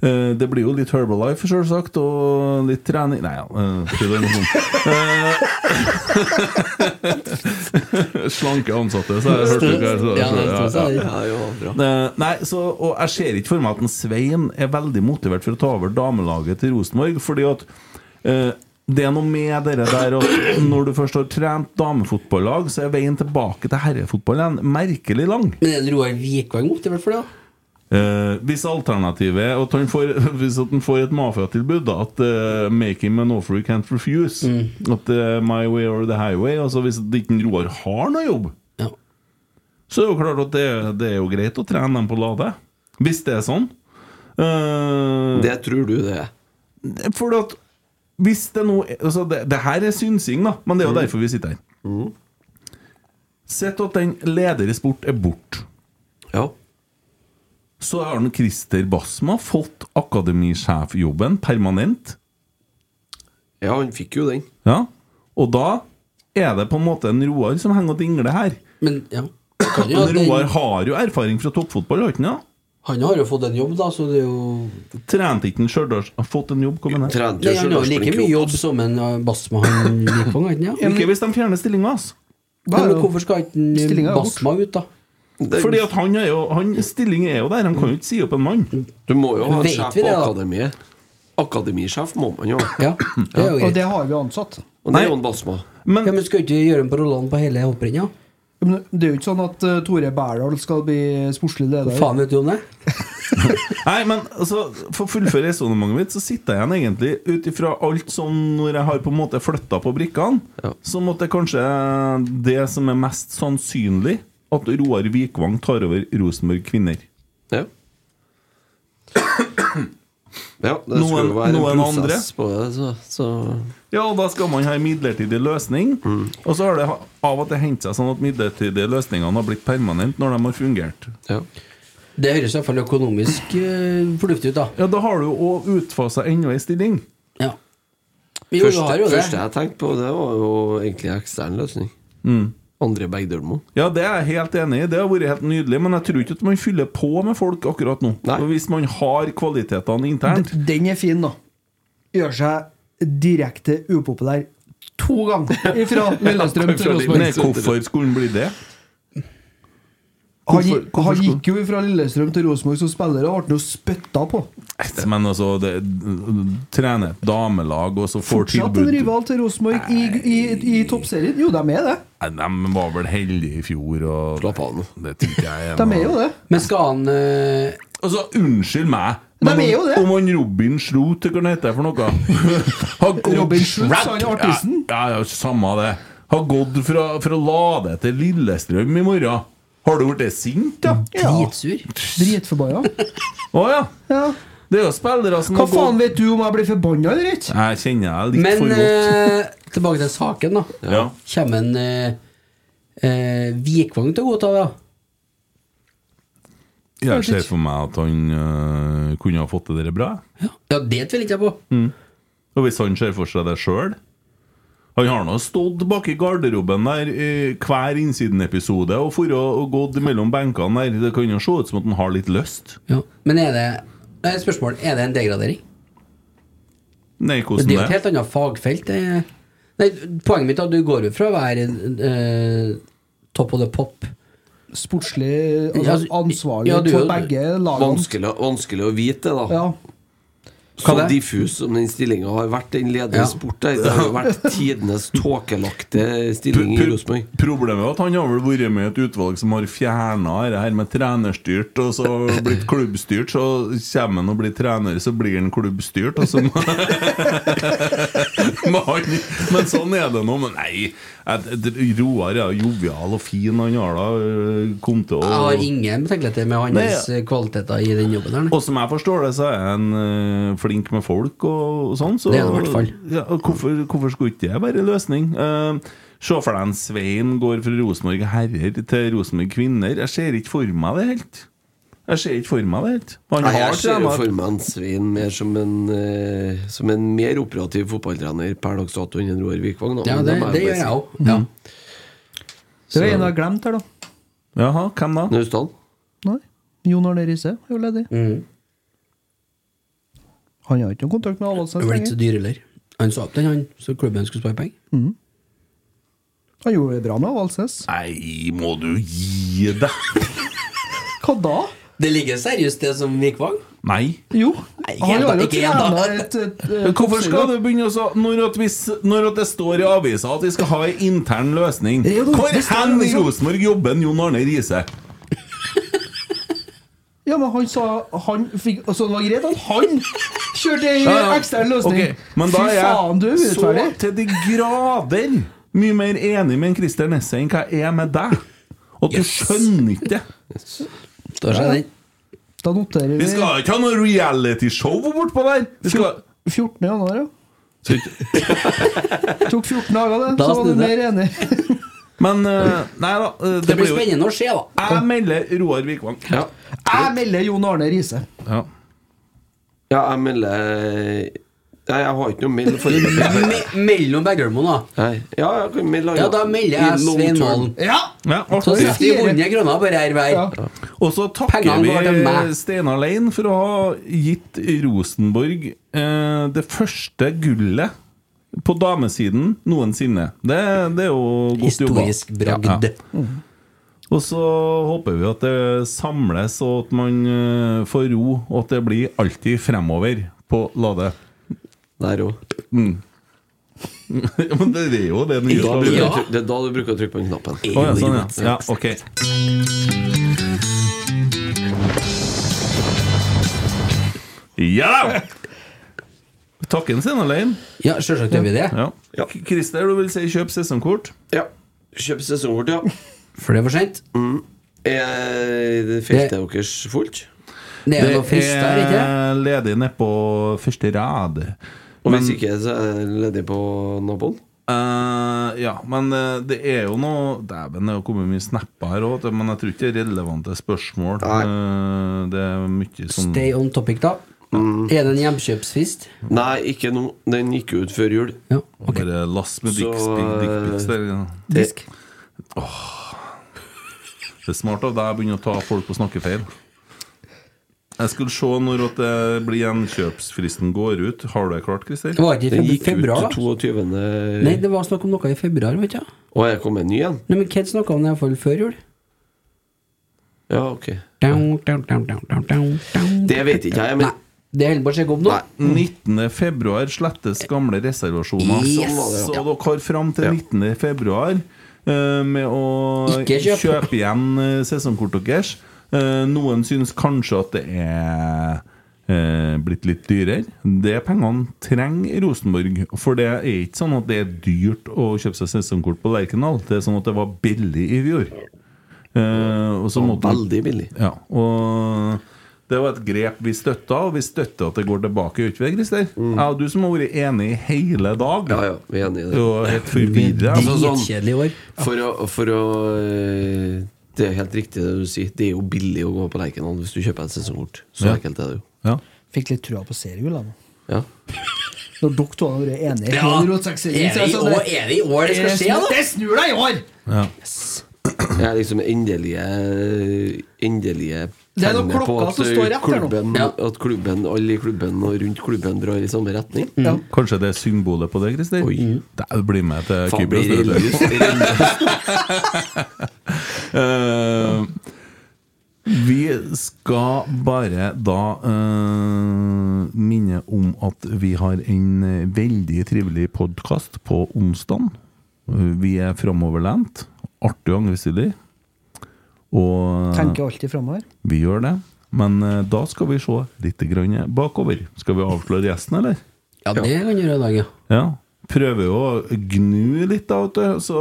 Eh, det blir jo litt Herbalife, selvsagt, og litt trening Nei, ja. eh, tror det er noe sånt. Eh, Slanke ansatte, så har jeg hørt det hva jeg sa. Ja, det er sånn, Ja, jo, bra. Eh, Nei, så, og jeg ser ikke for meg at en Svein er veldig motivert for å ta over damelaget til Rosenborg, fordi at eh, det er noe med dere der at når du først har trent damefotballag, så er veien tilbake til herrefotballen merkelig lang. Men er det Roar Vikvang motivert for det? da? Eh, hvis alternativet er at han får, hvis at han får et mafiatilbud, da, at eh, 'make him an offer he can't refuse', at eh, 'my way or the highway', altså hvis ikke Roar har noe jobb, Ja. så er det jo klart at det, det er jo greit å trene dem på Lade. Hvis det er sånn. Eh, Det tror du det er. For at hvis det nå er- altså det, det her er synsing, da, men det er jo derfor vi sitter her. Sett at den leder i sport er borte. Ja. Så har den Christer Basma fått akademisjefjobben permanent. ja, han fikk jo den. Ja. Og da er det på en måte en Roar som henger og dingler her. Men ja. kan jo Men at den- Roar har jo erfaring fra toppfotball, har ikke han? Han har jo fått en jobb, da, så det er jo ja? Trente ikke han Stjørdals Har Fått en jobb, kom han her? Nei, Han har jo like mye jobb som en uh, Basma han gikk på, ikke sant? Ikke hvis de fjerner stillinga, altså. Nei, men hvorfor skal ikke Stillinga er en bort. Basma ut, da? Fordi at han er jo han, Stilling er jo der, han kan jo ikke si opp en mann. Du må jo ha en Vet sjef vi på det, da? akademiet. Akademisjef må man jo ha. Ja, det er jo Og greit. det har vi ansatt. Og det er jo en Basma. Men Ja, men skal ikke gjøre en på rollene på hele hopprennet? da? Men det er jo ikke sånn at eh, Tore Berdal skal bli sportslig leder. Faen, vet du om det? Nei, men altså, For å fullføre resonnementet mitt, så sitter jeg igjen egentlig ut ifra alt som når jeg har på en måte flytta på brikkene, Ja. så måtte kanskje det som er mest sannsynlig, at Roar Vikvang tar over Rosenborg Kvinner. Ja. ja det Noen- skulle jo være noen en prosess på det, så, så Ja, og da skal man ha en midlertidig løsning. Og så har det ha- av og til hendt seg sånn at midlertidige løsningene har blitt permanent når de har fungert. ja. Det høres i hvert fall økonomisk eh, fornuftig ut, da. Ja, da har du jo òg utfasa enda ei stilling. Ja. Jo, du Første, har jo det. første jeg tenkte på, det var jo egentlig ekstern løsning. Andre Bergdølmo. Ja, det er jeg helt enig i. Det har vært helt nydelig. Men jeg tror ikke at man fyller på med folk akkurat nå. Nei. Og Hvis man har kvalitetene internt. Den er fin, da. Gjør seg direkte upopulær to ganger fra Lillestrøm Men til Rosenborg. hvorfor skulle han bli det? Han, hvorfor- hvorfor han skulle- gikk jo fra Lillestrøm til Rosenborg som spiller, og ble jo spytta på. Men altså, det, trene et damelag, og så får Fortsatt en tilbud rival til Rosenborg i, i, i toppserien. Jo, de er det. Nei, De var vel heldige i fjor, og Slapp av nå. Det tenker jeg er De noe- er jo det. Men skal han eh, Altså, unnskyld meg. De er jo det. Om han Robin Sloth, hva heter det for noe? Har gått- Robin Sloth, sa han artisten? Ja, ja, ja, samme det. Har gått fra, fra Lade til Lillestrøm i morgen. Har du blitt sint, da? Ja. dritsur? Dritforbanna. Å ja. Ja. Det er jo spillere som Hva har faen gått vet du om jeg blir forbanna eller ikke? Jeg kjenner jeg litt Men for godt. eh, tilbake til saken, da. Ja. Kommer en eh, eh, Vikvang til å godta det? da? Jeg ser for meg at han øh, kunne ha fått det der bra. Ja, det tviler ikke jeg på. Og hvis han ser for seg det sjøl Han har nå stått bak i garderoben der i hver innsiden-episode og for å, og gått mellom benkene der. Det kan jo se ut som at han har litt lyst. Ja. Men er det eh, Spørsmål, er det en degradering? Nei, Men hvordan det er jo et det? helt annet fagfelt. det- Nei, poenget mitt er at du går jo fra å være eh, top of the pop Sportslig Ja, altså, altså, ansvarlig ja, du- for begge lagene. Vanskelig, vanskelig å vite det, da. Ja. Så Hva det? diffus som den stillinga har vært, den ledende Ja. sport der. Det har jo vært tidenes tåkelagte Pro- stilling i pro- Rosenborg. Problemet er at han har vel vært med i et utvalg som har fjerna det her med trenerstyrt, og så blitt klubbstyrt. Så kommer han og blir trener, så blir han klubbstyrt, og så må må han Men sånn er det nå. Men nei, jeg- jeg- Roar er jo jovial og fin. Han har da øh, kom til Jeg har å ingen betenkeligheter med hans Nei, kvaliteter i den jobben. her nei. og som jeg forstår det, så er han øh, flink med folk og, og sånn. Så, Det er han i hvert fall. Ja, og hvorfor, hvorfor skulle ikke det være løsning? Eh, Se for deg en Svein går fra Rosenborg herrer til Rosenborg kvinner. Jeg ser ikke for meg det helt. Jeg ser ikke for meg det helt. Han Nei, jeg har ser jo trenet- for meg en Svein mer som en, eh, som en mer operativ fotballtrener per dags dato enn en Roar Vikvang. da. Ja, Men det, må det bare gjør jeg si. òg. Ja. Det var Så- en jeg har glemt her, da. Jaha, hvem da? Naustdal? Nei. Jon Arne Riise er jo ledig. Han har ikke noen kontakt med Det Avaldsnes ble ikke så lenger. dyr heller. Han sa opp den, han, så klubben skulle spare penger. Han gjorde det bra med Avaldsnes. Nei, må du gi deg? Hva da? Det ligger seriøst, det som Vikvang. Nei. Jo, helt han har da, jo ikke helt da. trena et, et, et Hvorfor skal du begynne å så Når, at vi, s- når at det står i avisa at vi skal ha en intern løsning Det er jo noe- Hvor det står hen i jo sånn. Rosenborg jobber en Jon Arne Riise? Ja, men han sa Han fikk Så det var greit at han kjørte ei ekstern løsning. Ok, Men da er Fy faen, du er jeg så urettferdig. til de grader mye mer enig med en Christer Nesse enn hva jeg er med deg. Og du skjønner ikke det. Da skjer den. Da noterer Vi vi skal ikke ha noe realityshow bortpå der! Vi skal 14. januar, ja. Tok 14 dager, det. Så Da var du snudde. mer enig. Men eh, nei da. eh, Det Det blir blir jo spennende å se, da. Jeg melder Roar Vikvang. Ja. Jeg melder Jon Arne Riise. Ja. ja, jeg melder Nei, jeg har ikke noe mail foreløpig. Mellom Beggermoen, da. Nei. Ja, jeg kan mail Ja, da melder jeg Svein Målen. Ja! Ja, Så artig. 50-100 kroner bare her hver. Ja. Og så takker Pengene går til meg. vi Steinar Lein for å ha gitt Rosenborg eh, det første gullet på damesiden noensinne. Det, det er jo godt jobba. Historisk bragd. Ja, ja. Og så håper vi at det samles, og at man eh, får ro, og at det blir alltid fremover på Lade. Der òg. Men det er jo det den gjør. Det Ja. er da du bruker å trykke på den knappen. Å, ja, sånn, ja. ja, ok. Ja! Takken sin alene. Ja, selvsagt gjør vi det. Ja. Ja. K- Christer, du vil si kjøp sesongkort? Ja. Kjøp sesongkort, ja. Mm. For det er for sent. Er det feltet deres fullt? Det er noe frist der, ikke det? er ledig nedpå første rad. Og hvis ikke, så er jeg ledig på naboen? Eh, ja, men eh, det er jo noe Dæven, det har kommet mye snapper her òg, men jeg tror ikke det er relevante spørsmål. Eh, det er mye sånn Stay on topic, da. Er det en hjemkjøpsfrist? Nei, ikke nå. Den gikk jo ut før jul. Ja. ok. Bare last med Så, dickpics der. Ja. Disk. Det er smart av deg å begynne å ta folk på snakkefeil. Jeg skulle se når at det blir gjenkjøpsfristen går ut. Har du det klart, Christer? Det var ikke Den i gikk feb- februar, ut da? 22. Nei, det var snakk om noe i februar, vet du. Og jeg kom med en ny en? Nei, men Ked snakka om det iallfall før jul. Ja, ok. Down, down, down, down, down, down, down. Det vet ikke jeg, men Nei, det holder på å sjekke opp nå. Nei. 19. februar slettes gamle reservasjoner. Yes. Så dere har fram til 19. februar eh, med å Ikke kjøp. kjøpe igjen eh, sesongkortet deres. Eh, noen syns kanskje at det er eh, blitt litt dyrere. Det pengene trenger Rosenborg. For det er ikke sånn at det er dyrt å kjøpe seg sesongkort på Lerkendal. Det er sånn at det var billig i fjor. Eh, og så måtte man- veldig billig. ja, og det var et grep vi støtta, og vi støtter at det går tilbake. gjør ikke vi det, Christer? Jeg og du som har vært enig i hele dag. Mm. Ja, ja, vi er enige i Det er det. jo helt forvirra. Altså, sånn, Dritkjedelig i år. For å, for å eh, Det er helt riktig det du sier. Det er jo billig å gå på Lerkendal hvis du kjøper et sesongkort. Så Ja. enkelt er det jo. ja. Fikk litt trua på seriegull, da. Ja. Når dere to har vært enige Ja. i Rotsekk-serien, så Er det i sånn år- er det i år det skal det skje, snur- da? Det snur deg i år! Jeg er liksom endelige Endelige Det er noen tegnet på klokka at som står rett her nå. klubben, Ja. at klubben, alle i klubben og rundt klubben drar i samme retning. Ja. Kanskje det er symbolet på det, Christer? Oi. Da blir med til Faen, blir Kypros. vet du. religiøst. religiøst. Eh, vi skal bare da eh, minne om at vi har en eh, veldig trivelig podkast på onsdag. Eh, Vi er framoverlent. Artig og angestilig. Og eh, Tenker alltid framover. vi gjør det. Men eh, da skal vi se litt grann bakover. Skal vi avsløre gjesten, eller? Ja, det kan du gjøre i dag, ja. Ja. Prøver jo å gnu litt, da, vet du. Så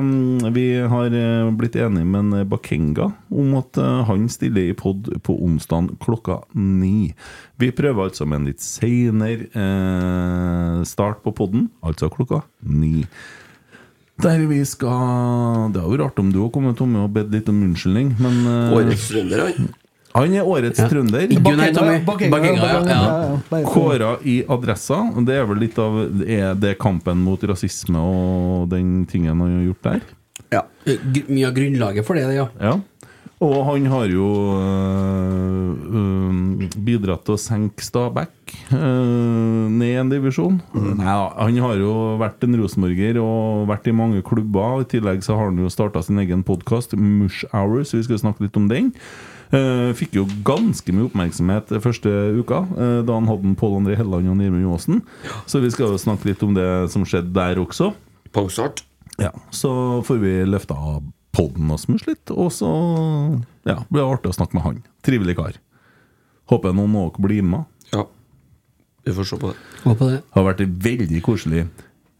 um, vi har eh, blitt enige med en Bakenga om at eh, han stiller i pod på onsdag klokka ni. Vi prøver altså med en litt seinere eh, start på poden, altså klokka ni. Der vi skal Det hadde vært artig om du hadde kommet, Tommy, og bedt litt om unnskyldning, men eh, Årets runder, han. han er årets trønder. Ikke Gunnar Tommy. Bakenga, Bakenga, ja, Bakenga, ja. ja, ja. Bare- Kåra i Adressa. og Det er vel litt av Er det kampen mot rasisme og den tingen han har gjort der? Ja. Gr- Mye av grunnlaget for det, det, ja. Ja. Og han har jo øh, øh, bidratt til å senke Stabæk øh, ned en divisjon. Nei, han har jo vært en rosenborger og vært i mange klubber. I tillegg så har han jo starta sin egen podkast, Mush Hour, så vi skal snakke litt om den. Eh, fikk jo ganske mye oppmerksomhet første uka, eh, da han hadde en Pål André Helleland og Nirmund Johnsen. Så vi skal jo snakke litt om det som skjedde der også. Pangstart. Ja, så får vi løfta podden og smusj litt, og så ja, blir det artig å snakke med han. Trivelig kar. Håper noen av dere blir med. Ja. Vi får se på det. Gå på det. Har vært veldig koselig.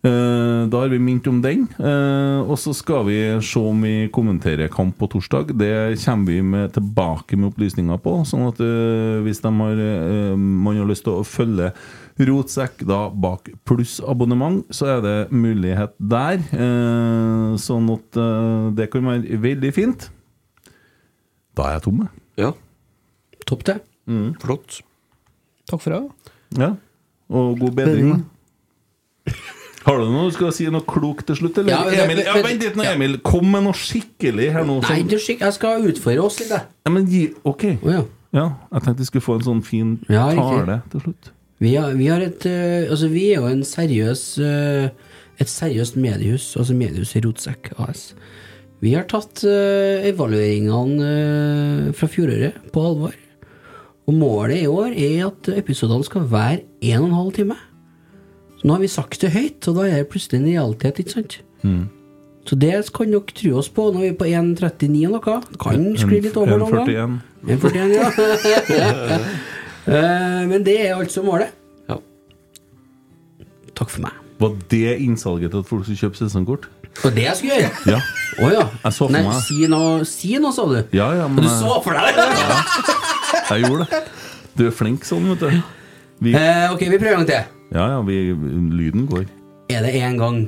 Eh, Da har vi minnet om den. eh, Og så skal vi se om vi kommenterer kamp på torsdag. Det kommer vi med, tilbake med opplysninger på. Sånn at eh, hvis de har, eh, man har lyst til å følge Rotsekk da bak plussabonnement, så er det mulighet der. Eh, Sånn at eh, det kan være veldig fint. Da er jeg tom, jeg. Ja, Mm, Topp, det. flott. Takk for det. Ja. Og god bedring. Har du noe du skal si noe klokt til slutt, eller? Ja, men- Emil, ja, men- vent litt nå, Emil. Kom med noe skikkelig her nå. Nei, sånn- du, skikk, jeg skal utfordre oss litt, jeg. Ja, men gi, ok. ja. jeg tenkte vi skulle få en sånn fin Ja, riktig. tale til slutt. Vi, har, vi, har et, eh, altså, vi er jo en seriøs, eh, et seriøst mediehus, altså mediehuset Rotsekk AS. Vi har tatt eh, evalueringene eh, fra fjoråret på alvor. Og målet i år er at episodene skal være 1 12 time. Så nå har vi sagt det høyt, og da er det plutselig en realitet, ikke sant? Så det kan dere tro oss på. Nå er vi på 1.39 og noe. Kan skli litt over noen gang. 1,41. 1,41, ja. Eh, Men det er altså målet. Ja. Takk for meg. Var det innsalget til at folk skulle kjøpe sesongkort? Og det jeg skulle gjøre? Ja. Å ja. Jeg så for Nei, meg. si noe, si noe, sa du. Ja, ja, men Du jeg, så for deg det? jeg gjorde det. Du er flink sånn, vet du. Vi, Eh, ok, vi prøver en gang til. ja, ja, vi, lyden går. Er det én gang?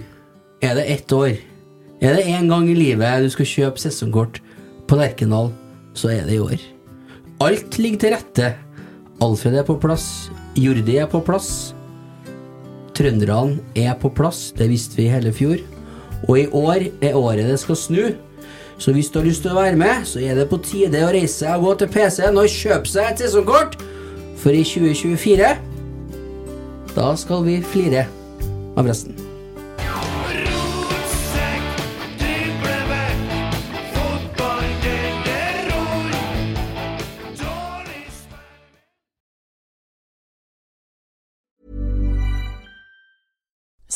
Er det ett år? Er det én gang i livet du skal kjøpe sesongkort på Lerkendal, så er det i år. Alt ligger til rette. Alfred er på plass. Jordi er på plass. Trønderne er på plass. Det visste vi i hele fjor. Og i år er året det skal snu. Så hvis du har lyst til å være med, så er det på tide å reise seg og gå til PC-en og kjøpe seg et sesongkort. For i 2024 da skal vi flire av resten.